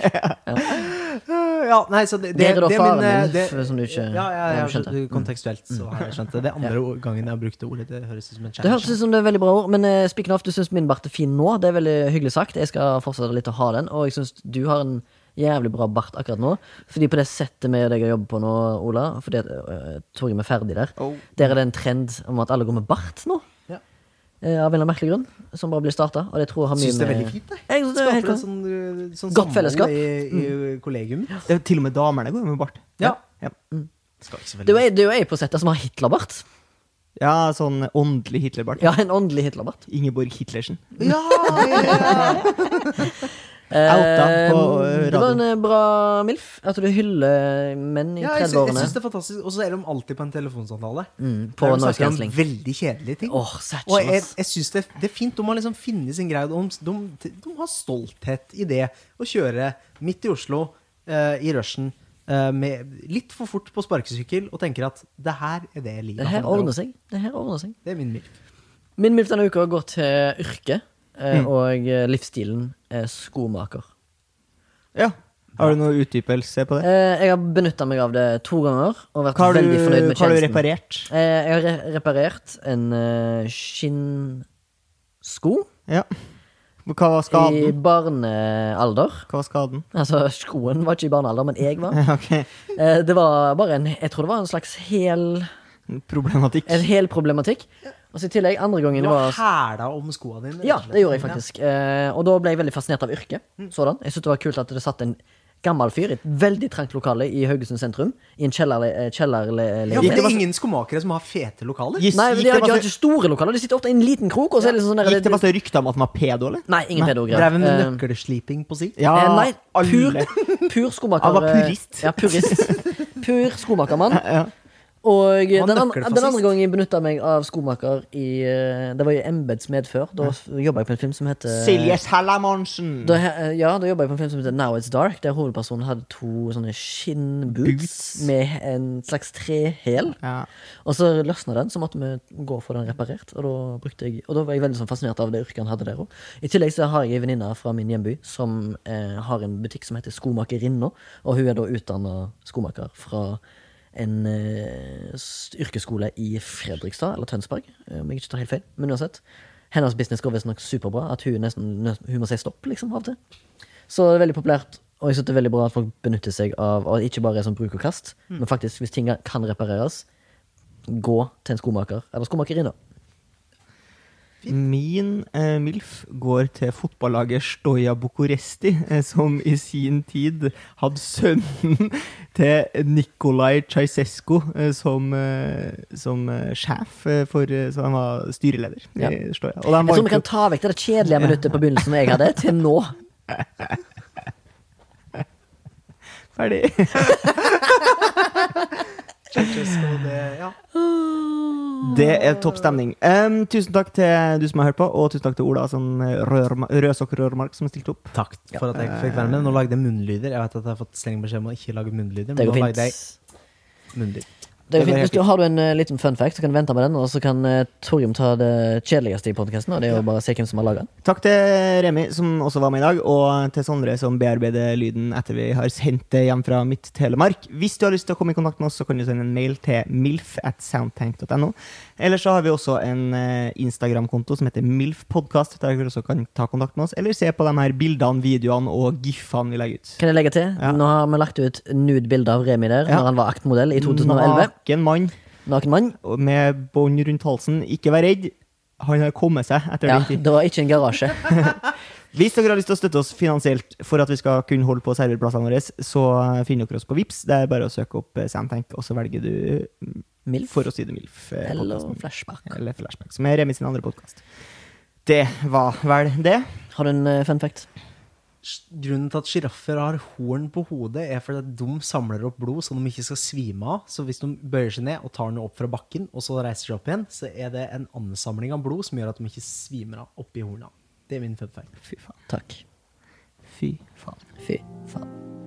[SPEAKER 3] ja, nei, så det,
[SPEAKER 1] Det er da
[SPEAKER 3] det
[SPEAKER 1] faren
[SPEAKER 3] min, eh,
[SPEAKER 1] min, for- som du ikke-
[SPEAKER 3] ja, ja, ja,
[SPEAKER 1] du skjønte.
[SPEAKER 3] så- Kontekstuelt, så har jeg skjønt det. Det er andre gangen jeg har brukt det ordet. Det høres ut som en
[SPEAKER 1] Det høres ut
[SPEAKER 3] challenge.
[SPEAKER 1] som det er veldig bra ord, men uh, speaking of, du syns min bart er fin nå. Det er veldig hyggelig sagt. Jeg skal fortsette litt å ha den, og jeg syns du har en jævlig bra bart akkurat nå. Fordi på det settet vi og deg jobber på nå, Ola, fordi at uh, Torgrim er ferdig der,
[SPEAKER 2] Oh.
[SPEAKER 1] der er det en trend om at alle går med bart nå.
[SPEAKER 3] Ja.
[SPEAKER 1] Eh, av en eller annen merkelig grunn, som bare blir starta. Og det tror jeg har mye
[SPEAKER 3] Syns det er
[SPEAKER 1] med-
[SPEAKER 3] veldig fint, det.
[SPEAKER 1] Jeg synes det er helt
[SPEAKER 3] Skaper
[SPEAKER 1] klart.
[SPEAKER 3] et sånn, eh, sånn
[SPEAKER 1] Godt
[SPEAKER 3] samhold
[SPEAKER 1] fellesskap. Mm.
[SPEAKER 3] I, i kollegium.
[SPEAKER 2] Det er Til og med damene går jo med bart.
[SPEAKER 3] Ja.
[SPEAKER 2] Ja,
[SPEAKER 3] Skal ikke så veldig
[SPEAKER 1] Det er jo jeg- det er jo jeg på settet som har Hitlerbart.
[SPEAKER 2] ja sånn åndelig Hitlerbart.
[SPEAKER 1] Ja, en åndelig Hitlerbart.
[SPEAKER 2] Ingeborg Hitlersen.
[SPEAKER 3] Ja, ja,
[SPEAKER 2] Outa på
[SPEAKER 1] Eh,
[SPEAKER 2] eh,
[SPEAKER 1] det var en
[SPEAKER 2] radioen.
[SPEAKER 1] eh, bra MILF. At du hyller menn i
[SPEAKER 3] ja, jeg, sy- jeg
[SPEAKER 1] 30-årene.
[SPEAKER 3] syns det er fantastisk. Og så er de alltid på en telefonsamtale.
[SPEAKER 1] Mm, på
[SPEAKER 3] Der de
[SPEAKER 1] noise
[SPEAKER 3] snakker om
[SPEAKER 1] cancelling.
[SPEAKER 3] veldig kjedelige ting.
[SPEAKER 1] Åh, Satchin,
[SPEAKER 3] Og jeg,
[SPEAKER 1] Sånn, ass.
[SPEAKER 3] jeg synes det, det er fint. De har liksom funnet sin greie. De, de, de har stolthet i det å kjøre midt i Oslo eh, i rushen eh, med litt for fort på sparkesykkel og tenker at det her er det livet
[SPEAKER 1] Det her
[SPEAKER 3] handler om.
[SPEAKER 1] ordner seg. Det her ordner seg.
[SPEAKER 3] Det er min milf.
[SPEAKER 1] Min MILF denne uka går til yrket eh,
[SPEAKER 3] Mm.
[SPEAKER 1] og eh, livsstilen eh, skomaker.
[SPEAKER 2] Ja. Har du noe utdypelse på det?
[SPEAKER 1] Eh, jeg har benytta meg av det to ganger og vært
[SPEAKER 2] Hva har du,
[SPEAKER 1] veldig fornøyd med
[SPEAKER 2] hva har du
[SPEAKER 1] tjenesten.
[SPEAKER 2] reparert?
[SPEAKER 1] Eh, jeg har re reparert en eh, skinnsko
[SPEAKER 2] Ja. Hva var
[SPEAKER 1] i
[SPEAKER 2] skaden?
[SPEAKER 1] barnealder.
[SPEAKER 2] Hva var skaden?
[SPEAKER 1] Altså, skoen var ikke i barnealder, men jeg var.
[SPEAKER 2] Ok,
[SPEAKER 1] Eh, det var bare en Jeg tror det var en slags hel
[SPEAKER 2] Problematikk.
[SPEAKER 1] En hel problematikk. Og så i tillegg, andre gangen
[SPEAKER 3] Du
[SPEAKER 1] det
[SPEAKER 3] har
[SPEAKER 1] var
[SPEAKER 3] hæla om skoa dine. rett
[SPEAKER 1] Ja,
[SPEAKER 3] og slett.
[SPEAKER 1] det gjorde jeg faktisk. Eh, og da ble jeg veldig fascinert av yrket. Sådan. Jeg syntes det var kult at det satt en gammel fyr i et veldig trangt lokale i Haugesund sentrum. I en kjellerle- eh,
[SPEAKER 3] Ja, for
[SPEAKER 1] kjellerleilighet.
[SPEAKER 3] det er ingen skomakere som har fete lokaler.
[SPEAKER 2] Gis-
[SPEAKER 1] Nei, men de
[SPEAKER 2] gikk
[SPEAKER 1] har,
[SPEAKER 2] det
[SPEAKER 1] de har
[SPEAKER 2] masse-
[SPEAKER 1] ikke store lokaler. De sitter ofte i en liten krok. Og så er det liksom sånn der,
[SPEAKER 2] Gikk det masse rykter om at han var pedo, eller?
[SPEAKER 1] Nei, ingen pedogreier.
[SPEAKER 3] Drev med
[SPEAKER 1] Eh,
[SPEAKER 3] nøkkelsliping på si.
[SPEAKER 2] Ja,
[SPEAKER 1] eh, nei, pur,
[SPEAKER 2] alle.
[SPEAKER 1] pur skomaker.
[SPEAKER 2] Han var
[SPEAKER 1] eh,
[SPEAKER 2] purist.
[SPEAKER 1] Ja, purist. Pur skomakermann. Og den,
[SPEAKER 3] Han
[SPEAKER 1] an
[SPEAKER 3] nøkkelfascist.
[SPEAKER 1] den andre gangen jeg benytta meg av skomaker i eh, Det var i embetsmed før. Da jobba jeg på en film som heter
[SPEAKER 2] Silje Salamonsen.
[SPEAKER 1] Da, he- eh, ja, da jobba jeg på en film som heter Now It's Dark, der hovedpersonen hadde to sånne skinnboots
[SPEAKER 2] Boots.
[SPEAKER 1] med en slags trehæl.
[SPEAKER 2] Ja.
[SPEAKER 1] Og så løsna den, så måtte vi gå og få den reparert. Og da, brukte jeg, og da var jeg veldig sånn fascinert av det yrket han hadde der òg. I tillegg så har jeg ei venninne fra min hjemby som eh, har en butikk som heter Skomakerinna. Og hun er da utdanna skomaker fra en eh, s- yrkesskole i Fredrikstad, eller Tønsberg, eh, om jeg ikke tar helt feil. Men uansett. Hennes business går visstnok superbra, at hun nesten nø- hun må si stopp liksom av og til. Så det er veldig populært, og jeg synes det er veldig bra at folk benytter seg av Og ikke bare er sånn bruk og kast, men faktisk, hvis ting kan repareres, gå til en skomaker eller skomakerinne.
[SPEAKER 2] Min eh, MILF går til fotballaget Stoja Bucuresti, eh, som i sin tid hadde sønnen til Nikolai Ceausescu eh, som, eh, som eh, sjef, eh, for, eh, så han var styreleder
[SPEAKER 1] Ja.
[SPEAKER 2] i Stoja. Og de
[SPEAKER 1] Jeg tror
[SPEAKER 2] vant
[SPEAKER 1] vi kan
[SPEAKER 2] jo-
[SPEAKER 1] ta vekk det kjedelige minuttet på begynnelsen jeg hadde, til nå.
[SPEAKER 2] ferdig. Det er topp stemning. Em, tusen takk til du som har hørt på, og tusen takk til Ola sånn, Rørma, Rødsokk Rørmark som stilte opp.
[SPEAKER 3] Takk for at jeg fikk være med. Nå lagde jeg munnlyder. Jeg vet at jeg har fått streng beskjed om å ikke lage munnlyder,
[SPEAKER 1] Det
[SPEAKER 3] men nå
[SPEAKER 1] går
[SPEAKER 3] lagde jeg
[SPEAKER 1] fint.
[SPEAKER 3] munnlyd.
[SPEAKER 1] Det er
[SPEAKER 2] Det
[SPEAKER 1] fint.
[SPEAKER 2] var
[SPEAKER 1] Hvis
[SPEAKER 2] helt
[SPEAKER 1] du har du en eh, liten fun fact, så kan du vente med den, og så kan uh, Torgrim ta det kjedeligste i podkasten, og det er jo bare å se hvem som har laga den.
[SPEAKER 2] Takk til Remi, som også var med i dag, og til Sondre, som bearbeider lyden etter vi har sendt det hjem fra Midt-Telemark. Hvis du har lyst til å komme i kontakt med oss, så kan du sende en mail til milf at soundtank.no. Eller så har vi også en eh, Instagram-konto som heter milfpodkast, der du også kan ta kontakt med oss, eller se på de her bildene, videoene og gif-ene vi legger ut.
[SPEAKER 1] Kan jeg legge til?
[SPEAKER 2] Ja.
[SPEAKER 1] Nå har vi lagt ut nude-bilde av Remi der,
[SPEAKER 2] Ja.
[SPEAKER 1] når han var aktmodell i 2011.
[SPEAKER 2] Naken mann
[SPEAKER 1] Naken mann.
[SPEAKER 2] og med bånd rundt halsen. Ikke vær redd. Han har kommet seg etter
[SPEAKER 1] Ja,
[SPEAKER 2] den tid.
[SPEAKER 1] det var ikke en garasje.
[SPEAKER 2] Hvis dere har lyst til å støtte oss finansielt for at vi skal kunne holde på serverplassene våre, så finner dere oss på Vips. Det er bare å søke opp eh, Soundtank, og så velger du mm,
[SPEAKER 1] Milf.
[SPEAKER 2] for å si det milf. eh,
[SPEAKER 1] Eller
[SPEAKER 2] podcasten.
[SPEAKER 1] flashback.
[SPEAKER 2] Eller Flashback, som er Remi sin andre podkast. Det var vel det.
[SPEAKER 1] Har du en eh, fun fact?
[SPEAKER 3] Sj- Grunnen til at sjiraffer har horn på hodet, er fordi at de samler opp blod så de ikke skal svime av. Så hvis de bøyer seg ned og tar den opp fra bakken, og så reiser seg opp igjen, så er det en ansamling av blod som gjør at de ikke svimer av oppi horna. Det er min fun fact.
[SPEAKER 2] Fy faen.
[SPEAKER 1] Takk.
[SPEAKER 2] Fy faen.
[SPEAKER 1] Fy faen.